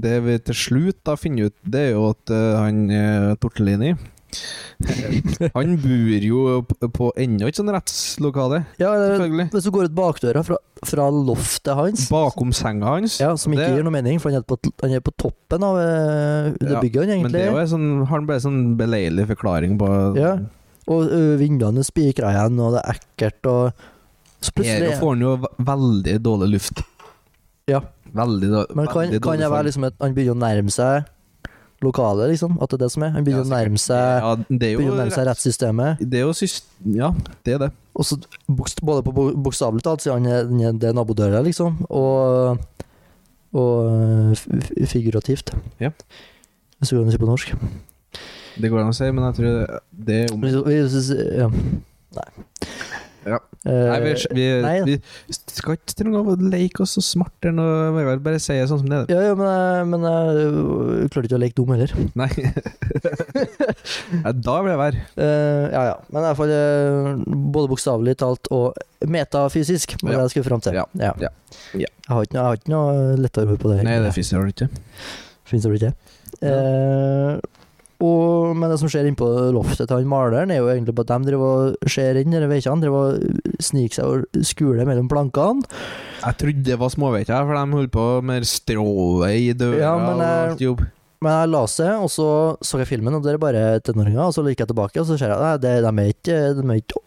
[SPEAKER 2] det vi til slutt da finner ut, det er jo at eh, han uh, Tortellini Han bor jo p- på ennå et sånt rettslokale,
[SPEAKER 1] Ja, eller,
[SPEAKER 2] selvfølgelig.
[SPEAKER 1] hvis du går ut bakdøra fra, fra loftet hans,
[SPEAKER 2] Bakom senga hans.
[SPEAKER 1] ja, som ikke
[SPEAKER 2] Det-
[SPEAKER 1] gir noe mening, for han er på, han er på toppen av eh, det
[SPEAKER 2] Ja,
[SPEAKER 1] bygget, han
[SPEAKER 2] Men det
[SPEAKER 1] egentlig.
[SPEAKER 2] er jo en sånn, har han bare en sånn beleilig forklaring på
[SPEAKER 1] Ja. Og ø, vinduene spikra igjen, og det er ekkelt, og så
[SPEAKER 2] Her
[SPEAKER 1] plutselig
[SPEAKER 2] får han jo ve- veldig dårlig luft.
[SPEAKER 1] Ja.
[SPEAKER 2] Veldig, da,
[SPEAKER 1] Men kan,
[SPEAKER 2] veldig
[SPEAKER 1] kan jeg
[SPEAKER 2] dårlig form.
[SPEAKER 1] være liksom at han begynner å nærme seg lokalet, liksom? At det er det som er? Han begynner
[SPEAKER 2] Ja,
[SPEAKER 1] å nærme seg,
[SPEAKER 2] Ja, det er
[SPEAKER 1] eh, begynner å nærme
[SPEAKER 2] jo
[SPEAKER 1] seg rettssystemet.
[SPEAKER 2] Det er jo syst... Ja, det er det.
[SPEAKER 1] Og så bokst- både på bo- bokstavelig talt, siden han er- den er- det er nabodøra, liksom, og, og øh, f- f- figurativt.
[SPEAKER 2] Ja.
[SPEAKER 1] Hvis du kan si på norsk.
[SPEAKER 2] Det går an å si, men jeg tror det er om...
[SPEAKER 1] Vi, vi, vi- ja. Nei.
[SPEAKER 2] Ja.
[SPEAKER 1] Eh,
[SPEAKER 2] Nei, vi, vi,
[SPEAKER 1] nei, ja.
[SPEAKER 2] vi skal ikke til noe å leke oss så smart enn å Vegard. Bare si det sånn som det er.
[SPEAKER 1] Eh, ja, ja, men, jeg- men jeg øh, klarte ikke å leke dum heller.
[SPEAKER 2] Nei. Nei, da blir jeg vær.
[SPEAKER 1] Eh, ja, ja. Men i hvert fall eh, både bokstavelig talt og metafysisk, var det
[SPEAKER 2] Ja.
[SPEAKER 1] jeg skulle fram til.
[SPEAKER 2] Ja. Ja. Ja.
[SPEAKER 1] Jeg har ikke noe, jeg har ikke noe lettere ord på det.
[SPEAKER 2] Nei, det fiser du ikke.
[SPEAKER 1] Finnes det vel ikke. Eh, og, men det som skjer innpå loftet til han maleren, er jo egentlig på at de driver og ser inn, eller vet ikke, han driver og sniker seg og skuler mellom plankene.
[SPEAKER 2] Jeg trodde det var småveiter, for de holdt på med strået i døra
[SPEAKER 1] Ja, men,
[SPEAKER 2] og
[SPEAKER 1] eh,
[SPEAKER 2] alt jobb.
[SPEAKER 1] Men jeg la seg, og så så jeg filmen, og det er bare tenåringer, og så gikk jeg tilbake, og så ser jeg at de er ikke de er ikke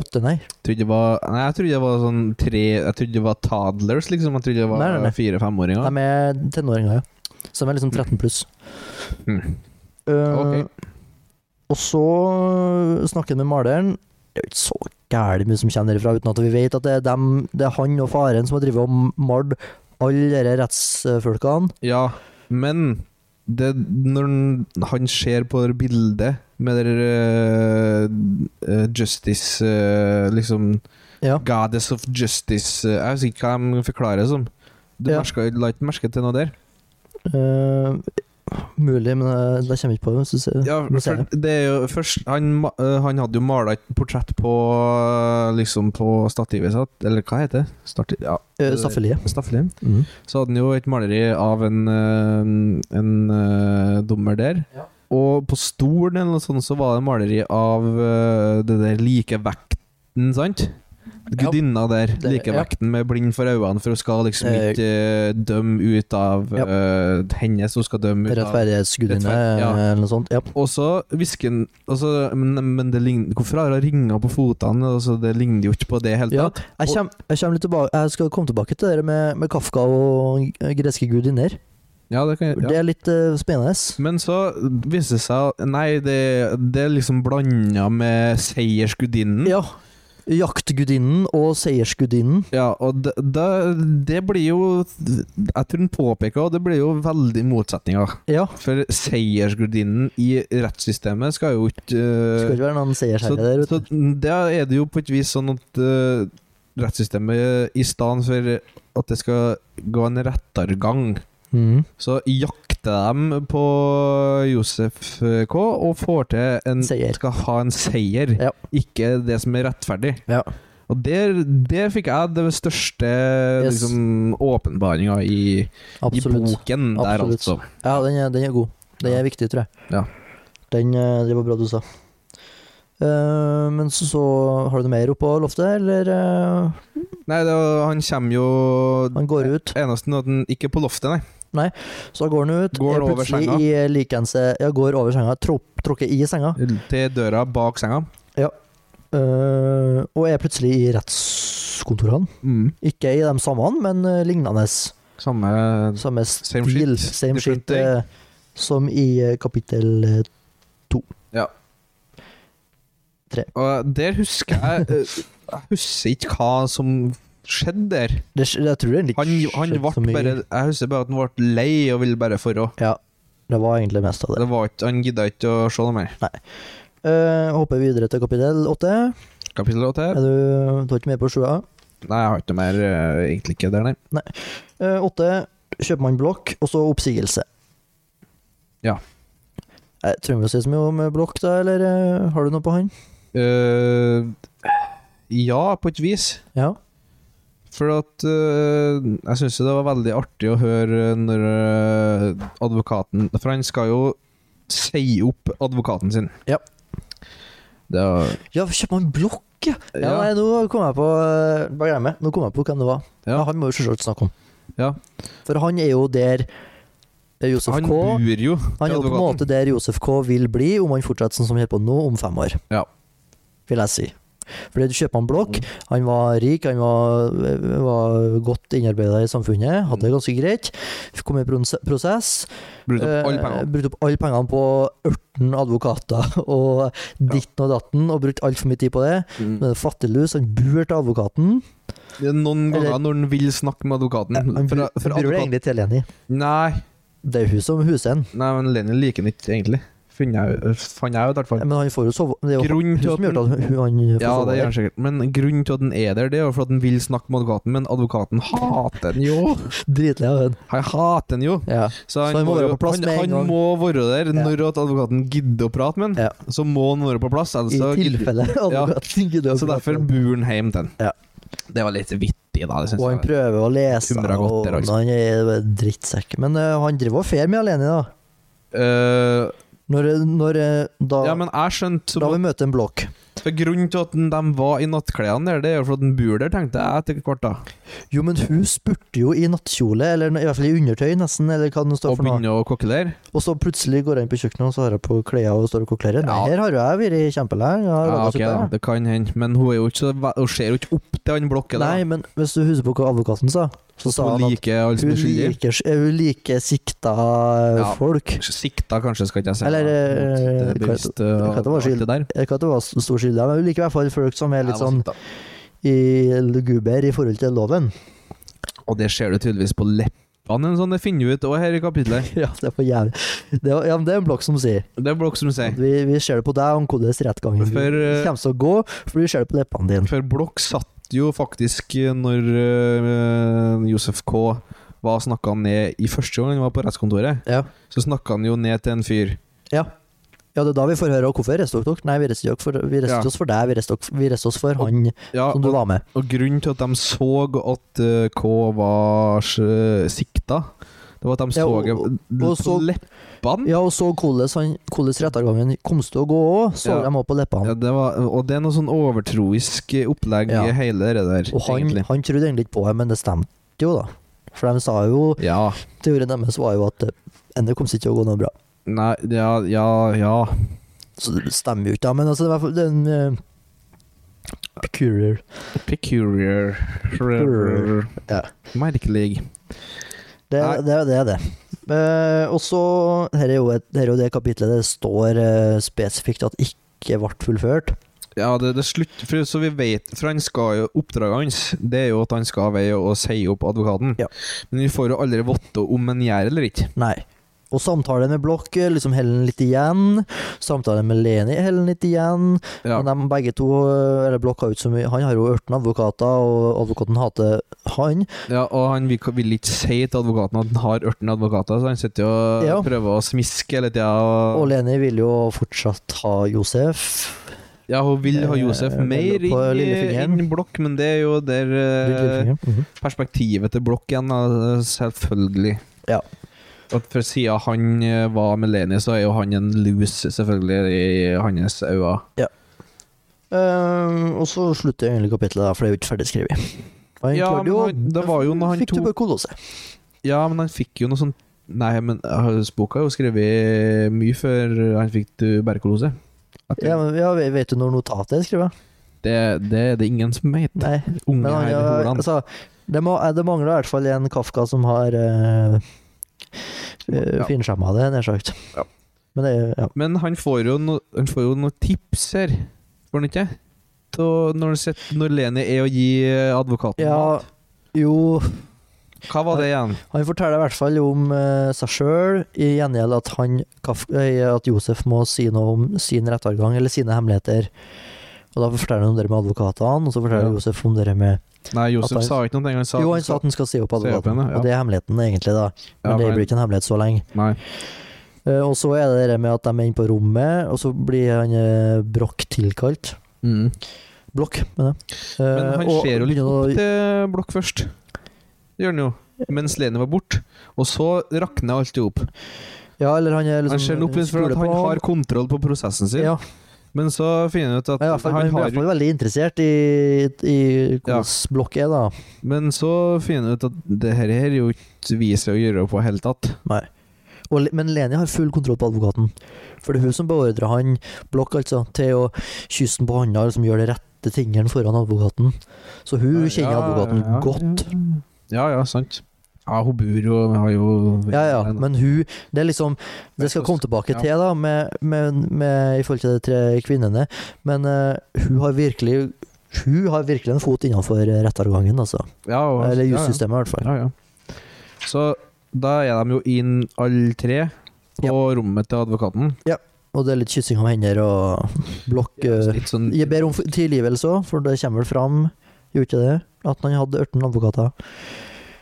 [SPEAKER 1] åtte, nei.
[SPEAKER 2] Trodde det var, nei, jeg trodde det var sånn tre Jeg trodde det var toddlers, liksom. Jeg trodde det var
[SPEAKER 1] Nei, nei, nei.
[SPEAKER 2] fire-femåringer.
[SPEAKER 1] De er tenåringer, ja. Så de er liksom 13 pluss.
[SPEAKER 2] Mm.
[SPEAKER 1] Eh,
[SPEAKER 2] Ok.
[SPEAKER 1] Og så eh, snakker han med maleren. Det er jo ikke så gærent mye som kommer derifra, uten at vi vet at det er, dem, det er han og faren som har drevet og malt alle disse rettsfolkene.
[SPEAKER 2] Ja, men det, når han- han ser på det bildet med det der, eh, eh, Justice eh, Liksom
[SPEAKER 1] Ja.
[SPEAKER 2] Goddess of øh, Justice eh, Jeg husker ikke hva de forklarer det som. Du
[SPEAKER 1] Ja.
[SPEAKER 2] merka- la ikke merke til noe der?
[SPEAKER 1] Eh, mulig, men jeg, jeg kommer ikke på det. Så se,
[SPEAKER 2] Ja,
[SPEAKER 1] må se
[SPEAKER 2] for
[SPEAKER 1] det.
[SPEAKER 2] det er jo først Han, ma- eh, han hadde jo mala et portrett på eh, Liksom på stativet sitt, eller hva heter det? Stati ja,
[SPEAKER 1] Eh, Staffeliet.
[SPEAKER 2] Staffelheim.
[SPEAKER 1] Mm.
[SPEAKER 2] Så hadde han jo et maleri av en, eh, en eh, dommer der.
[SPEAKER 1] Ja.
[SPEAKER 2] Og på stolen eller noe sånt så var det maleri av eh, det der likevekten, sant? Gudinna der.
[SPEAKER 1] Det-
[SPEAKER 2] Likevekten med blind for øynene, for hun skal liksom
[SPEAKER 1] Eh,
[SPEAKER 2] ikke eh, dømme ut av
[SPEAKER 1] Ja.
[SPEAKER 2] eh, hennes, hun skal dømme ut av
[SPEAKER 1] Rettferdighetsgudinne,
[SPEAKER 2] Rettferd- ja.
[SPEAKER 1] eh, eller noe sånt. Ja.
[SPEAKER 2] og så hvisker han altså, men, men det ligner Hvorfor har hun ringer på fotene? Altså, det ligner jo ikke på det i hele
[SPEAKER 1] Ja,
[SPEAKER 2] tatt.
[SPEAKER 1] jeg,
[SPEAKER 2] Og-
[SPEAKER 1] kjem, jeg, kjem litt tilbake, jeg skal komme tilbake til det der med, med Kafka og greske gudinner.
[SPEAKER 2] Ja, det kan jeg,
[SPEAKER 1] Det
[SPEAKER 2] ja.
[SPEAKER 1] er litt eh, spennende.
[SPEAKER 2] Men så viser det seg Nei, det, det er liksom blanda med seiersgudinnen.
[SPEAKER 1] Ja. Jaktgudinnen og seiersgudinnen.
[SPEAKER 2] Ja, og det, det, det blir jo Jeg tror han påpeker og det blir jo veldig motsetninger.
[SPEAKER 1] Ja.
[SPEAKER 2] For seiersgudinnen i rettssystemet skal jo ikke eh,
[SPEAKER 1] Skal ikke være noen
[SPEAKER 2] Så,
[SPEAKER 1] seiersherre der
[SPEAKER 2] så
[SPEAKER 1] ute.
[SPEAKER 2] da er det jo på et vis sånn at eh, rettssystemet i stedet for at det skal gå en rettergang,
[SPEAKER 1] Mm.
[SPEAKER 2] så jakter de på Josef eh, K og får til en
[SPEAKER 1] Seier.
[SPEAKER 2] Skal ha en seier,
[SPEAKER 1] Ja.
[SPEAKER 2] ikke det som er rettferdig.
[SPEAKER 1] Ja.
[SPEAKER 2] Og der, der fikk jeg det største
[SPEAKER 1] Yes.
[SPEAKER 2] liksom, åpenbaringa i, i
[SPEAKER 1] Absolutt.
[SPEAKER 2] boken der,
[SPEAKER 1] Absolutt.
[SPEAKER 2] altså.
[SPEAKER 1] Ja, den er, den er god. Den er viktig, tror jeg.
[SPEAKER 2] Ja.
[SPEAKER 1] Den eh, det var bra du sa. Eh, men så, så Har du noe mer oppå loftet, eller? eh,
[SPEAKER 2] Nei, det, var- han kommer jo
[SPEAKER 1] han går ut.
[SPEAKER 2] Eneste er at han ikke på loftet, nei.
[SPEAKER 1] Så går han ut.
[SPEAKER 2] Går
[SPEAKER 1] er
[SPEAKER 2] han over
[SPEAKER 1] plutselig
[SPEAKER 2] senga?
[SPEAKER 1] I likense, ja, går over senga. Tråk- Tråkker i senga.
[SPEAKER 2] Til døra bak senga.
[SPEAKER 1] eh, og er plutselig i rettskontorene. Ikke i de samme, men eh, lignende.
[SPEAKER 2] Samme
[SPEAKER 1] Samme
[SPEAKER 2] Same
[SPEAKER 1] stil,
[SPEAKER 2] shit,
[SPEAKER 1] same
[SPEAKER 2] different
[SPEAKER 1] shit eh, som i eh, kapittel eh,
[SPEAKER 2] Og der husker jeg eh, Jeg husker ikke hva som skjedde der.
[SPEAKER 1] det, Jeg tror det er litt
[SPEAKER 2] Han, han
[SPEAKER 1] skjønt så
[SPEAKER 2] ble
[SPEAKER 1] mye.
[SPEAKER 2] bare Jeg husker bare at han ble lei og ville bare forrå.
[SPEAKER 1] Ja, det var egentlig mest av det.
[SPEAKER 2] Det var ikke, han gidda ikke å se noe mer.
[SPEAKER 1] Eh, hopper videre til kapittel åtte.
[SPEAKER 2] Kapittel 8
[SPEAKER 1] Er
[SPEAKER 2] her.
[SPEAKER 1] du, du er ikke med på sjua?
[SPEAKER 2] Nei, jeg har ikke noe mer eh, egentlig ikke der, nei.
[SPEAKER 1] Eh, Åtte, kjøper man blokk, og så oppsigelse.
[SPEAKER 2] Ja.
[SPEAKER 1] Eh, trenger vi å si så mye om eh, blokk, da, eller eh, har du noe på han?
[SPEAKER 2] Eh, ja, på et vis.
[SPEAKER 1] Ja.
[SPEAKER 2] For at eh, Jeg syns det var veldig artig å høre når eh, advokaten For han skal jo si opp advokaten sin.
[SPEAKER 1] Ja.
[SPEAKER 2] Det var
[SPEAKER 1] Ja, kjøper man blokk, ja! ja.
[SPEAKER 2] Ja.
[SPEAKER 1] Nei, nå kom jeg på eh, Bare glem det. Nå kom jeg på hvem det var.
[SPEAKER 2] Ja.
[SPEAKER 1] Men han må vi selvsagt snakke om.
[SPEAKER 2] Ja.
[SPEAKER 1] For han er jo der eh, Josef
[SPEAKER 2] Han
[SPEAKER 1] K
[SPEAKER 2] bor jo
[SPEAKER 1] Han er jo på en måte der Josef K vil bli om han fortsetter sånn som han holder på nå, om fem år.
[SPEAKER 2] Ja.
[SPEAKER 1] Vil jeg si. Fordi du kjøper en blokk, han var rik, han var, var godt innarbeida i samfunnet, hadde det ganske greit. Kom i pros- prosess.
[SPEAKER 2] Brukte opp alle
[SPEAKER 1] eh,
[SPEAKER 2] pengene.
[SPEAKER 1] brukte opp alle pengene på ørten advokater og ditten og datten, og brukte altfor mye tid på det. Men fattiglus, han bur til advokaten.
[SPEAKER 2] Det er noen
[SPEAKER 1] Eller-
[SPEAKER 2] ganger når han vil snakke med advokaten
[SPEAKER 1] Han
[SPEAKER 2] Mhm. for,
[SPEAKER 1] bur,
[SPEAKER 2] for
[SPEAKER 1] bur
[SPEAKER 2] advokaten.
[SPEAKER 1] egentlig til Leni.
[SPEAKER 2] Nei,
[SPEAKER 1] Det er hun som huser han.
[SPEAKER 2] nei, men Lenny liker han ikke, egentlig. Fant jeg ut, fant jeg ut, i hvert fall.
[SPEAKER 1] Men han får jo sove. Det er jo
[SPEAKER 2] Grunnen
[SPEAKER 1] hun
[SPEAKER 2] til
[SPEAKER 1] som
[SPEAKER 2] at
[SPEAKER 1] gjør at hun, han får
[SPEAKER 2] Ja,
[SPEAKER 1] sove.
[SPEAKER 2] det gjør
[SPEAKER 1] der.
[SPEAKER 2] han sikkert. Men grunnen til at den er der, det er jo for at den vil snakke med advokaten, men advokaten hater den jo.
[SPEAKER 1] Dritlei av den.
[SPEAKER 2] Han hater den jo.
[SPEAKER 1] Ja.
[SPEAKER 2] Så han,
[SPEAKER 1] han må
[SPEAKER 2] må,
[SPEAKER 1] være
[SPEAKER 2] jo-
[SPEAKER 1] på plass
[SPEAKER 2] han,
[SPEAKER 1] med en
[SPEAKER 2] han
[SPEAKER 1] gang.
[SPEAKER 2] må være der
[SPEAKER 1] Ja.
[SPEAKER 2] når at advokaten gidder å prate med han.
[SPEAKER 1] Ja.
[SPEAKER 2] Så må han være på plass.
[SPEAKER 1] I
[SPEAKER 2] Altså, gidder-
[SPEAKER 1] tilfelle advokaten gidder å
[SPEAKER 2] så derfor
[SPEAKER 1] prate.
[SPEAKER 2] bor han hjemme til han.
[SPEAKER 1] Ja.
[SPEAKER 2] Det var litt vittig, da. Det synes
[SPEAKER 1] Og han
[SPEAKER 2] jeg.
[SPEAKER 1] prøver å lese,
[SPEAKER 2] Humrer godt
[SPEAKER 1] og
[SPEAKER 2] der, altså.
[SPEAKER 1] han er bare drittsekk. Men eh, han driver og fer med alene, da.
[SPEAKER 2] Eh,
[SPEAKER 1] Når, når eh, da,
[SPEAKER 2] ja, men jeg skjønte som
[SPEAKER 1] da vi møter en blokk.
[SPEAKER 2] For Grunnen til at den- de var i nattklærne der, det er jo for at den bor der, tenkte jeg etter hvert. da
[SPEAKER 1] Jo, men hun spurte jo i nattkjole, eller i hvert fall i undertøy, nesten, eller hva det nå står
[SPEAKER 2] Og
[SPEAKER 1] for noe.
[SPEAKER 2] begynne å kokkelere.
[SPEAKER 1] Og så plutselig går jeg inn på kjøkkenet, og så har jeg på klær og står og koklerer. Nei,
[SPEAKER 2] Ja.
[SPEAKER 1] her har jo jeg vært kjempelenge. Jeg har
[SPEAKER 2] Ja,
[SPEAKER 1] laget
[SPEAKER 2] ok,
[SPEAKER 1] suppe.
[SPEAKER 2] da, det kan hende, men hun er jo ikke så ve- Hun ser jo ikke opp til han blokken. da.
[SPEAKER 1] Nei, men hvis du husker på hva advokaten sa, så sa
[SPEAKER 2] hun
[SPEAKER 1] han at
[SPEAKER 2] liker alle som
[SPEAKER 1] hun
[SPEAKER 2] er skyldige.
[SPEAKER 1] liker, hun liker sikta eh,
[SPEAKER 2] Ja.
[SPEAKER 1] folk.
[SPEAKER 2] Sikta, kanskje, skal ikke jeg si.
[SPEAKER 1] Eller, eh,
[SPEAKER 2] det er bevisst eh,
[SPEAKER 1] hva heter det,
[SPEAKER 2] alt
[SPEAKER 1] skyld-
[SPEAKER 2] det der.
[SPEAKER 1] Jeg vet ikke at det var så stor skyld der, men hun liker i hvert fall folk som er
[SPEAKER 2] Jeg
[SPEAKER 1] litt
[SPEAKER 2] var
[SPEAKER 1] sånn
[SPEAKER 2] sikta.
[SPEAKER 1] i luguber i forhold til loven.
[SPEAKER 2] Og det ser du tydeligvis på leppene, en sånn, det finner vi ut òg her i kapitlet.
[SPEAKER 1] Ja, det er for jævlig. Det, er- ja, men det er en blokk som sier
[SPEAKER 2] Det er Blokk som
[SPEAKER 1] at
[SPEAKER 2] sier.
[SPEAKER 1] vi, vi ser det på deg om hvordan rettgangen
[SPEAKER 2] For, eh,
[SPEAKER 1] kommer til å gå, for vi ser det på leppene dine.
[SPEAKER 2] For Blokk satt jo faktisk eh, når eh, Josef K hva snakka han ned i første gang han var på rettskontoret?
[SPEAKER 1] Ja.
[SPEAKER 2] Så snakka han jo ned til en fyr.
[SPEAKER 1] ja. Ja, det er da vi får høre og hvorfor reiste dere dere? Nei, vi reiste ikke for, vi reiste
[SPEAKER 2] Ja.
[SPEAKER 1] oss for deg, vi reiste, dere- vi reiste oss for han
[SPEAKER 2] Ja,
[SPEAKER 1] som du
[SPEAKER 2] og,
[SPEAKER 1] var med.
[SPEAKER 2] og grunnen til at de så at eh, K var eh, sikta, det var at de
[SPEAKER 1] Ja,
[SPEAKER 2] så
[SPEAKER 1] og-
[SPEAKER 2] det
[SPEAKER 1] og
[SPEAKER 2] på
[SPEAKER 1] så-
[SPEAKER 2] leppene. Ja.
[SPEAKER 1] Ja, og så hvordan han- hvordan rettergangen kom til å gå òg, så
[SPEAKER 2] Ja.
[SPEAKER 1] de òg på leppene.
[SPEAKER 2] det var, og det er noe sånn overtroisk opplegg
[SPEAKER 1] Ja.
[SPEAKER 2] i hele det der,
[SPEAKER 1] og han,
[SPEAKER 2] egentlig.
[SPEAKER 1] han trodde egentlig ikke på det, men det stemte jo, da. For de sa jo
[SPEAKER 2] Ja.
[SPEAKER 1] Teorien deres var jo at eh, det kom ikke til å gå noe bra.
[SPEAKER 2] Nei, ja, ja, ja.
[SPEAKER 1] Så det stemmer jo ikke, da, men altså, det er i hvert fall det er en eh, Peculiar.
[SPEAKER 2] Peculiar.
[SPEAKER 1] Peculiar. Ja.
[SPEAKER 2] Merkelig.
[SPEAKER 1] Det
[SPEAKER 2] Nei.
[SPEAKER 1] det er det. Er det. Eh, og så Her er jo et- her er jo det kapitlet det står eh, spesifikt at ikke ble fullført.
[SPEAKER 2] Ja, det, det slutt, for, så vi vet, for han skal jo, Oppdraget hans det er jo at han skal veie og si opp advokaten.
[SPEAKER 1] Ja.
[SPEAKER 2] Men vi får jo aldri vite om han gjør eller ikke.
[SPEAKER 1] Nei. Og samtalen med Blokk eh, liksom holder den litt igjen. Samtalen med Leni holder den litt igjen.
[SPEAKER 2] Ja.
[SPEAKER 1] Men de begge to, eh, eller Blokk har jo ikke så mye Han har jo 18 advokater, og advokaten hater han.
[SPEAKER 2] Ja, og han vil, vil ikke si til advokaten at han har 18 advokater, så han sitter jo og
[SPEAKER 1] Ja.
[SPEAKER 2] prøver å smiske hele tida. og-
[SPEAKER 1] Og Leni vil jo fortsatt ha Josef.
[SPEAKER 2] Ja, hun vil ha Josef
[SPEAKER 1] Eh,
[SPEAKER 2] mer
[SPEAKER 1] på
[SPEAKER 2] inn i-
[SPEAKER 1] lillefingeren.
[SPEAKER 2] inn i Blokk, men det er jo der eh,
[SPEAKER 1] Lillefingeren. Mhm.
[SPEAKER 2] perspektivet til Blokk igjen, da, selvfølgelig.
[SPEAKER 1] Ja.
[SPEAKER 2] At fra sida han eh, var med Leni, så er jo han en loose, selvfølgelig, i hans øyne.
[SPEAKER 1] Eh, og så slutter egentlig kapitlet, da, for det er jo ikke ferdigskrevet. Og Han
[SPEAKER 2] Ja,
[SPEAKER 1] klarte jo,
[SPEAKER 2] men han- det var jo når han
[SPEAKER 1] fikk
[SPEAKER 2] tok-
[SPEAKER 1] tuberkulose.
[SPEAKER 2] Ja, men han fikk jo noe sånn Nei, men hans boka er jo skrevet mye før han fikk tuberkulose. At det-
[SPEAKER 1] Ja, men, ja, vet- vet du når notatet er skrevet?
[SPEAKER 2] det, det er det ingen som vet.
[SPEAKER 1] Nei.
[SPEAKER 2] Unge
[SPEAKER 1] Men han,
[SPEAKER 2] her i
[SPEAKER 1] ja,
[SPEAKER 2] Holand.
[SPEAKER 1] altså, det, må, eh, det mangler i hvert fall en Kafka som har uh,
[SPEAKER 2] Ja.
[SPEAKER 1] finskjemma det, nær sagt.
[SPEAKER 2] Ja.
[SPEAKER 1] Men det er ja.
[SPEAKER 2] Men han får jo no- han får jo noen tips her, får han ikke? Da, når, han sitter- når Leni er å gi eh, advokaten
[SPEAKER 1] ja
[SPEAKER 2] mat.
[SPEAKER 1] jo,
[SPEAKER 2] Hva var det igjen?
[SPEAKER 1] han forteller i hvert fall om eh, seg sjøl, i gjengjeld at, han, Kaf- eh, at Josef må si noe om sin rettergang, eller sine hemmeligheter. Og da forteller han om det med advokatene, og så forteller
[SPEAKER 2] Ja.
[SPEAKER 1] Josef om det med
[SPEAKER 2] Nei,
[SPEAKER 1] At
[SPEAKER 2] Josef
[SPEAKER 1] han-
[SPEAKER 2] sa ikke noe. Han sa
[SPEAKER 1] Jo, han sa at han skal si opp
[SPEAKER 2] Se opp
[SPEAKER 1] advokaten,
[SPEAKER 2] henne, ja.
[SPEAKER 1] og det er hemmeligheten, egentlig, da. Men
[SPEAKER 2] Ja,
[SPEAKER 1] det
[SPEAKER 2] men-
[SPEAKER 1] blir ikke en hemmelighet så lenge.
[SPEAKER 2] Nei.
[SPEAKER 1] Eh, og så er det det med at de er inne på rommet, og så blir han eh, Brokk tilkalt.
[SPEAKER 2] Mm.
[SPEAKER 1] Blokk, mener jeg. Eh,
[SPEAKER 2] Men han
[SPEAKER 1] og
[SPEAKER 2] ser jo litt
[SPEAKER 1] begynner å-
[SPEAKER 2] opp til Blokk først. Det gjør han jo. Mens Leni var borte. Og så rakner alt i hop.
[SPEAKER 1] Ja, eller han er liksom
[SPEAKER 2] Han ser den opp litt for
[SPEAKER 1] stoler
[SPEAKER 2] at han
[SPEAKER 1] Liksom, på-
[SPEAKER 2] har kontroll på prosessen sin,
[SPEAKER 1] ja,
[SPEAKER 2] men så finner han ut at
[SPEAKER 1] men i hvert fall,
[SPEAKER 2] han
[SPEAKER 1] Han er i
[SPEAKER 2] har
[SPEAKER 1] hvert fall veldig interessert i, i hvordan Blokk er, da.
[SPEAKER 2] Men så finner han ut at det her er jo ikke vi som gjør det på i hele tatt.
[SPEAKER 1] Nei. Og, Le- men Leni har full kontroll på advokaten. For det er hun som beordrer han, Blokk altså, til å kysse han på hånda og liksom gjøre de rette tingene foran advokaten. Så hun kjenner advokaten godt.
[SPEAKER 2] Ja, ja, sant. Ja, hun bor jo har jo
[SPEAKER 1] Ja, ja, men hun Det er liksom Det skal komme tilbake
[SPEAKER 2] Ja.
[SPEAKER 1] til, da, med, med, med, i forhold til de tre kvinnene, men eh, hun har virkelig hun har virkelig en fot innenfor rettergangen, altså.
[SPEAKER 2] ja, og-
[SPEAKER 1] Eller
[SPEAKER 2] ja, ja.
[SPEAKER 1] jussystemet, i hvert fall.
[SPEAKER 2] Ja, ja. Så da er de jo inn alle tre på rommet til advokaten.
[SPEAKER 1] Og det er litt kyssing av hender og blokk eh,
[SPEAKER 2] Litt sånn
[SPEAKER 1] Jeg ber om f- tilgivelse òg, for det kommer vel fram, gjorde ikke det? At han hadde 18 advokater.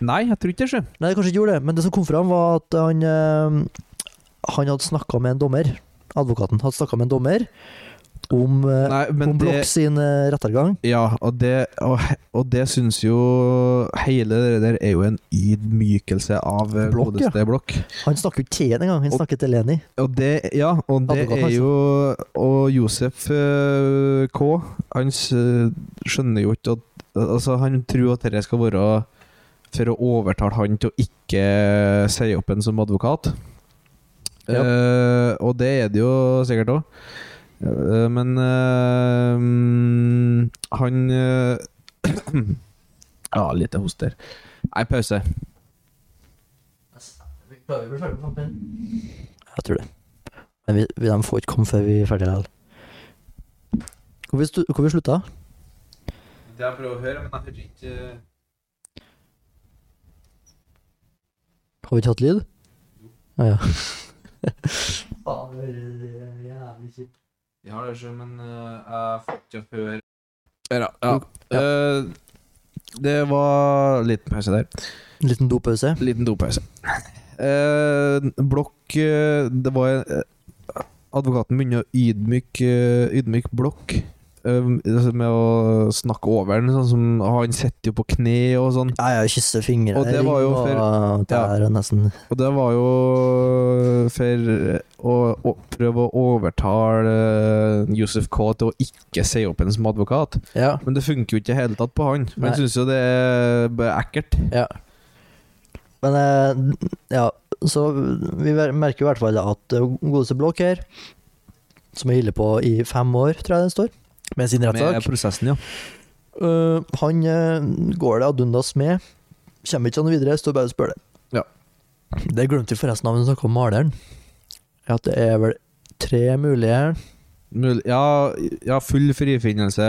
[SPEAKER 2] Nei, jeg tror ikke det, sjø.
[SPEAKER 1] Nei, det kanskje ikke gjorde det, men det som kom fram, var at han eh, Han hadde snakka med en dommer. Advokaten hadde snakka med en dommer om, eh,
[SPEAKER 2] Nei, men
[SPEAKER 1] om Blokk
[SPEAKER 2] det
[SPEAKER 1] sin eh, rettergang.
[SPEAKER 2] Ja, og det, og, og det syns jo Hele det der er jo en ydmykelse av eh,
[SPEAKER 1] Blokk, ja.
[SPEAKER 2] godeste blokk.
[SPEAKER 1] Han snakker jo ikke til henne engang, han
[SPEAKER 2] Og-
[SPEAKER 1] snakker til Leni.
[SPEAKER 2] Og det, ja, og det
[SPEAKER 1] Advokat,
[SPEAKER 2] er
[SPEAKER 1] altså.
[SPEAKER 2] jo Og Josef eh, K, han s- skjønner jo ikke at Altså, han tror at dette skal være for å overtale han til å ikke si opp en som advokat.
[SPEAKER 1] Ja.
[SPEAKER 2] Eh, og det er det jo sikkert òg. men eh, mm, han eh, Ja, litt host der. Nei, pause.
[SPEAKER 1] Jeg tror det. Men vi, vi, de får ikke komme før vi er ferdige likevel. Hvor vi, stu- hvor vi slutta?
[SPEAKER 2] Jeg prøver å høre, men jeg hører ikke
[SPEAKER 1] Har vi ikke hatt lyd? Ja, ja. Faen, det er jævlig kjipt.
[SPEAKER 2] Jeg har det sjøl, men eh, jeg får ikke høre Ja.
[SPEAKER 1] Ja.
[SPEAKER 2] Eh, det var en liten pause der.
[SPEAKER 1] Liten dopause.
[SPEAKER 2] Liten dopause. Eh, Blokk eh, Det var eh, Advokaten begynner å ydmyke eh, Ydmyke Blokk eh, altså med å snakke over den, sånn som Han sitter jo på kne og sånn.
[SPEAKER 1] Ja, ja, kysse fingre
[SPEAKER 2] Og det var jo
[SPEAKER 1] og Det
[SPEAKER 2] ja.
[SPEAKER 1] er nesten
[SPEAKER 2] Og det var jo for å, å prøve å overtale eh, Yusuf K til å ikke si opp henne som advokat.
[SPEAKER 1] Ja.
[SPEAKER 2] Men det funker jo ikke i det hele tatt på han.
[SPEAKER 1] Nei.
[SPEAKER 2] Han syns jo det er bare ekkelt.
[SPEAKER 1] ja. Men eh, ja, så vi ver- merker i hvert fall at eh, godeste Blokk her, som jeg holder på i fem år, tror jeg det står, med sin rettssak
[SPEAKER 2] Med prosessen, ja.
[SPEAKER 1] Eh, han eh, går det ad undas med. Kommer ikke han videre, står bare og spør det.
[SPEAKER 2] Ja.
[SPEAKER 1] Det glemte vi forresten av når vi snakket om maleren. At det er vel tre mulige
[SPEAKER 2] Mul ja, ja, full frifinnelse.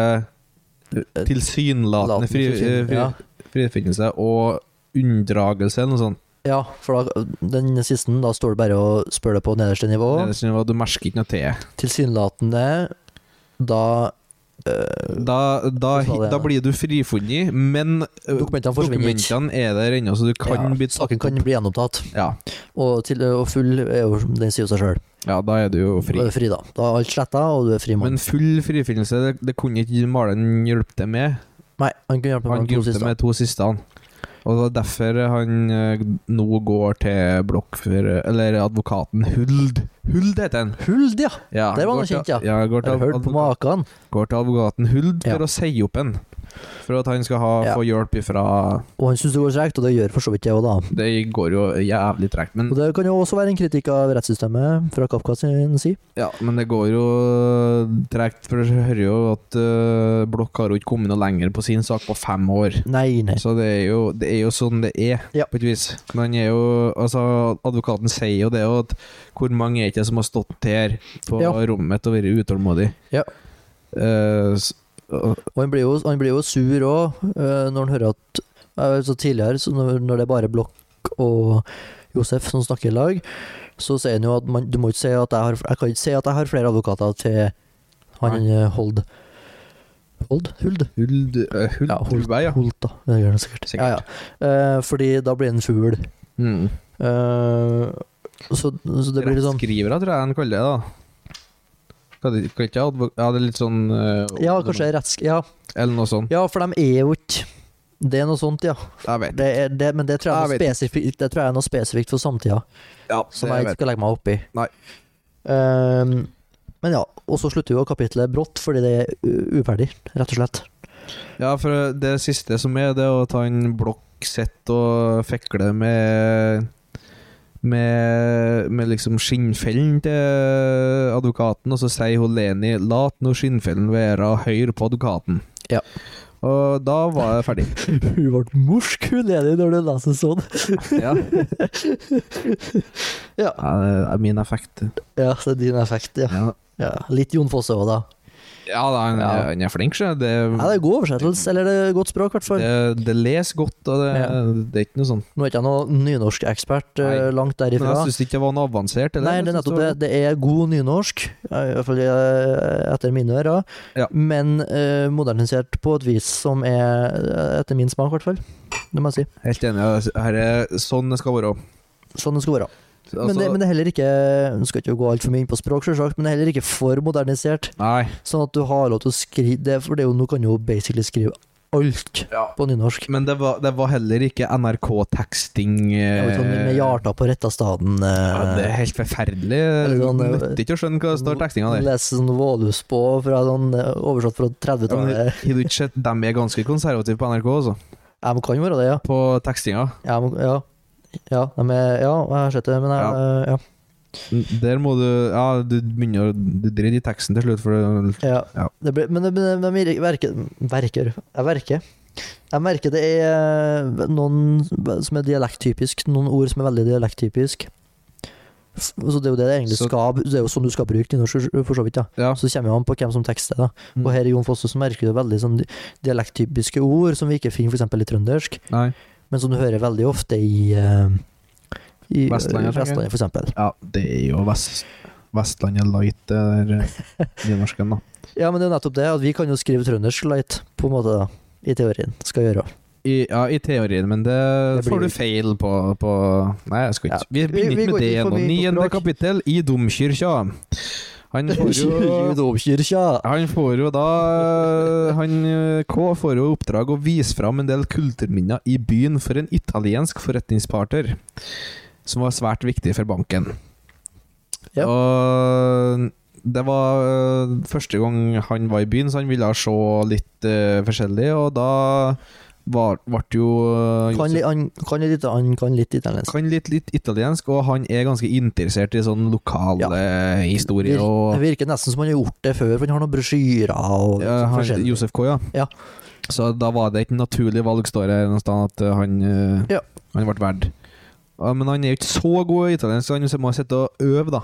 [SPEAKER 2] Tilsynelatende fri, eh,
[SPEAKER 1] Laten frifinnelse,
[SPEAKER 2] fri,
[SPEAKER 1] Eh, ja.
[SPEAKER 2] frifinnelse og unndragelse eller noe sånt.
[SPEAKER 1] Ja, for da, den siste, da står det bare og spør det på nederste nivå.
[SPEAKER 2] Det er sånn at Du merker ikke noe til.
[SPEAKER 1] Tilsynelatende da eh,
[SPEAKER 2] Da, da,
[SPEAKER 1] Hva sa det,
[SPEAKER 2] da
[SPEAKER 1] ja?
[SPEAKER 2] blir du frifunnet, men eh,
[SPEAKER 1] Dokumentene forsvinner ikke.
[SPEAKER 2] dokumentene er der ennå, så du kan
[SPEAKER 1] ja,
[SPEAKER 2] bli tatt
[SPEAKER 1] Saken kan
[SPEAKER 2] opp.
[SPEAKER 1] bli gjenopptatt.
[SPEAKER 2] Ja.
[SPEAKER 1] Og, til, og full er jo Den sier jo seg sjøl.
[SPEAKER 2] ja, da er du jo
[SPEAKER 1] Da
[SPEAKER 2] fri.
[SPEAKER 1] er du fri, da. Da er alt sletta, og du er fri mann.
[SPEAKER 2] Men full frifinnelse, det, det kunne ikke maleren hjelpe til med.
[SPEAKER 1] Nei, han kunne hjelpe meg
[SPEAKER 2] Han
[SPEAKER 1] med de to
[SPEAKER 2] hjelpte
[SPEAKER 1] siste.
[SPEAKER 2] med to siste. han. Og det er derfor han eh, nå går til blokk for Eller advokaten Huld. Huld heter han.
[SPEAKER 1] Huld, ja!
[SPEAKER 2] Ja,
[SPEAKER 1] Der var
[SPEAKER 2] går
[SPEAKER 1] han kjent,
[SPEAKER 2] til-
[SPEAKER 1] ja.
[SPEAKER 2] går,
[SPEAKER 1] Har
[SPEAKER 2] til
[SPEAKER 1] du hørt på
[SPEAKER 2] advokat,
[SPEAKER 1] maken?
[SPEAKER 2] går til advokaten Huld
[SPEAKER 1] Ja.
[SPEAKER 2] for å si opp en. For at han skal ha,
[SPEAKER 1] Ja.
[SPEAKER 2] få hjelp ifra
[SPEAKER 1] Og han syns det går tregt, og det gjør for så vidt jeg òg, da.
[SPEAKER 2] Det går jo jævlig tregt, men,
[SPEAKER 1] Og det kan jo også være en kritikk av rettssystemet fra Kafka sin side.
[SPEAKER 2] ja, men det går jo tregt. For jeg hører jo at eh, Blokk har jo ikke kommet noe lenger på sin sak på fem år.
[SPEAKER 1] Nei, nei.
[SPEAKER 2] Så det er, jo, det er jo sånn det er,
[SPEAKER 1] Ja.
[SPEAKER 2] på et vis. Men han er jo, altså, advokaten sier jo det, og at hvor mange er det ikke som har stått her på
[SPEAKER 1] Ja.
[SPEAKER 2] rommet mitt og vært utålmodig?
[SPEAKER 1] Ja.
[SPEAKER 2] Eh, s- og-
[SPEAKER 1] Og han blir jo, han blir jo sur òg, når han hører at eh, så Tidligere, så når, når det er bare Blokk og Josef som snakker i lag, så sier han jo at man, du må ikke si at jeg har Jeg kan ikke si at jeg har flere advokater til han eh, Hold. Hold? Huld?
[SPEAKER 2] Huld, eh, huld,
[SPEAKER 1] Ja, Huld.
[SPEAKER 2] Hulberg, ja.
[SPEAKER 1] Holt, da. Det gjør han sikkert.
[SPEAKER 2] Sikkert.
[SPEAKER 1] Ja, ja. Eh, fordi da blir han fugl.
[SPEAKER 2] Mm.
[SPEAKER 1] Eh, så, så det blir litt sånn
[SPEAKER 2] Rettskrivere, tror jeg han kaller det. da Kan det kan ikke jeg advo- Ja, det er litt sånn eh,
[SPEAKER 1] Ja, kanskje retts... Ja,
[SPEAKER 2] Eller noe sånt.
[SPEAKER 1] Ja, for de er jo ikke Det er noe sånt, ja.
[SPEAKER 2] Jeg vet
[SPEAKER 1] Det er, det, men det tror, jeg er
[SPEAKER 2] Jeg
[SPEAKER 1] noe spesifikt, det tror jeg er noe spesifikt for samtida,
[SPEAKER 2] Ja,
[SPEAKER 1] som
[SPEAKER 2] det
[SPEAKER 1] jeg
[SPEAKER 2] vet.
[SPEAKER 1] ikke skal legge meg opp i.
[SPEAKER 2] Nei.
[SPEAKER 1] Ehm, men ja, og så slutter jo kapitlet brått, fordi det er u- uferdig, rett og slett.
[SPEAKER 2] Ja, for det siste som er, det er å ta en blokk sett og fekle med med, med liksom skinnfellen til advokaten, og så sier hun Leni 'lat nå skinnfellen være høyre på advokaten'.
[SPEAKER 1] Ja.
[SPEAKER 2] Og da var jeg ferdig.
[SPEAKER 1] Hun ble morsk, hun Leni, når du leser sånn.
[SPEAKER 2] ja.
[SPEAKER 1] Ja.
[SPEAKER 2] det er min effekt.
[SPEAKER 1] Ja, så det er din effekt, ja.
[SPEAKER 2] Ja,
[SPEAKER 1] ja. Litt Jon Fosse òg, da.
[SPEAKER 2] ja da, han,
[SPEAKER 1] Ja.
[SPEAKER 2] han er flink, sjø. Det,
[SPEAKER 1] Ja, det er god oversettelse, eller det er godt språk, i hvert fall.
[SPEAKER 2] Mm. det, det leser godt, og det, det er ikke noe sånn
[SPEAKER 1] Nå er ikke jeg noen nynorskekspert eh,
[SPEAKER 2] Nei.
[SPEAKER 1] langt
[SPEAKER 2] Men
[SPEAKER 1] derifra.
[SPEAKER 2] jeg syns ikke det var noe avansert. eller?
[SPEAKER 1] Nei, det
[SPEAKER 2] Jeg
[SPEAKER 1] er
[SPEAKER 2] synes
[SPEAKER 1] nettopp det.
[SPEAKER 2] var-
[SPEAKER 1] Det er god nynorsk, ja, i hvert fall eh, etter mine ører,
[SPEAKER 2] Ja.
[SPEAKER 1] men eh, modernisert på et vis som er eh, etter min smak, i hvert fall. Det må jeg si.
[SPEAKER 2] Helt enig. altså, Her er sånn det skal være.
[SPEAKER 1] Sånn det skal være.
[SPEAKER 2] Altså,
[SPEAKER 1] men, det, men det er heller ikke Nå skal ikke gå altfor mye inn på språk, selvsagt, men det er heller ikke for modernisert.
[SPEAKER 2] Nei.
[SPEAKER 1] Sånn at du har lov til å skrive det, For det er jo, nå kan du jo basically skrive alt på nynorsk.
[SPEAKER 2] Men det var, det var heller ikke NRK-teksting
[SPEAKER 1] Det er jo sånn med hjarta på retta staden.
[SPEAKER 2] Eh. Ja, det er
[SPEAKER 1] Eh,
[SPEAKER 2] helt forferdelig.
[SPEAKER 1] Eller
[SPEAKER 2] Du
[SPEAKER 1] sånn, eh,
[SPEAKER 2] nytter ikke å skjønne hva det står i tekstinga der.
[SPEAKER 1] Leser sånn Våluspå fra sånn eh, oversatt fra
[SPEAKER 2] Ja, men
[SPEAKER 1] 30-tallet.
[SPEAKER 2] Har du ikke sett dem er ganske konservative på NRK, altså?
[SPEAKER 1] Ja, men kan være det, ja.
[SPEAKER 2] På tekstinga.
[SPEAKER 1] Ja, men, ja. Ja, nei, men, ja, jeg har sett det, men jeg, ja.
[SPEAKER 2] Der må du Ja, du begynner å Du driter i teksten til slutt, for det-
[SPEAKER 1] Ja,
[SPEAKER 2] Ja.
[SPEAKER 1] Det blir, men det, men det- men jeg verker, verker Jeg verker. Jeg merker det er eh, noen som er dialekttypisk, noen ord som er veldig dialekttypisk. F- Så det er jo det det egentlig
[SPEAKER 2] Så-
[SPEAKER 1] skal Det er jo sånn du skal bruke nynorsk, for så vidt, ja.
[SPEAKER 2] Ja.
[SPEAKER 1] Så det kommer jo an på hvem som tekster det. da.
[SPEAKER 2] Mm.
[SPEAKER 1] Og her i Jon Fosse så merker du veldig sånn di- dialekttypiske ord som vi ikke finner f.eks. i trøndersk,
[SPEAKER 2] Nei.
[SPEAKER 1] men som du hører veldig ofte i, eh, i eh,
[SPEAKER 2] Vestlandet, tenker jeg.
[SPEAKER 1] Vestlandet f.eks.
[SPEAKER 2] Ja, det er jo Vest... Vestlandet Light, det der eh, nynorsken, da.
[SPEAKER 1] Ja, men det er jo nettopp det, at vi kan jo skrive trøndersk light, på en måte, da. I teorien. Skal gjøre.
[SPEAKER 2] I, ja, i teorien, men det,
[SPEAKER 1] Det blir
[SPEAKER 2] får du
[SPEAKER 1] ikke.
[SPEAKER 2] feil på, på Nei, jeg skal ikke
[SPEAKER 1] Ja.
[SPEAKER 2] Vi
[SPEAKER 1] Vi-
[SPEAKER 2] begynner
[SPEAKER 1] vi
[SPEAKER 2] ikke
[SPEAKER 1] går
[SPEAKER 2] med det
[SPEAKER 1] ikke
[SPEAKER 2] nå.
[SPEAKER 1] forbi
[SPEAKER 2] Niende
[SPEAKER 1] språk.
[SPEAKER 2] kapittel i domkirka. Han får jo
[SPEAKER 1] Domkirka.
[SPEAKER 2] Han får jo da Han eh, K får jo i oppdrag å vise fram en del kulturminner i byen for en italiensk forretningspartner, som var svært viktig for banken.
[SPEAKER 1] Ja.
[SPEAKER 2] Og det var eh, første gang han var i byen, så han ville se litt eh, forskjellig, og da ble jo eh,
[SPEAKER 1] Kan, li, han, kan litt, han kan litt italiensk.
[SPEAKER 2] kan litt, litt italiensk, og han er ganske interessert i sånn lokale historier.
[SPEAKER 1] Vir-
[SPEAKER 2] og
[SPEAKER 1] Det virker nesten som han har gjort det før, for han har noen brosjyrer og
[SPEAKER 2] Ja,
[SPEAKER 1] sånn
[SPEAKER 2] han,
[SPEAKER 1] forskjellig.
[SPEAKER 2] Josef K, ja.
[SPEAKER 1] Ja.
[SPEAKER 2] Så da var det et naturlig valg, står det noe sted, at eh, han, eh,
[SPEAKER 1] Ja.
[SPEAKER 2] han ble verd. Ja, Men han er jo ikke så god i italiensk, så han må sitte og øve, da.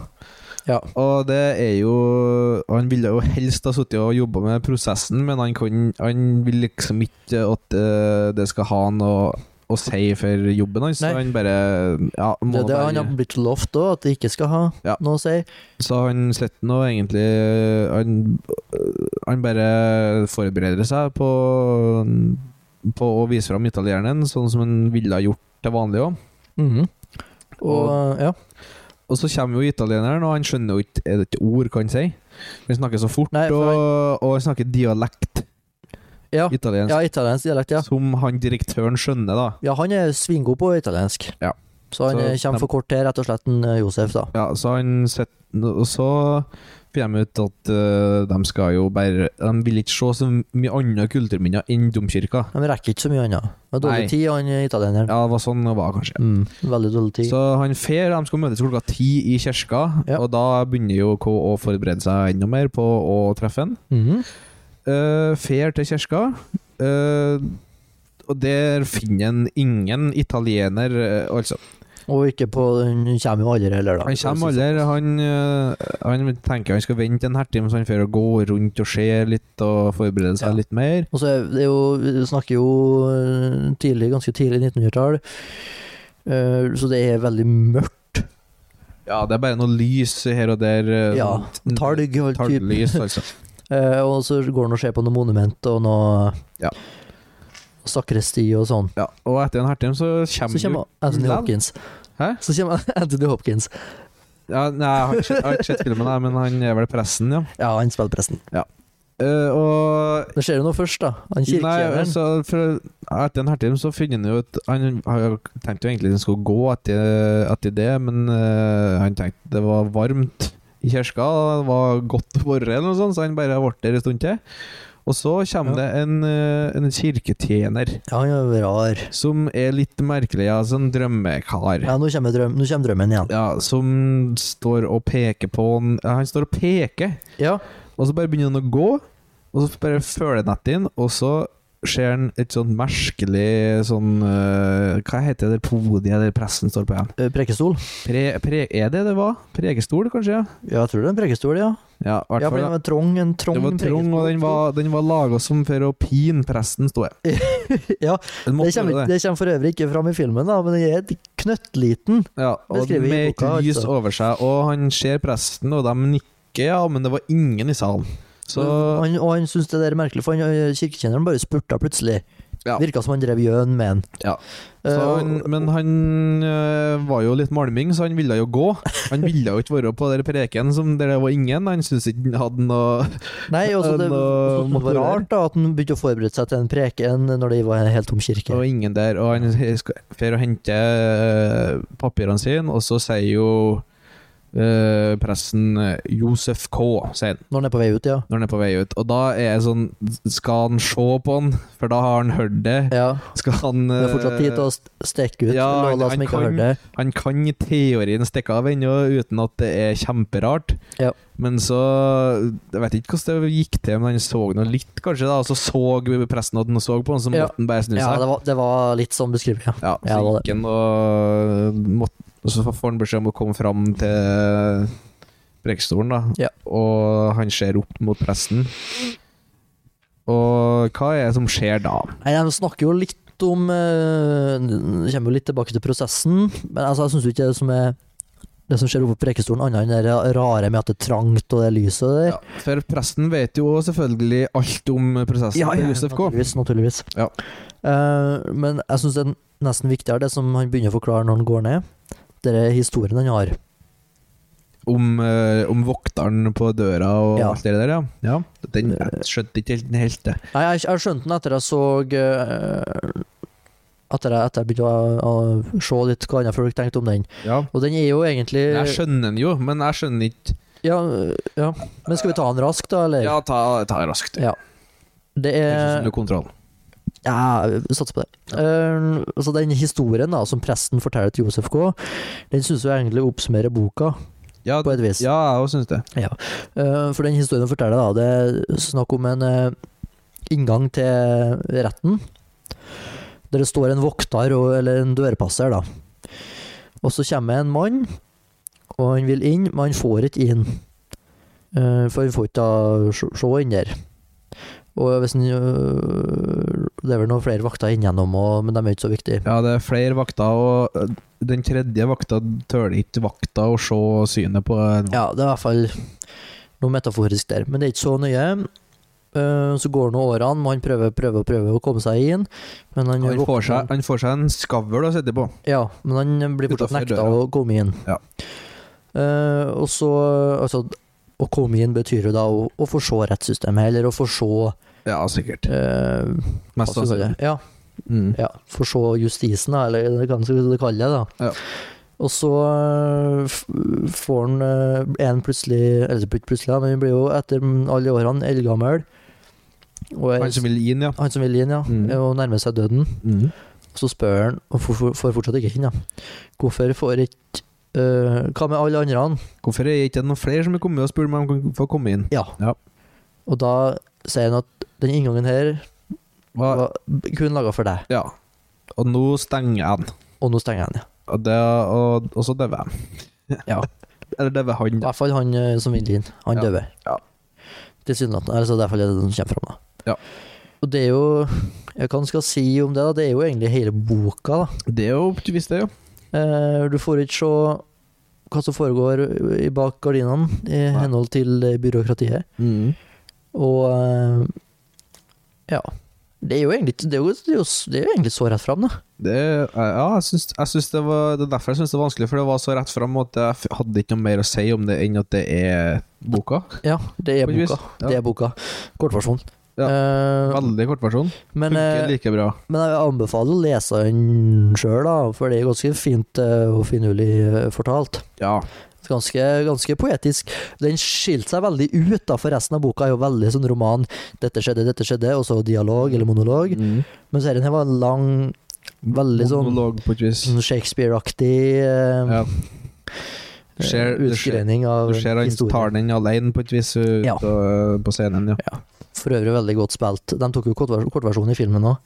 [SPEAKER 1] Ja.
[SPEAKER 2] Og det er jo Han ville jo helst ha sittet og jobba med prosessen, men han, kan, han vil liksom ikke at eh, det skal ha noe å si for jobben hans, så
[SPEAKER 1] Nei.
[SPEAKER 2] han bare ja, må
[SPEAKER 1] Det er det
[SPEAKER 2] bare-
[SPEAKER 1] han har blitt lovt òg, at det ikke skal ha
[SPEAKER 2] Ja.
[SPEAKER 1] noe å si.
[SPEAKER 2] så han sitter nå egentlig eh, han, eh, han bare forbereder seg på På å vise fram italieneren, sånn som han ville ha gjort til vanlig òg.
[SPEAKER 1] Mhm. Og ja.
[SPEAKER 2] Og så kommer jo italieneren, og han skjønner jo ikke er det ikke ord hva han sier. Han snakker så fort,
[SPEAKER 1] Nei, for
[SPEAKER 2] og, og han snakker dialekt
[SPEAKER 1] Ja.
[SPEAKER 2] italiensk,
[SPEAKER 1] ja, italiensk dialekt, ja.
[SPEAKER 2] som han direktøren skjønner, da.
[SPEAKER 1] Ja, han er svingod på italiensk.
[SPEAKER 2] Ja.
[SPEAKER 1] Så han
[SPEAKER 2] Så-
[SPEAKER 1] eh, kommer for kort til, rett og slett, en eh, Josef, da.
[SPEAKER 2] Ja, så han sett, Og så finner de ut at eh, de skal jo bare De vil ikke se så mye andre kulturminner enn domkirka.
[SPEAKER 1] Han rekker ikke så mye annet. Han har
[SPEAKER 2] Nei.
[SPEAKER 1] dårlig tid, han eh, italieneren.
[SPEAKER 2] Ja, det var sånn det var, kanskje.
[SPEAKER 1] Mm, veldig dårlig tid.
[SPEAKER 2] Så han fer, de skal møtes klokka ti i kirka,
[SPEAKER 1] Ja.
[SPEAKER 2] og da begynner jo K å forberede seg enda mer på å treffe han.
[SPEAKER 1] Mhm.
[SPEAKER 2] Eh, fer til kirka, eh, og der finner han ingen italiener, eh, altså.
[SPEAKER 1] Og ikke på Han kommer jo aldri heller, da.
[SPEAKER 2] Han kommer aldri,
[SPEAKER 1] altså.
[SPEAKER 2] han, eh, han tenker han skal vente en hertime, så han fer og går rundt og ser litt og forbereder seg
[SPEAKER 1] Ja.
[SPEAKER 2] litt mer.
[SPEAKER 1] Og så er det jo, vi snakker jo eh, tidlig, ganske tidlig 1900-tall, Eh, så det er veldig mørkt.
[SPEAKER 2] Ja, det er bare noe lys her og der. eh,
[SPEAKER 1] Ja,
[SPEAKER 2] sånn-
[SPEAKER 1] Talg og all type.
[SPEAKER 2] Talglys, altså.
[SPEAKER 1] Eh, Og så går han og ser på noen monument og noe
[SPEAKER 2] Ja.
[SPEAKER 1] og Sakresti og sånn.
[SPEAKER 2] Ja, og etter en hertime så
[SPEAKER 1] Så
[SPEAKER 2] kommer, jo-
[SPEAKER 1] kommer Anthony
[SPEAKER 2] Vel.
[SPEAKER 1] Hopkins.
[SPEAKER 2] Hæ?
[SPEAKER 1] Så kommer Anthony Hopkins.
[SPEAKER 2] Ja, nei, jeg har ikke, jeg har ikke sett filmen, nei, men han er vel pressen, ja.
[SPEAKER 1] Ja, han spiller presten.
[SPEAKER 2] Eh, og
[SPEAKER 1] Det skjer jo noe først, da. Han
[SPEAKER 2] Nei,
[SPEAKER 1] kirketjeneren.
[SPEAKER 2] altså, for etter en hertime så finner han jo ut Han har jo tenkt jo egentlig at han skulle gå etter, etter det, men eh, han tenkte det var varmt i kirka, og det var godt å være eller noe sånt, så han bare ble der en stund til. Og så kommer det en, eh, en kirketjener
[SPEAKER 1] Ja, han er rar.
[SPEAKER 2] som er litt merkelig, altså en drømmekar.
[SPEAKER 1] Ja, nå kommer, drøm, nå kommer drømmen igjen.
[SPEAKER 2] Ja, som står og peker på han ja, Han står og peker.
[SPEAKER 1] Ja.
[SPEAKER 2] Og så bare begynner han å gå, og så bare føler han etter inn, og så ser han et sånn merkelig sånn eh, Hva heter det podiet der pressen står på igjen?
[SPEAKER 1] eh, Prekestol.
[SPEAKER 2] Pre, pre, er det det var? Prekestol, kanskje? Ja,
[SPEAKER 1] Ja, jeg tror det er en prekestol, ja.
[SPEAKER 2] ja, i hvert
[SPEAKER 1] Ja, for
[SPEAKER 2] fall,
[SPEAKER 1] den
[SPEAKER 2] ja.
[SPEAKER 1] var trong. En trong
[SPEAKER 2] Det var trang, og den var, den var laga som for å pine presten, sto jeg.
[SPEAKER 1] prekestol. Ja,
[SPEAKER 2] Den
[SPEAKER 1] det
[SPEAKER 2] måtte
[SPEAKER 1] kommer,
[SPEAKER 2] gjøre
[SPEAKER 1] ikke-
[SPEAKER 2] det.
[SPEAKER 1] det kommer for øvrig ikke fram i filmen, da, men den er et knøttliten.
[SPEAKER 2] Ja, og
[SPEAKER 1] skriver vi i
[SPEAKER 2] med et
[SPEAKER 1] boka,
[SPEAKER 2] lys
[SPEAKER 1] altså.
[SPEAKER 2] over seg, og han ser presten, og de nikker, ja, men det var ingen i salen. Så
[SPEAKER 1] han, og han syntes det der er merkelig, for han, eh, kirketjeneren bare spurta plutselig.
[SPEAKER 2] Ja.
[SPEAKER 1] Virka som han drev gjøn med han.
[SPEAKER 2] Ja.
[SPEAKER 1] Eh,
[SPEAKER 2] Så han,
[SPEAKER 1] og-
[SPEAKER 2] men han øh, var jo litt malming, så han ville jo gå. Han ville jo ikke være på den preken som der det var ingen. Han syntes ikke han hadde noe
[SPEAKER 1] Nei, også det,
[SPEAKER 2] han,
[SPEAKER 1] også,
[SPEAKER 2] øh,
[SPEAKER 1] det var
[SPEAKER 2] motorer.
[SPEAKER 1] rart da at han begynte å forberede seg til en preken når det var en helt tom
[SPEAKER 2] Det
[SPEAKER 1] kirke.
[SPEAKER 2] var ingen der. Og han drar og henter øh, papirene sine, og så sier jo øh, pressen øh, Josef K, sier han,
[SPEAKER 1] Når han er på vei ut, ja.
[SPEAKER 2] når han er på vei ut. Og da er jeg sånn Skal han se på han? For da har han hørt det.
[SPEAKER 1] ja.
[SPEAKER 2] Skal han
[SPEAKER 1] Det er fortsatt tid
[SPEAKER 2] øh,
[SPEAKER 1] til å st- stikke ut.
[SPEAKER 2] ja,
[SPEAKER 1] la la oss
[SPEAKER 2] han
[SPEAKER 1] som ikke
[SPEAKER 2] kan-
[SPEAKER 1] har hørt det.
[SPEAKER 2] Han kan i teorien stikke av ennå, uten at det er kjemperart.
[SPEAKER 1] Ja.
[SPEAKER 2] Men så Jeg vet ikke hvordan det gikk til, men han så noe litt, kanskje, da og så så presten at han så på han, så
[SPEAKER 1] Ja.
[SPEAKER 2] måtte han bare snu seg.
[SPEAKER 1] Ja, det var, det var litt sånn beskrevet, ja.
[SPEAKER 2] Ja, så
[SPEAKER 1] Ja, det var
[SPEAKER 2] gikk han og måtte, og Så får han beskjed om å komme fram til prekestolen, da.
[SPEAKER 1] Ja.
[SPEAKER 2] Og han ser opp mot presten. Og hva er det som skjer da?
[SPEAKER 1] Nei, jeg snakker jo litt om eh, Kommer jo litt tilbake til prosessen, men altså, jeg syns ikke det som er det som skjer oppe på prekestolen, annet enn det der rare med at det er trangt og det lyset der.
[SPEAKER 2] Ja, for presten vet jo selvfølgelig alt om prosessen til altså, Josef K.
[SPEAKER 1] Naturligvis. naturligvis.
[SPEAKER 2] Ja.
[SPEAKER 1] Eh, men jeg syns det er nesten viktigere det som han begynner å forklare når han går ned. Det er historien han har.
[SPEAKER 2] Om, eh, om vokteren på døra og
[SPEAKER 1] Ja.
[SPEAKER 2] alt det der, ja. ja. Den jeg skjønte ikke helt den helt, det.
[SPEAKER 1] Nei, jeg, jeg skjønte den etter jeg så eh, etter, jeg, etter jeg begynte å, å se litt hva andre folk tenkte om den.
[SPEAKER 2] Ja.
[SPEAKER 1] Og den er jo egentlig
[SPEAKER 2] Jeg skjønner den jo, men jeg skjønner ikke
[SPEAKER 1] ja, ja. Men skal vi ta den raskt, da, eller?
[SPEAKER 2] Ja, ta, ta det raskt.
[SPEAKER 1] Ja. Det
[SPEAKER 2] Ikke så
[SPEAKER 1] er
[SPEAKER 2] mye kontroll.
[SPEAKER 1] Ja, vi satser på det. Eh, altså Den historien da som presten forteller til Josef K., den syns jeg egentlig oppsummerer boka,
[SPEAKER 2] Ja,
[SPEAKER 1] på et vis.
[SPEAKER 2] ja jeg òg syns det.
[SPEAKER 1] Eh, for den historien han forteller, da, det er snakk om en eh, inngang til retten. Der det står en vokter, og, eller en dørpasser, da. Og så kommer en mann, og han vil inn, men han får ikke inn. Eh, for han får ikke da se se inn der. Og hvis han, øh, det er vel noen flere vakter inngjennom, og, men de er ikke så viktige.
[SPEAKER 2] Ja, det er flere vakter, og øh, den tredje vakta tøler ikke vakta å se synet på en vakt.
[SPEAKER 1] Ja, det er i hvert fall noe metaforisk der, men det er ikke så nøye. Eh, Så går nå årene, og han prøver prøver og prøver å komme seg inn. Men han,
[SPEAKER 2] Han får, seg,
[SPEAKER 1] våkner-
[SPEAKER 2] han får seg en skavl å sitte på.
[SPEAKER 1] Ja, men han blir fortsatt
[SPEAKER 2] Utenfor
[SPEAKER 1] nekta
[SPEAKER 2] døra.
[SPEAKER 1] å komme inn.
[SPEAKER 2] Ja.
[SPEAKER 1] Eh, og så Altså, å komme inn betyr jo da å, å få se rettssystemet, eller å få se
[SPEAKER 2] Ja, sikkert.
[SPEAKER 1] eh, hva
[SPEAKER 2] Mest
[SPEAKER 1] skal vi kalle
[SPEAKER 2] sannsynlig.
[SPEAKER 1] det? Ja,
[SPEAKER 2] Mm.
[SPEAKER 1] ja, for så justisen, da, eller hva man skal kalle det. da.
[SPEAKER 2] Ja.
[SPEAKER 1] Og så øh, f- får han øh, er han plutselig Eller ikke plutselig, da, men han blir jo etter alle årene eldgammel. Og er,
[SPEAKER 2] Han som vil inn, ja.
[SPEAKER 1] han som vil inn, ja.
[SPEAKER 2] Mm.
[SPEAKER 1] Og nærmer seg døden.
[SPEAKER 2] Mm.
[SPEAKER 1] Og så spør han, og får- får får fortsatt ikke inn, da. Hvorfor får ikke øh, Hva med alle andre?
[SPEAKER 2] Hvorfor er det ikke noen flere som har kommet og spurt meg om jeg kan få komme inn?
[SPEAKER 1] Ja.
[SPEAKER 2] Ja.
[SPEAKER 1] Og da sier han at den inngangen her
[SPEAKER 2] Hva?
[SPEAKER 1] var kun laga for deg,
[SPEAKER 2] Ja. Og nå stenger jeg den.
[SPEAKER 1] og nå stenger jeg den. ja.
[SPEAKER 2] Og, det, og, og så dauer jeg.
[SPEAKER 1] Ja.
[SPEAKER 2] Eller dauer han.
[SPEAKER 1] I
[SPEAKER 2] da.
[SPEAKER 1] hvert fall han eh, som vil inn. Han
[SPEAKER 2] Ja.
[SPEAKER 1] døver.
[SPEAKER 2] Ja.
[SPEAKER 1] Tilsynelatende. Eller så er det derfor det er det som kommer fram. Da.
[SPEAKER 2] Ja.
[SPEAKER 1] Og det er jo ja, Hva man skal si om det? da, Det er jo egentlig hele boka. da.
[SPEAKER 2] Det er jo optimist, det, jo.
[SPEAKER 1] Eh, du får ikke se hva som foregår i bak gardinene i
[SPEAKER 2] Nei.
[SPEAKER 1] henhold til eh, byråkratiet. Og eh, ja. Det er jo egentlig, det er jo, det er jo, det er jo egentlig så rett fram, da.
[SPEAKER 2] Det, ja, jeg syns, jeg syns det var Det er derfor jeg syns det er vanskelig, for det var så rett fram at jeg f- hadde ikke noe mer å si om det enn at det er boka.
[SPEAKER 1] Ja, det er
[SPEAKER 2] På et vis,
[SPEAKER 1] boka.
[SPEAKER 2] ja.
[SPEAKER 1] Det er boka. Kortversjon.
[SPEAKER 2] Ja.
[SPEAKER 1] Eh,
[SPEAKER 2] Veldig kortversjon.
[SPEAKER 1] men eh,
[SPEAKER 2] Funker like bra.
[SPEAKER 1] Men jeg anbefaler å lese den sjøl, da, for det er ganske fint eh, og finurlig eh, fortalt.
[SPEAKER 2] Ja.
[SPEAKER 1] Ganske, ganske poetisk. Den skilte seg veldig ut, da, for resten av boka er jo veldig sånn roman 'dette skjedde, dette skjedde', og så dialog eller monolog.
[SPEAKER 2] Mm.
[SPEAKER 1] Men serien her var lang, veldig sånn-
[SPEAKER 2] Monolog på et vis.
[SPEAKER 1] sånn Shakespeare-aktig eh,
[SPEAKER 2] Ja. Du
[SPEAKER 1] eh,
[SPEAKER 2] ser- du ser-
[SPEAKER 1] utgreining av
[SPEAKER 2] Du ser han tar
[SPEAKER 1] historien.
[SPEAKER 2] den alene på et vis ut
[SPEAKER 1] Ja.
[SPEAKER 2] og- på scenen, ja.
[SPEAKER 1] For øvrig veldig godt spilt. De tok jo kortvers- kortversjonen i filmen òg,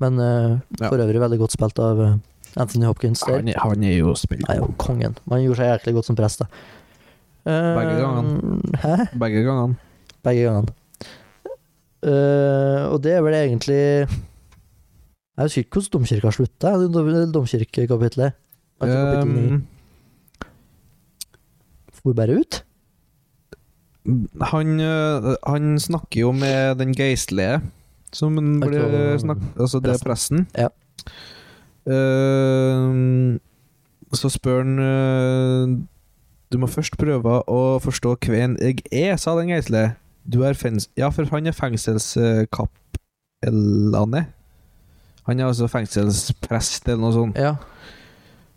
[SPEAKER 1] men eh,
[SPEAKER 2] Ja.
[SPEAKER 1] for øvrig veldig godt spilt av eh, Anthony Hopkins. Der.
[SPEAKER 2] Han, er- han er jo spilt
[SPEAKER 1] Nei, jo, kongen. Man gjorde seg jæklig godt som prest, da. Eh,
[SPEAKER 2] Begge gangene.
[SPEAKER 1] Hæ?
[SPEAKER 2] begge gangene.
[SPEAKER 1] Begge gangene. Eh, og det er vel egentlig Jeg husker ikke hvordan domkirka slutta, det dom- domkirkekapitlet. Altså kapittel ni.
[SPEAKER 2] Um,
[SPEAKER 1] For bare ut?
[SPEAKER 2] han, øh, han snakker jo med den geistlige, som han
[SPEAKER 1] Jeg
[SPEAKER 2] blir
[SPEAKER 1] tror-
[SPEAKER 2] snakk... Altså, det er presten.
[SPEAKER 1] Ja.
[SPEAKER 2] Um, så spør han øh, Du må først prøve å forstå hvem jeg er, sa den geistlige. Du er fens... Ja, for han er fengselskappellane. Han er altså fengselsprest, eller noe sånt.
[SPEAKER 1] Ja.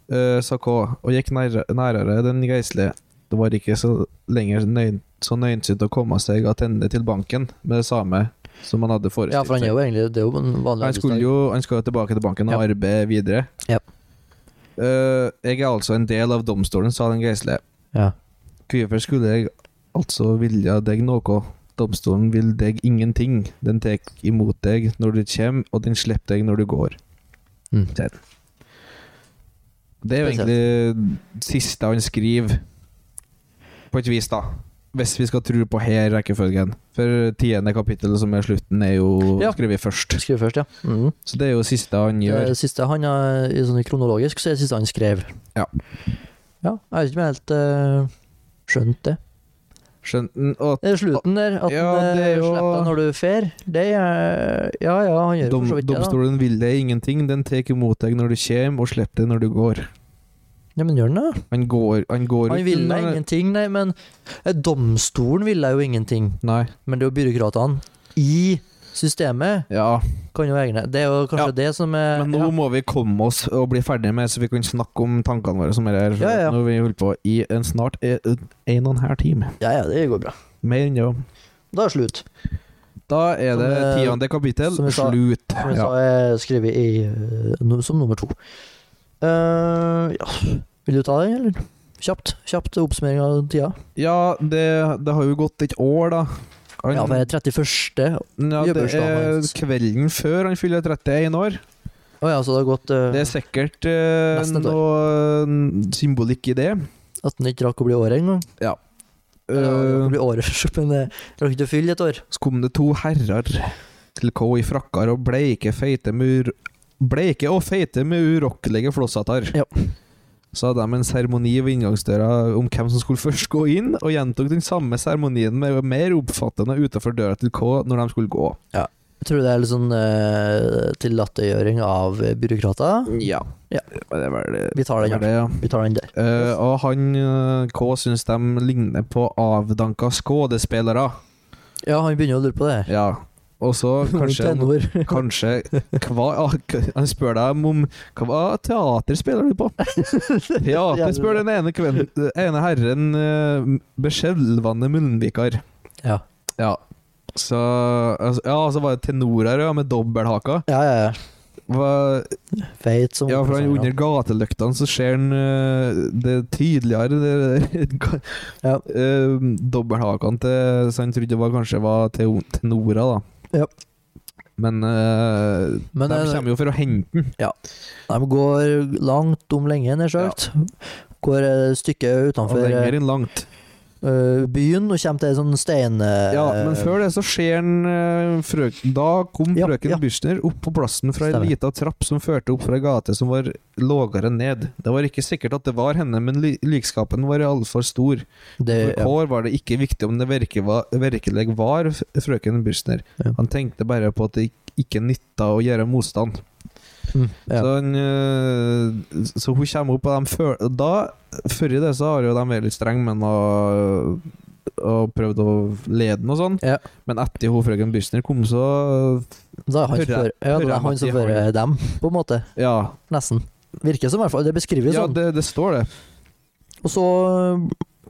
[SPEAKER 2] Eh, sa K, og gikk nærere, nærere den geistlige. Det var ikke så lenger nøyn, så nøynsynlig å komme seg attende til banken med det samme som han hadde
[SPEAKER 1] ja,
[SPEAKER 2] forestilt
[SPEAKER 1] for han er jo egentlig Det er jo en vanlig
[SPEAKER 2] han skulle
[SPEAKER 1] arbeidsdag.
[SPEAKER 2] jo han skal jo tilbake til banken og
[SPEAKER 1] Ja.
[SPEAKER 2] arbeide videre.
[SPEAKER 1] Ja.
[SPEAKER 2] Eh, jeg er altså en del av domstolen, sa den geistlige.
[SPEAKER 1] Ja.
[SPEAKER 2] Hvorfor skulle jeg altså vilja deg noe? Domstolen vil deg ingenting. Den tar imot deg når du kommer, og den slipper deg når du går.
[SPEAKER 1] Mm.
[SPEAKER 2] Det er jo
[SPEAKER 1] Spesielt.
[SPEAKER 2] egentlig det siste han skriver, på et vis, da. Hvis vi skal tro på her rekkefølgen. For tiende kapittel, som er slutten, er jo
[SPEAKER 1] Ja.
[SPEAKER 2] skrevet først.
[SPEAKER 1] Skrev først, ja. Mhm.
[SPEAKER 2] Så det er jo siste han
[SPEAKER 1] Det
[SPEAKER 2] gjør.
[SPEAKER 1] siste han eh, i sånn kronologisk, så er det siste han skrev.
[SPEAKER 2] Ja.
[SPEAKER 1] Ja, jeg vet ikke om jeg helt eh, skjønt det.
[SPEAKER 2] Skjønt den og
[SPEAKER 1] Det er slutten der, at
[SPEAKER 2] Ja,
[SPEAKER 1] han
[SPEAKER 2] det er jo-
[SPEAKER 1] slipper deg når du fer. Det er Ja ja, han gjør
[SPEAKER 2] dom,
[SPEAKER 1] for så vidt det, da.
[SPEAKER 2] Domstolen vil deg ingenting, den tar imot deg når du kommer, og slipper deg når du går.
[SPEAKER 1] Ja, men gjør han det?
[SPEAKER 2] Han går, han går
[SPEAKER 1] Han ville deg ingenting, nei, men eh, Domstolen ville jo ingenting.
[SPEAKER 2] Nei.
[SPEAKER 1] Men det er jo byråkratene i systemet
[SPEAKER 2] Ja,
[SPEAKER 1] kan jo egne Det er jo kanskje
[SPEAKER 2] Ja,
[SPEAKER 1] det som er
[SPEAKER 2] men nå må vi komme oss og bli ferdig med, så vi kan snakke om tankene våre som er her. for
[SPEAKER 1] Ja, ja, ja.
[SPEAKER 2] Nå har vi holdt på i en snart en, en og en halv time.
[SPEAKER 1] ja, ja, det går bra.
[SPEAKER 2] Mer enn det.
[SPEAKER 1] Da er det slutt.
[SPEAKER 2] Da er
[SPEAKER 1] Som,
[SPEAKER 2] det
[SPEAKER 1] eh,
[SPEAKER 2] tiende kapittel.
[SPEAKER 1] som vi sa-
[SPEAKER 2] Slutt.
[SPEAKER 1] Som jeg
[SPEAKER 2] Ja.
[SPEAKER 1] sa, jeg er skrevet i, eh, nu- som nummer to. Eh, ja. Vil du ta den, eller? Kjapt. Kjapt oppsummering av tida.
[SPEAKER 2] ja, det, det har jo gått et år, da. Han-
[SPEAKER 1] Ja, for jeg er 31.
[SPEAKER 2] ja, det
[SPEAKER 1] jubileumsdagen
[SPEAKER 2] er
[SPEAKER 1] hans.
[SPEAKER 2] kvelden før han fyller 31 år.
[SPEAKER 1] Å ja, så det har gått eh,
[SPEAKER 2] Det er sikkert eh,
[SPEAKER 1] Nesten et år.
[SPEAKER 2] noe eh, symbolikk i det.
[SPEAKER 1] at den ikke rakk å bli året engang. Eller, ja, det rakk å
[SPEAKER 2] Eh,
[SPEAKER 1] bli året, men jeg rakk ikke å fylle et år.
[SPEAKER 2] så kom det to herrer til K i frakker og bleike, feite mur... Bleike og feite med urokkelige flosshatter.
[SPEAKER 1] Ja.
[SPEAKER 2] Så hadde de en seremoni ved inngangsdøra om hvem som skulle først gå inn, og gjentok den samme seremonien med mer oppfattende utenfor døra til K når de skulle gå.
[SPEAKER 1] Jeg tror det er litt sånn uh, tillattegjøring av eh, byråkrater.
[SPEAKER 2] Ja.
[SPEAKER 1] Ja.
[SPEAKER 2] Det er vel det.
[SPEAKER 1] Vi tar den,
[SPEAKER 2] Det er
[SPEAKER 1] her.
[SPEAKER 2] det, ja.
[SPEAKER 1] Vi tar den der.
[SPEAKER 2] Eh, og han eh, K syns de ligner på avdanka skådespillere.
[SPEAKER 1] Ja, han begynner å lure på det her.
[SPEAKER 2] Ja. Og så kanskje om-
[SPEAKER 1] Tenår.
[SPEAKER 2] Kanskje hva, ah, k- Han spør deg om- om Hva teater spiller du på? Teater spør den ene, kven, ene herren uh, beskjelvende munnvikar.
[SPEAKER 1] Ja.
[SPEAKER 2] Ja. Så altså, Ja, så var det tenorer ja, med dobbelthaka.
[SPEAKER 1] ja, ja, ja.
[SPEAKER 2] Hva-
[SPEAKER 1] Feit som
[SPEAKER 2] Ja, for han under gateløktene så ser han eh, det tydeligere det, det,
[SPEAKER 1] Ja.
[SPEAKER 2] eh, Dobbelthakene til Så han trodde det var, kanskje var teo- tenorer, da.
[SPEAKER 1] Ja.
[SPEAKER 2] Men eh,
[SPEAKER 1] Men
[SPEAKER 2] de
[SPEAKER 1] eh,
[SPEAKER 2] kommer jo for å hente den.
[SPEAKER 1] De går langt om lenge, nær sagt. Går et stykke utenfor
[SPEAKER 2] lenger enn langt.
[SPEAKER 1] eh, byen og kommer til en sånn stein... eh,
[SPEAKER 2] Ja, men før det så ser han eh, frøk, Da kom
[SPEAKER 1] Ja,
[SPEAKER 2] frøken
[SPEAKER 1] ja.
[SPEAKER 2] Büchner opp på plassen fra ei
[SPEAKER 1] Stemmer.
[SPEAKER 2] lita trapp som førte opp fra ei gate som var lågere ned. Det var ikke sikkert at det var henne, men li likskapen var altfor stor.
[SPEAKER 1] det,
[SPEAKER 2] For
[SPEAKER 1] ja.
[SPEAKER 2] Kår var det ikke viktig om det virke var, virkelig var f- frøken Büchner.
[SPEAKER 1] Ja.
[SPEAKER 2] Han tenkte bare på at det ikk- ikke nytta å gjøre motstand.
[SPEAKER 1] Mm, ja.
[SPEAKER 2] Så, han, eh, så hun kommer opp, og de føler og da, Før i det så har jo de vært litt strenge, men og, og prøvd å lede den og sånn.
[SPEAKER 1] Ja.
[SPEAKER 2] Men etter hun frøken Büchner kom, så
[SPEAKER 1] Da er han som
[SPEAKER 2] hører
[SPEAKER 1] fører
[SPEAKER 2] jeg-
[SPEAKER 1] ja,
[SPEAKER 2] hører
[SPEAKER 1] da
[SPEAKER 2] jeg
[SPEAKER 1] er han som
[SPEAKER 2] at de har-
[SPEAKER 1] fører dem, på en måte.
[SPEAKER 2] Ja,
[SPEAKER 1] Nesten. Virker som, i hvert fall. Det beskrives
[SPEAKER 2] ja
[SPEAKER 1] sånn.
[SPEAKER 2] det, det står det.
[SPEAKER 1] Og så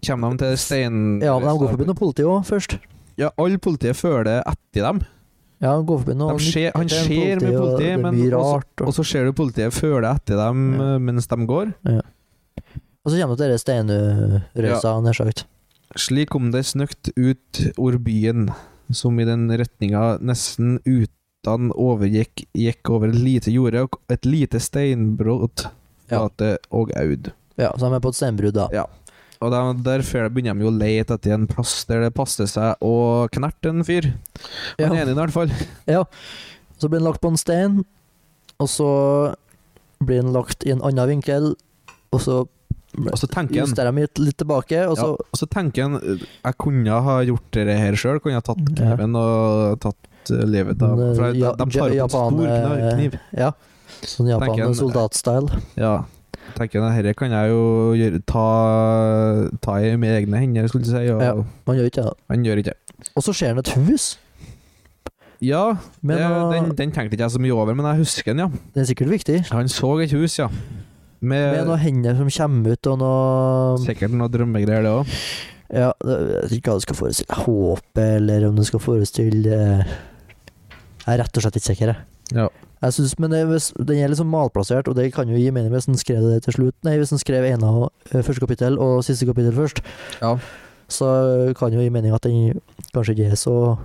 [SPEAKER 2] Kommer de til stein...
[SPEAKER 1] Ja, men de går forbi noe politi òg, først.
[SPEAKER 2] Ja, alle politiet følger det etter dem.
[SPEAKER 1] Ja, de går forbi noe
[SPEAKER 2] De skjer- han
[SPEAKER 1] det er en
[SPEAKER 2] skjer med
[SPEAKER 1] og
[SPEAKER 2] politi,
[SPEAKER 1] det er
[SPEAKER 2] men
[SPEAKER 1] mye
[SPEAKER 2] også-
[SPEAKER 1] rart,
[SPEAKER 2] Og
[SPEAKER 1] og,
[SPEAKER 2] så ser du politiet følger det etter dem
[SPEAKER 1] Ja.
[SPEAKER 2] eh, mens de går.
[SPEAKER 1] og så kommer det disse steinrøysa, nær sagt.
[SPEAKER 2] Slik kom det snøkt ut over byen, som i den retninga nesten utan overgikk gikk over et lite jorde og et lite steinbrott,
[SPEAKER 1] Ja.
[SPEAKER 2] flate og aud.
[SPEAKER 1] Ja, så de er på et steinbrudd, da.
[SPEAKER 2] Ja. Og der, der før begynner de jo å lete etter en plass der det passer seg å knerte en fyr. Han
[SPEAKER 1] Ja.
[SPEAKER 2] ene i hvert fall.
[SPEAKER 1] Så blir den lagt på en stein, og så blir den lagt i en annen vinkel, og så
[SPEAKER 2] Og så tenker han
[SPEAKER 1] justerer de litt, litt tilbake, og
[SPEAKER 2] ja,
[SPEAKER 1] så
[SPEAKER 2] og så tenker han Jeg kunne ha gjort det her sjøl, kunne ha tatt
[SPEAKER 1] Ja.
[SPEAKER 2] kniven og tatt eh, livet av
[SPEAKER 1] Men, eh,
[SPEAKER 2] For de,
[SPEAKER 1] ja-
[SPEAKER 2] de tar
[SPEAKER 1] ja-
[SPEAKER 2] jo på en stor
[SPEAKER 1] Japan, eh,
[SPEAKER 2] kniv. kniv.
[SPEAKER 1] Ja. Sånn
[SPEAKER 2] Tenker
[SPEAKER 1] Japan
[SPEAKER 2] en-
[SPEAKER 1] soldatstyle.
[SPEAKER 2] Ja. Tenker jeg, Dette kan jeg jo gjøre, ta, ta i med egne hender, skulle du si. Og
[SPEAKER 1] Ja. Man gjør ikke det.
[SPEAKER 2] Han gjør ikke det.
[SPEAKER 1] Og så ser han et hus.
[SPEAKER 2] Ja,
[SPEAKER 1] Men
[SPEAKER 2] det,
[SPEAKER 1] eh,
[SPEAKER 2] den, den tenkte ikke jeg så mye over, men jeg husker den, ja.
[SPEAKER 1] det er sikkert viktig.
[SPEAKER 2] Han så et hus, ja. Med,
[SPEAKER 1] Med noen hender som kommer ut, og noe
[SPEAKER 2] sikkert noen drømmegreier, det òg.
[SPEAKER 1] Ja, det- jeg vet ikke hva det skal forestille. Håpet, eller om det skal forestille eh, Jeg er rett og slett ikke sikker, jeg.
[SPEAKER 2] Ja.
[SPEAKER 1] Jeg synes, men det, hvis, den er liksom malplassert, og det kan jo gi mening hvis den skrev det til slutt. Nei, hvis den skrev ene av eh, første kapittel og siste kapittel først,
[SPEAKER 2] Ja.
[SPEAKER 1] så kan jo gi mening at den kanskje ikke er så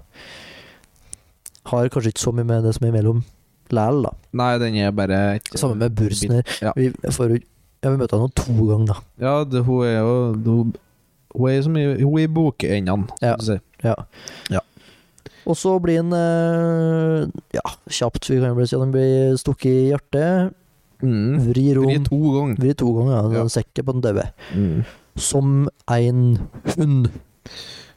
[SPEAKER 1] Har kanskje ikke så mye med det som er imellom læl, da.
[SPEAKER 2] Nei, den er bare et-
[SPEAKER 1] Samme med Bursner.
[SPEAKER 2] Ja.
[SPEAKER 1] Vi, får, jo- ja, vi møtte han jo to ganger, da.
[SPEAKER 2] Ja, det, hun er jo Hun, hun er jo som i, hun er i bokendene.
[SPEAKER 1] Ja.
[SPEAKER 2] skal du si.
[SPEAKER 1] Og så blir han eh, Ja, kjapt, vi kan jo bare si at han blir stukket i hjertet.
[SPEAKER 2] Mm.
[SPEAKER 1] Vrir
[SPEAKER 2] Fri
[SPEAKER 1] om.
[SPEAKER 2] to ganger.
[SPEAKER 1] Vrir to ganger, ja. Det
[SPEAKER 2] Ja.
[SPEAKER 1] er Sekke på den daue. Mm. Som en hund.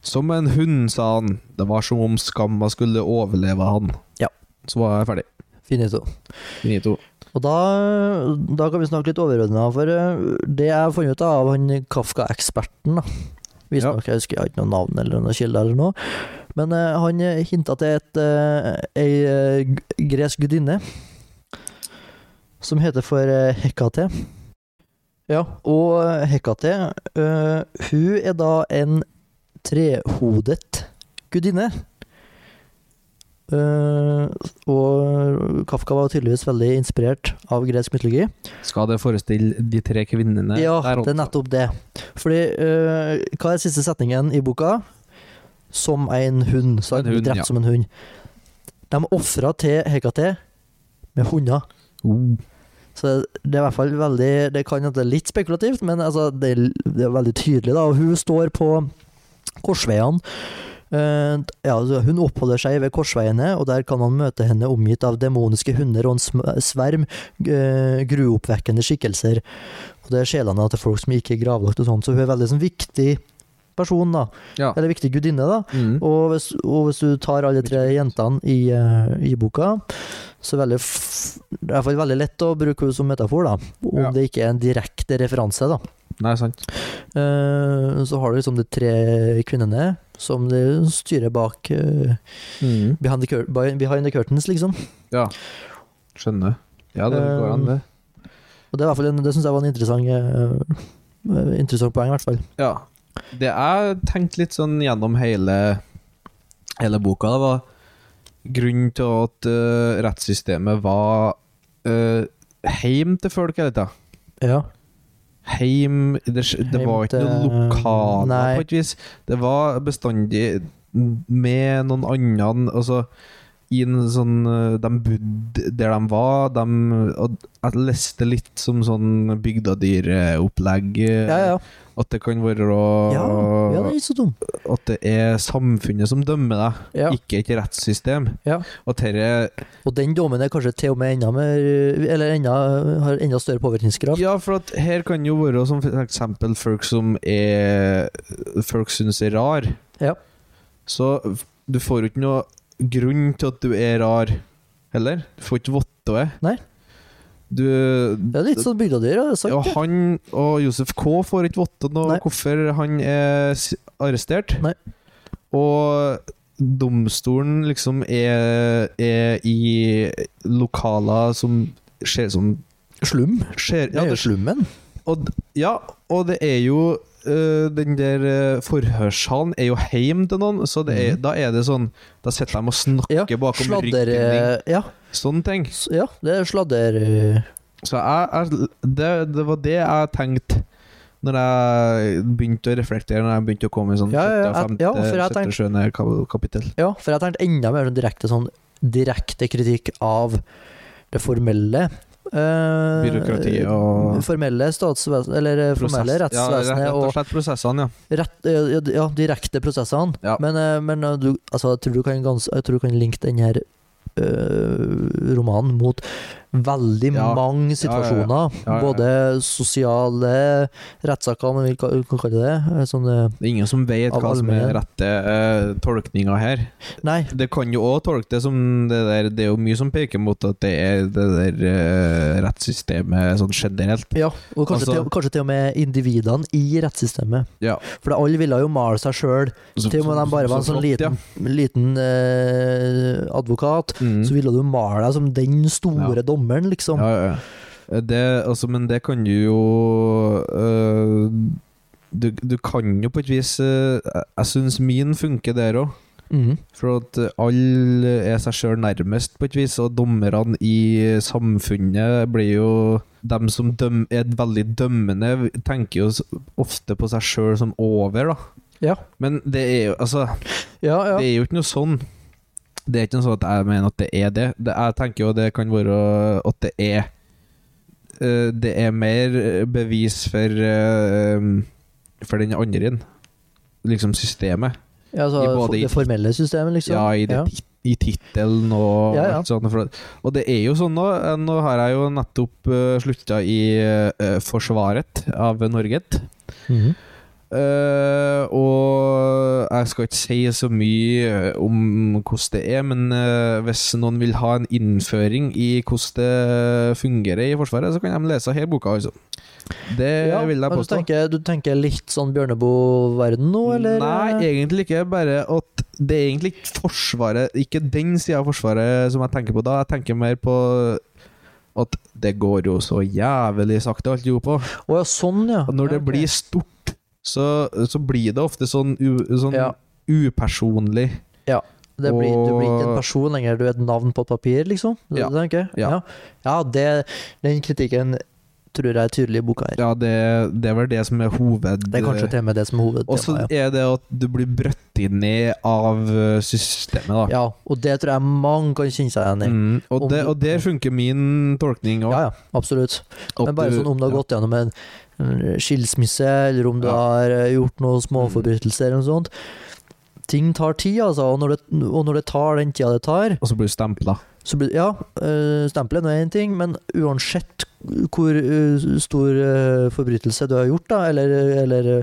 [SPEAKER 2] Som en hund, sa han. Det var som om skamma skulle overleve han.
[SPEAKER 1] Ja.
[SPEAKER 2] Så var jeg ferdig.
[SPEAKER 1] Finito.
[SPEAKER 2] Finito.
[SPEAKER 1] Og da, da kan vi snakke litt overordna, for eh, det jeg har funnet ut av han Kafka-eksperten da,
[SPEAKER 2] Ja.
[SPEAKER 1] Visstnok, jeg husker jeg har ikke noe navn eller noe kilde eller noe. Men eh, han hinta til et, eh, ei eh, g- gresk gudinne som heter for eh, Hekate. Ja, og eh, Hekate, eh, hun er da en trehodet gudinne. Eh, og Kafka var tydeligvis veldig inspirert av gresk mytologi.
[SPEAKER 2] Skal det forestille de tre kvinnene
[SPEAKER 1] ja,
[SPEAKER 2] der?
[SPEAKER 1] det er nettopp det. Fordi eh, Hva er siste setningen i boka? Som en hund. Så
[SPEAKER 2] En
[SPEAKER 1] en
[SPEAKER 2] hund,
[SPEAKER 1] drept
[SPEAKER 2] ja.
[SPEAKER 1] som en hund. De ofra til Hekate med hunder.
[SPEAKER 2] Oh.
[SPEAKER 1] Så det er i hvert fall veldig Det kan hende det er litt spekulativt, men altså, det, er, det er veldig tydelig, da. Og Hun står på korsveiene. Eh, ja, altså, hun oppholder seg ved korsveiene, og der kan man møte henne omgitt av demoniske hunder og en sm- sverm eh, gruoppvekkende skikkelser. Og det er sjelene til folk som ikke er gravlagt og sånn, så hun er veldig sånn, viktig person, da.
[SPEAKER 2] Ja.
[SPEAKER 1] Eller viktig gudinne, da.
[SPEAKER 2] Mm.
[SPEAKER 1] Og hvis, og hvis du tar alle tre jentene i, eh, i boka, så er det veldig f- det er i hvert fall veldig lett å bruke henne som metafor, da. Om
[SPEAKER 2] Ja.
[SPEAKER 1] det ikke er en direkte referanse, da.
[SPEAKER 2] Nei, sant.
[SPEAKER 1] Eh, så har du liksom de tre kvinnene som de styrer bak eh,
[SPEAKER 2] Mm.
[SPEAKER 1] behind, the cur by- behind the curtains, liksom.
[SPEAKER 2] Skjønner. Ja, det går an, det.
[SPEAKER 1] Og det, er i hvert fall en- det syns jeg var en interessant eh, eh, Interessant poeng, i hvert fall.
[SPEAKER 2] Ja. Det jeg tenkte litt sånn gjennom hele, hele boka, det var grunnen til at eh, rettssystemet var uh, heim til folk hele tida.
[SPEAKER 1] Ja.
[SPEAKER 2] Heim det, sk- det
[SPEAKER 1] Heim
[SPEAKER 2] var ikke
[SPEAKER 1] til-
[SPEAKER 2] noe lokaler,
[SPEAKER 1] Nei.
[SPEAKER 2] på et vis. Det var bestandig med noen andre Altså i en sånn eh, De bodde der de var. De, og jeg leste litt som sånn bygdadyreopplegg. eh,
[SPEAKER 1] Ja, ja.
[SPEAKER 2] At det kan være
[SPEAKER 1] ja, ja det er ikke så dumt.
[SPEAKER 2] At det er samfunnet som dømmer deg,
[SPEAKER 1] Ja.
[SPEAKER 2] ikke et rettssystem.
[SPEAKER 1] Ja.
[SPEAKER 2] At dette
[SPEAKER 1] Og den dommen er kanskje til og med enda mer Eller enda, har enda større påvirkningskraft.
[SPEAKER 2] Ja, for at her kan jo være som for eksempel folk som er Folk syns er rar.
[SPEAKER 1] Ja.
[SPEAKER 2] Så du får jo ikke noe grunn til at du er rar heller. Du får ikke votte det.
[SPEAKER 1] Nei.
[SPEAKER 2] Du
[SPEAKER 1] Det er litt sånn bygdedyr, har jeg sagt.
[SPEAKER 2] ja,
[SPEAKER 1] det.
[SPEAKER 2] han og Josef K får ikke votte noe
[SPEAKER 1] Nei.
[SPEAKER 2] hvorfor han er s- arrestert.
[SPEAKER 1] Nei.
[SPEAKER 2] Og domstolen liksom er, er i lokaler som ser som
[SPEAKER 1] Slum.
[SPEAKER 2] ser,
[SPEAKER 1] Det
[SPEAKER 2] ja,
[SPEAKER 1] er jo
[SPEAKER 2] det,
[SPEAKER 1] slummen.
[SPEAKER 2] og, d- ja, og det er jo øh, den der øh, forhørssalen er jo heim til noen, så det er,
[SPEAKER 1] Mhm.
[SPEAKER 2] da er det sånn Da sitter de og
[SPEAKER 1] Ja,
[SPEAKER 2] snakker bakom
[SPEAKER 1] Sladder... eh,
[SPEAKER 2] ryggen din.
[SPEAKER 1] Ja,
[SPEAKER 2] Sånne ting.
[SPEAKER 1] s- ja, det er sladder... eh,
[SPEAKER 2] Så jeg, jeg, det, det var det jeg tenkte når jeg begynte å reflektere, når jeg begynte å komme i sånn
[SPEAKER 1] Ja, ja, ja,
[SPEAKER 2] sjette,
[SPEAKER 1] ja,
[SPEAKER 2] femte,
[SPEAKER 1] for jeg
[SPEAKER 2] sjette,
[SPEAKER 1] tenkte-
[SPEAKER 2] sjuende kap- kapittel.
[SPEAKER 1] Ja, for jeg tenkte enda mer sånn direkte, sånn, direkte kritikk av det formelle. eh,
[SPEAKER 2] Byråkrati og
[SPEAKER 1] Formelle statsvesen... Eller eh, formelle
[SPEAKER 2] Prosess-
[SPEAKER 1] rettsvesenet
[SPEAKER 2] Ja, rett- rett
[SPEAKER 1] og
[SPEAKER 2] og slett prosessene, ja.
[SPEAKER 1] rett, eh, ja, ja, direkte prosessene.
[SPEAKER 2] Ja.
[SPEAKER 1] Men, eh, men eh, du, altså, jeg, tror du kan gans, jeg tror du kan linke den her eh, romanen mot veldig
[SPEAKER 2] Ja.
[SPEAKER 1] mange
[SPEAKER 2] Ja, ja, ja.
[SPEAKER 1] situasjoner.
[SPEAKER 2] Ja, ja, ja.
[SPEAKER 1] Både sosiale rettssaker, om man vil ka- kan kalle det det. eh, Sånne,
[SPEAKER 2] Det er ingen som vet
[SPEAKER 1] Av
[SPEAKER 2] hva som er
[SPEAKER 1] allmennhet.
[SPEAKER 2] rette uh, tolkninga her.
[SPEAKER 1] nei,
[SPEAKER 2] Det kan jo òg tolke det som det der Det er jo mye som peker mot at det er det der eh, rettssystemet sånn generelt.
[SPEAKER 1] ja. Og kanskje,
[SPEAKER 2] Altså-
[SPEAKER 1] til, kanskje til og med individene i rettssystemet.
[SPEAKER 2] Ja.
[SPEAKER 1] For alle ville jo male seg sjøl.
[SPEAKER 2] Så-
[SPEAKER 1] Til og med de bare var en
[SPEAKER 2] så-
[SPEAKER 1] sånn
[SPEAKER 2] så flott,
[SPEAKER 1] liten, liten eh, advokat.
[SPEAKER 2] ja. Mm.
[SPEAKER 1] Så ville du male deg som den store dommeren, liksom.
[SPEAKER 2] Ja, ja, ja. Det, altså, men det kan du jo øh, du, du kan jo på et vis øh, Jeg, jeg syns min funker der òg.
[SPEAKER 1] Mhm.
[SPEAKER 2] For at øh, alle er seg sjøl nærmest, på et vis. Og dommerne i samfunnet blir jo Dem som døm, er veldig dømmende, tenker jo s- ofte på seg sjøl som over, da.
[SPEAKER 1] Ja.
[SPEAKER 2] Men det er jo Altså,
[SPEAKER 1] ja, ja.
[SPEAKER 2] det er jo ikke noe sånn. Det er ikke noe sånn at jeg mener at det er det. det jeg tenker jo det kan være at det er eh, Det er mer bevis for eh, For den andre inn. Liksom systemet.
[SPEAKER 1] Ja, altså,
[SPEAKER 2] I både
[SPEAKER 1] for-
[SPEAKER 2] i-
[SPEAKER 1] det formelle systemet, liksom?
[SPEAKER 2] Ja, i det
[SPEAKER 1] Ja.
[SPEAKER 2] i tittelen og
[SPEAKER 1] Ja, ja.
[SPEAKER 2] alt sånt. For, og det er jo sånn nå. eh, Nå har jeg jo nettopp uh, slutta i eh, Forsvaret av Norge.
[SPEAKER 1] Mhm.
[SPEAKER 2] Eh, og jeg skal ikke si så mye eh, om hvordan det er, men eh, hvis noen vil ha en innføring i hvordan det fungerer i Forsvaret, så kan de lese hele boka, altså. Det
[SPEAKER 1] Ja,
[SPEAKER 2] Eh, vil jeg
[SPEAKER 1] men
[SPEAKER 2] påstå.
[SPEAKER 1] Du tenker, du tenker litt sånn Bjørneboe-verden nå, eller? eh,
[SPEAKER 2] Nei, egentlig ikke. Bare at det er egentlig ikke Forsvaret Ikke den sida av Forsvaret som jeg tenker på da. Jeg tenker mer på at det går jo så jævlig sakte, alt jo på.
[SPEAKER 1] Å ja, sånn, ja.
[SPEAKER 2] Og når det
[SPEAKER 1] Ja, ok.
[SPEAKER 2] blir stort, så, så blir det ofte sånn, u, sånn
[SPEAKER 1] Ja.
[SPEAKER 2] upersonlig.
[SPEAKER 1] Det blir, du blir ikke
[SPEAKER 2] Og-
[SPEAKER 1] en person lenger, du er et navn på et papir, liksom? Det,
[SPEAKER 2] Ja.
[SPEAKER 1] det tenker jeg.
[SPEAKER 2] Ja.
[SPEAKER 1] Ja, ja det, den kritikken tror jeg er tydelig i boka her.
[SPEAKER 2] Ja, det, det er vel det som er hoved...
[SPEAKER 1] Det er kanskje til og med det som er
[SPEAKER 2] Og så
[SPEAKER 1] hovedtema. Ja.
[SPEAKER 2] er det at du blir brøtt ned av eh, systemet, da.
[SPEAKER 1] ja, og det tror jeg mange kan kjenne seg igjen i.
[SPEAKER 2] Mm, og,
[SPEAKER 1] Om
[SPEAKER 2] det,
[SPEAKER 1] du-
[SPEAKER 2] og der funker min tolkning òg.
[SPEAKER 1] Ja, ja, absolutt. Men bare sånn om du har gått gjennom en en skilsmisse, eller om du
[SPEAKER 2] Ja.
[SPEAKER 1] har eh, gjort noen småforbrytelser eller noe sånt. Ting tar tid, altså. Og når det, og når det tar den tida det tar,
[SPEAKER 2] Og så blir du stempla.
[SPEAKER 1] Så blir, ja, øh, stempelet er nå én ting, men uansett hvor øh, stor øh, forbrytelse du har gjort, da, eller, eller, øh,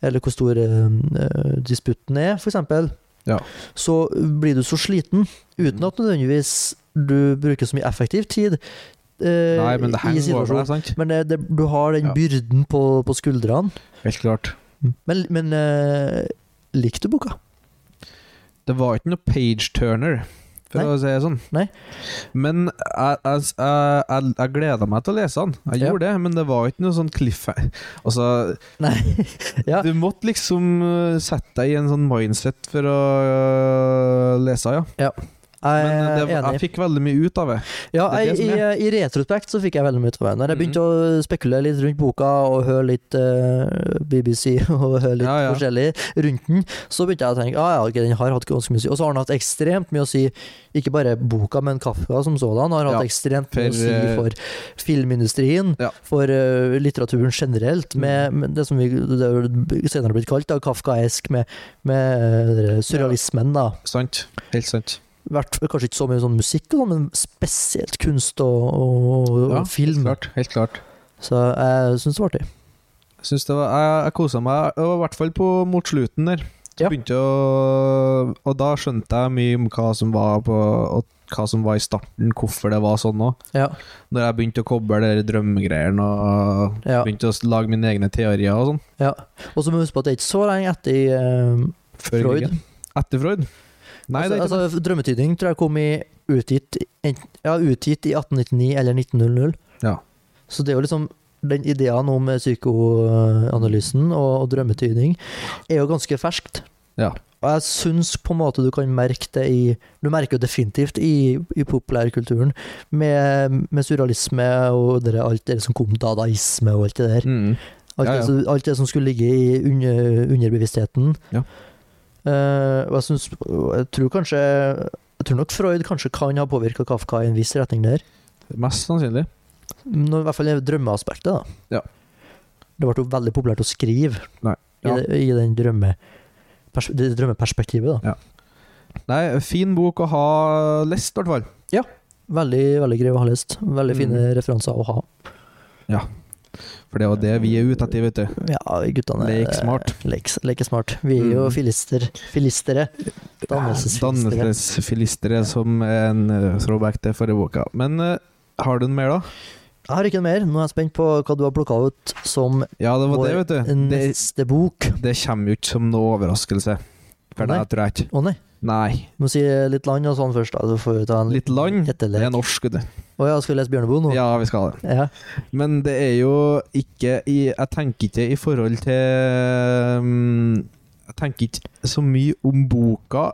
[SPEAKER 1] eller hvor stor øh, øh, disputten er, f.eks.,
[SPEAKER 2] Ja.
[SPEAKER 1] så blir du så sliten uten at nødvendigvis du bruker så mye effektiv tid øh,
[SPEAKER 2] Nei, men det
[SPEAKER 1] i
[SPEAKER 2] henger over deg,
[SPEAKER 1] situasjonen.
[SPEAKER 2] sant?
[SPEAKER 1] Men eh, det, det, du har den
[SPEAKER 2] Ja. Mm.
[SPEAKER 1] byrden på, på skuldrene.
[SPEAKER 2] Helt klart.
[SPEAKER 1] Men, men øh, likte du boka?
[SPEAKER 2] Det var ikke noe page turner, for
[SPEAKER 1] Nei.
[SPEAKER 2] å si det sånn.
[SPEAKER 1] Nei.
[SPEAKER 2] Men jeg, jeg, jeg, jeg, jeg gleda meg til å lese den. Jeg
[SPEAKER 1] Ja.
[SPEAKER 2] gjorde det, men det var ikke noe sånn cliff... Altså,
[SPEAKER 1] Nei. ja.
[SPEAKER 2] du måtte liksom eh, sette deg i en sånn mindset for å eh, lese, ja.
[SPEAKER 1] Jeg
[SPEAKER 2] Men eh,
[SPEAKER 1] er
[SPEAKER 2] det, var-
[SPEAKER 1] enig.
[SPEAKER 2] jeg fikk veldig mye ut av det.
[SPEAKER 1] Ja,
[SPEAKER 2] Det er det
[SPEAKER 1] jeg,
[SPEAKER 2] som
[SPEAKER 1] i, I retrospekt så fikk jeg veldig mye ut av den. Når jeg begynte å spekulere litt rundt boka og høre litt eh, BBC og høre litt
[SPEAKER 2] Ja, ja.
[SPEAKER 1] forskjellig rundt den, så begynte jeg å tenke ah, ja, ok, den har hatt ganske mye å si. Og så har den hatt ekstremt mye å si, ikke bare boka, men Kafka som sådan har hatt
[SPEAKER 2] Ja,
[SPEAKER 1] ekstremt
[SPEAKER 2] for,
[SPEAKER 1] mye å si
[SPEAKER 2] eh,
[SPEAKER 1] for filmindustrien,
[SPEAKER 2] Ja. Mm.
[SPEAKER 1] for eh, litteraturen generelt, med, med det som vi, det er jo senere blitt kalt da, kafkaesk, med, med eh, surrealismen, da.
[SPEAKER 2] Sant. Helt sant.
[SPEAKER 1] Vært, kanskje ikke så mye sånn musikk, og sånn, men spesielt kunst og, og, og
[SPEAKER 2] Ja,
[SPEAKER 1] film.
[SPEAKER 2] Klart, helt klart.
[SPEAKER 1] Så jeg syns det var artig.
[SPEAKER 2] Synes det var, jeg jeg kosa meg, og i hvert fall på, mot slutten der. Så
[SPEAKER 1] Ja.
[SPEAKER 2] begynte jeg å, og da skjønte jeg mye om hva som var på og hva som var i starten, hvorfor det var sånn òg.
[SPEAKER 1] Ja.
[SPEAKER 2] Når jeg begynte å koble de drømmegreiene og
[SPEAKER 1] Ja.
[SPEAKER 2] begynte å s- lage mine egne teorier og sånn.
[SPEAKER 1] ja. Og så må vi huske på at det er ikke så lenge etter eh,
[SPEAKER 2] Før
[SPEAKER 1] Freud.
[SPEAKER 2] krigen. Etter Freud? Nei, det er ikke
[SPEAKER 1] altså, altså, drømmetydning tror jeg kom i utgitt, ent- ja, utgitt i 1899 eller 1900.
[SPEAKER 2] Ja.
[SPEAKER 1] Så det er jo liksom den ideen om psykoanalysen og, og drømmetydning er jo ganske ferskt.
[SPEAKER 2] Ja.
[SPEAKER 1] Og jeg syns på en måte du kan merke det i Du merker jo definitivt i, i populærkulturen med, med surrealisme og det, der- alt det som kom dadaisme og alt det der.
[SPEAKER 2] det. Mm.
[SPEAKER 1] Alt,
[SPEAKER 2] Ja, ja.
[SPEAKER 1] Det, som- alt det som skulle ligge i under, underbevisstheten.
[SPEAKER 2] Ja.
[SPEAKER 1] Eh, og jeg, synes, og jeg tror kanskje Jeg tror nok Freud kanskje kan ha påvirka Kafka i en viss retning der.
[SPEAKER 2] Mest sannsynlig.
[SPEAKER 1] Nå, I hvert fall i drømmeaspektet, da.
[SPEAKER 2] Ja.
[SPEAKER 1] Det ble jo veldig populært å skrive
[SPEAKER 2] Nei, ja.
[SPEAKER 1] i, det- i den drømme, pers, det drømmeperspektivet. da.
[SPEAKER 2] Nei, fin bok å ha lest, i hvert fall.
[SPEAKER 1] Veldig veldig grei å ha lest. Veldig fine
[SPEAKER 2] Mm.
[SPEAKER 1] referanser å ha.
[SPEAKER 2] For det er jo det vi er ute etter, vet du.
[SPEAKER 1] Ja, guttene
[SPEAKER 2] Lek smart.
[SPEAKER 1] Lek, leker smart. Vi er jo
[SPEAKER 2] Mm.
[SPEAKER 1] filister, filistere. Dannelsesfilistere.
[SPEAKER 2] Dannelsesfilistere, som er en eh, throwback til forrige boka. Men eh, har du en mer, da?
[SPEAKER 1] Jeg har ikke en mer. Nå er jeg spent på hva du har plukka ut som
[SPEAKER 2] Ja, det var
[SPEAKER 1] Vår-
[SPEAKER 2] det, vet du. Det,
[SPEAKER 1] neste bok.
[SPEAKER 2] det kommer jo ikke som noe overraskelse. For
[SPEAKER 1] Nei.
[SPEAKER 2] det tror jeg ikke.
[SPEAKER 1] Å nei,
[SPEAKER 2] Nei.
[SPEAKER 1] du må si litt land og sånn først. da. Så får vi ta en
[SPEAKER 2] Litt land. Det
[SPEAKER 1] gjettelek.
[SPEAKER 2] er norsk, vet du.
[SPEAKER 1] Å ja, skal vi lese Bjørneboe nå?
[SPEAKER 2] Ja, vi skal ha det.
[SPEAKER 1] Ja.
[SPEAKER 2] Men det er jo ikke i, Jeg tenker ikke i forhold til mm, Jeg tenker ikke så mye om boka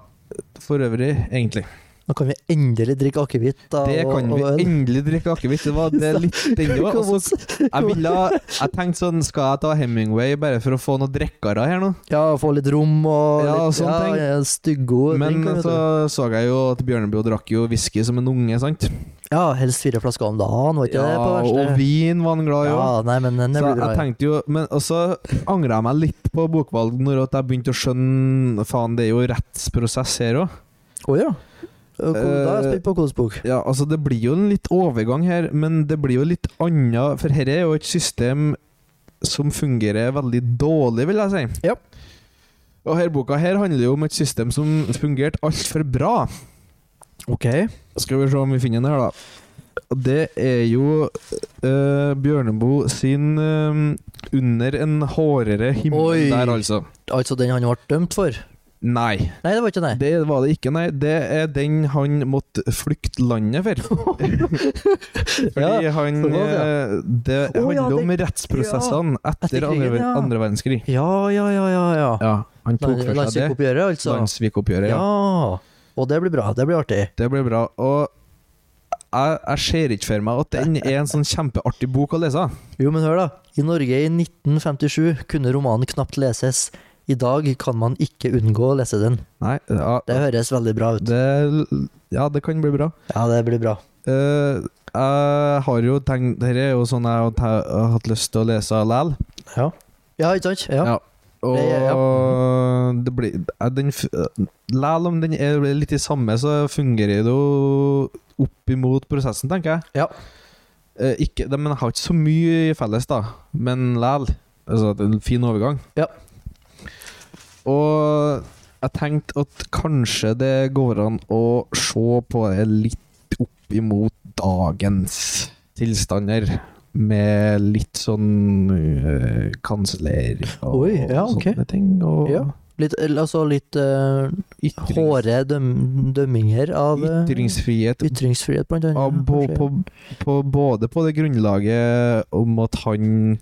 [SPEAKER 2] for øvrig, egentlig.
[SPEAKER 1] Nå kan vi endelig drikke akevitt da,
[SPEAKER 2] Det
[SPEAKER 1] og,
[SPEAKER 2] kan vi altså.
[SPEAKER 1] og øl.
[SPEAKER 2] endelig drikke akevitt. Det var det litt den det var. Og så- Jeg, ville, jeg tenkte sånn Skal jeg ta Hemingway bare for å få noen drikkere her nå?
[SPEAKER 1] Ja, få litt rom og
[SPEAKER 2] Ja,
[SPEAKER 1] litt
[SPEAKER 2] sånne ting.
[SPEAKER 1] ja, styggord.
[SPEAKER 2] Men
[SPEAKER 1] drinker,
[SPEAKER 2] altså-
[SPEAKER 1] vet
[SPEAKER 2] så så jeg jo at Bjørneboe drakk jo whisky som en unge, sant?
[SPEAKER 1] du. Ja, helst fire flasker om dagen, var ikke det på verste?
[SPEAKER 2] og vin var han glad i
[SPEAKER 1] ja,
[SPEAKER 2] òg.
[SPEAKER 1] nei, men den
[SPEAKER 2] så
[SPEAKER 1] er
[SPEAKER 2] jeg,
[SPEAKER 1] blir bra.
[SPEAKER 2] tenkte jo Men og så angra jeg meg litt på bokvalg når at jeg begynte å skjønne Faen, det er jo rettsprosess her òg.
[SPEAKER 1] Å ja. Og hvor- Da er jeg spent på hvilken bok.
[SPEAKER 2] Ja, altså Det blir jo en litt overgang her, men det blir jo litt anna For dette er jo et system som fungerer veldig dårlig, vil jeg si.
[SPEAKER 1] Ja.
[SPEAKER 2] Og her boka her handler jo om et system som fungerte altfor bra.
[SPEAKER 1] Ok.
[SPEAKER 2] Skal vi se om vi finner den her, da. Og Det er jo eh, Bjørneboe sin eh, 'Under en hårere himmel'
[SPEAKER 1] Oi.
[SPEAKER 2] der, altså.
[SPEAKER 1] Altså den han ble dømt for?
[SPEAKER 2] Nei,
[SPEAKER 1] Nei, det var ikke det.
[SPEAKER 2] det var det ikke, nei. Det er den han måtte flykte landet for. Fordi han
[SPEAKER 1] sånn var det,
[SPEAKER 2] eh, Det
[SPEAKER 1] Å, ja,
[SPEAKER 2] handler
[SPEAKER 1] det-
[SPEAKER 2] om rettsprosessene
[SPEAKER 1] Etter
[SPEAKER 2] etter
[SPEAKER 1] krigen,
[SPEAKER 2] andre, ver-
[SPEAKER 1] ja.
[SPEAKER 2] andre verdenskrig.
[SPEAKER 1] Ja, ja, ja, ja. ja.
[SPEAKER 2] Ja, han tok
[SPEAKER 1] Nei,
[SPEAKER 2] for seg det.
[SPEAKER 1] Landssvikoppgjøret, altså?
[SPEAKER 2] Landssvikoppgjøret. Ja.
[SPEAKER 1] Ja. Og det blir bra. Det blir artig.
[SPEAKER 2] Det ble bra. Og jeg, jeg ser ikke for meg at den er en sånn kjempeartig bok å lese.
[SPEAKER 1] Jo, men hør da. I Norge i 1957 kunne romanen knapt leses. I dag kan man ikke unngå å lese den.
[SPEAKER 2] Nei, ja,
[SPEAKER 1] Det høres veldig bra ut.
[SPEAKER 2] det, ja, det kan bli bra.
[SPEAKER 1] Ja, det blir bra.
[SPEAKER 2] Eh, jeg har jo tenkt Dette er jo sånn jeg har te- har hatt lyst til å lese likevel.
[SPEAKER 1] Ja, ja ikke sant? Ja.
[SPEAKER 2] Ja. Og
[SPEAKER 1] Det-
[SPEAKER 2] det blir eh, den, f- eh, Læl om den er litt i samme, så fungerer det jo opp imot prosessen, tenker jeg.
[SPEAKER 1] Ja.
[SPEAKER 2] Eh, ikke, de, men jeg har ikke så mye felles, da. Men læl. Altså, det er en fin overgang.
[SPEAKER 1] Ja.
[SPEAKER 2] Og jeg tenkte at kanskje det går an å se på det litt opp imot dagens tilstander. Med litt sånn øh, kansler og
[SPEAKER 1] Oi, ja, ok.
[SPEAKER 2] sånne ting. Og
[SPEAKER 1] Ja. Litt, eller altså litt uh,
[SPEAKER 2] ytrings-
[SPEAKER 1] hårde døm, dømminger av eh,
[SPEAKER 2] ytringsfrihet
[SPEAKER 1] ytringsfrihet, blant annet.
[SPEAKER 2] av, på,
[SPEAKER 1] kanskje.
[SPEAKER 2] på, på, både på det grunnlaget om at han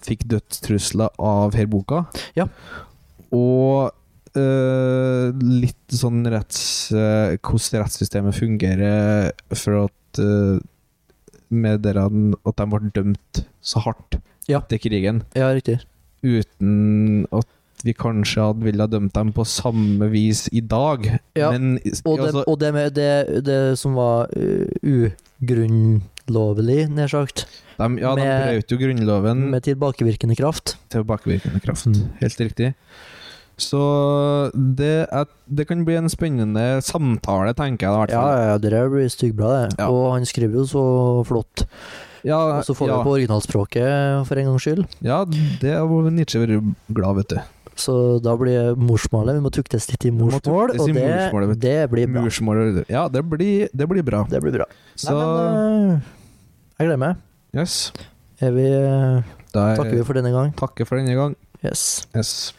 [SPEAKER 2] fikk dødstrusler av her boka,
[SPEAKER 1] Ja.
[SPEAKER 2] og eh, litt sånn retts, eh, hvordan rettssystemet fungerer for at eh, med dere at de ble dømt så hardt
[SPEAKER 1] Ja.
[SPEAKER 2] etter krigen,
[SPEAKER 1] Ja, riktig.
[SPEAKER 2] uten at vi kanskje hadde ville ha dømt dem på samme vis i dag,
[SPEAKER 1] Ja,
[SPEAKER 2] men
[SPEAKER 1] Og det,
[SPEAKER 2] altså,
[SPEAKER 1] og det med det, det som var eh, ugrunnlovlig, nær sagt,
[SPEAKER 2] de, ja, de
[SPEAKER 1] med-
[SPEAKER 2] brøt jo grunnloven
[SPEAKER 1] med tilbakevirkende kraft.
[SPEAKER 2] tilbakevirkende kraft.
[SPEAKER 1] Mm.
[SPEAKER 2] Helt riktig. Så det, er, det kan bli en spennende samtale, tenker jeg. da, i hvert
[SPEAKER 1] Ja,
[SPEAKER 2] fall.
[SPEAKER 1] ja, ja, det der blir styggbra, det.
[SPEAKER 2] Ja.
[SPEAKER 1] Og han skriver jo så flott.
[SPEAKER 2] Ja,
[SPEAKER 1] Og så får vi
[SPEAKER 2] ja,
[SPEAKER 1] det på originalspråket for en gangs skyld.
[SPEAKER 2] ja, det har Nietzsche vært glad, vet du.
[SPEAKER 1] Så da blir det morsmålet. Vi må tuktes litt i
[SPEAKER 2] må
[SPEAKER 1] morsmål,
[SPEAKER 2] tuktes i
[SPEAKER 1] og det,
[SPEAKER 2] morsmålet, vet
[SPEAKER 1] det blir bra.
[SPEAKER 2] Morsmål Ja, det blir, det blir bra.
[SPEAKER 1] Det blir bra.
[SPEAKER 2] Så
[SPEAKER 1] Nei, men, eh, jeg gleder meg.
[SPEAKER 2] yes.
[SPEAKER 1] Er vi, eh,
[SPEAKER 2] Da er,
[SPEAKER 1] takker vi for denne gang.
[SPEAKER 2] takker for denne gang.
[SPEAKER 1] Yes.
[SPEAKER 2] Yes.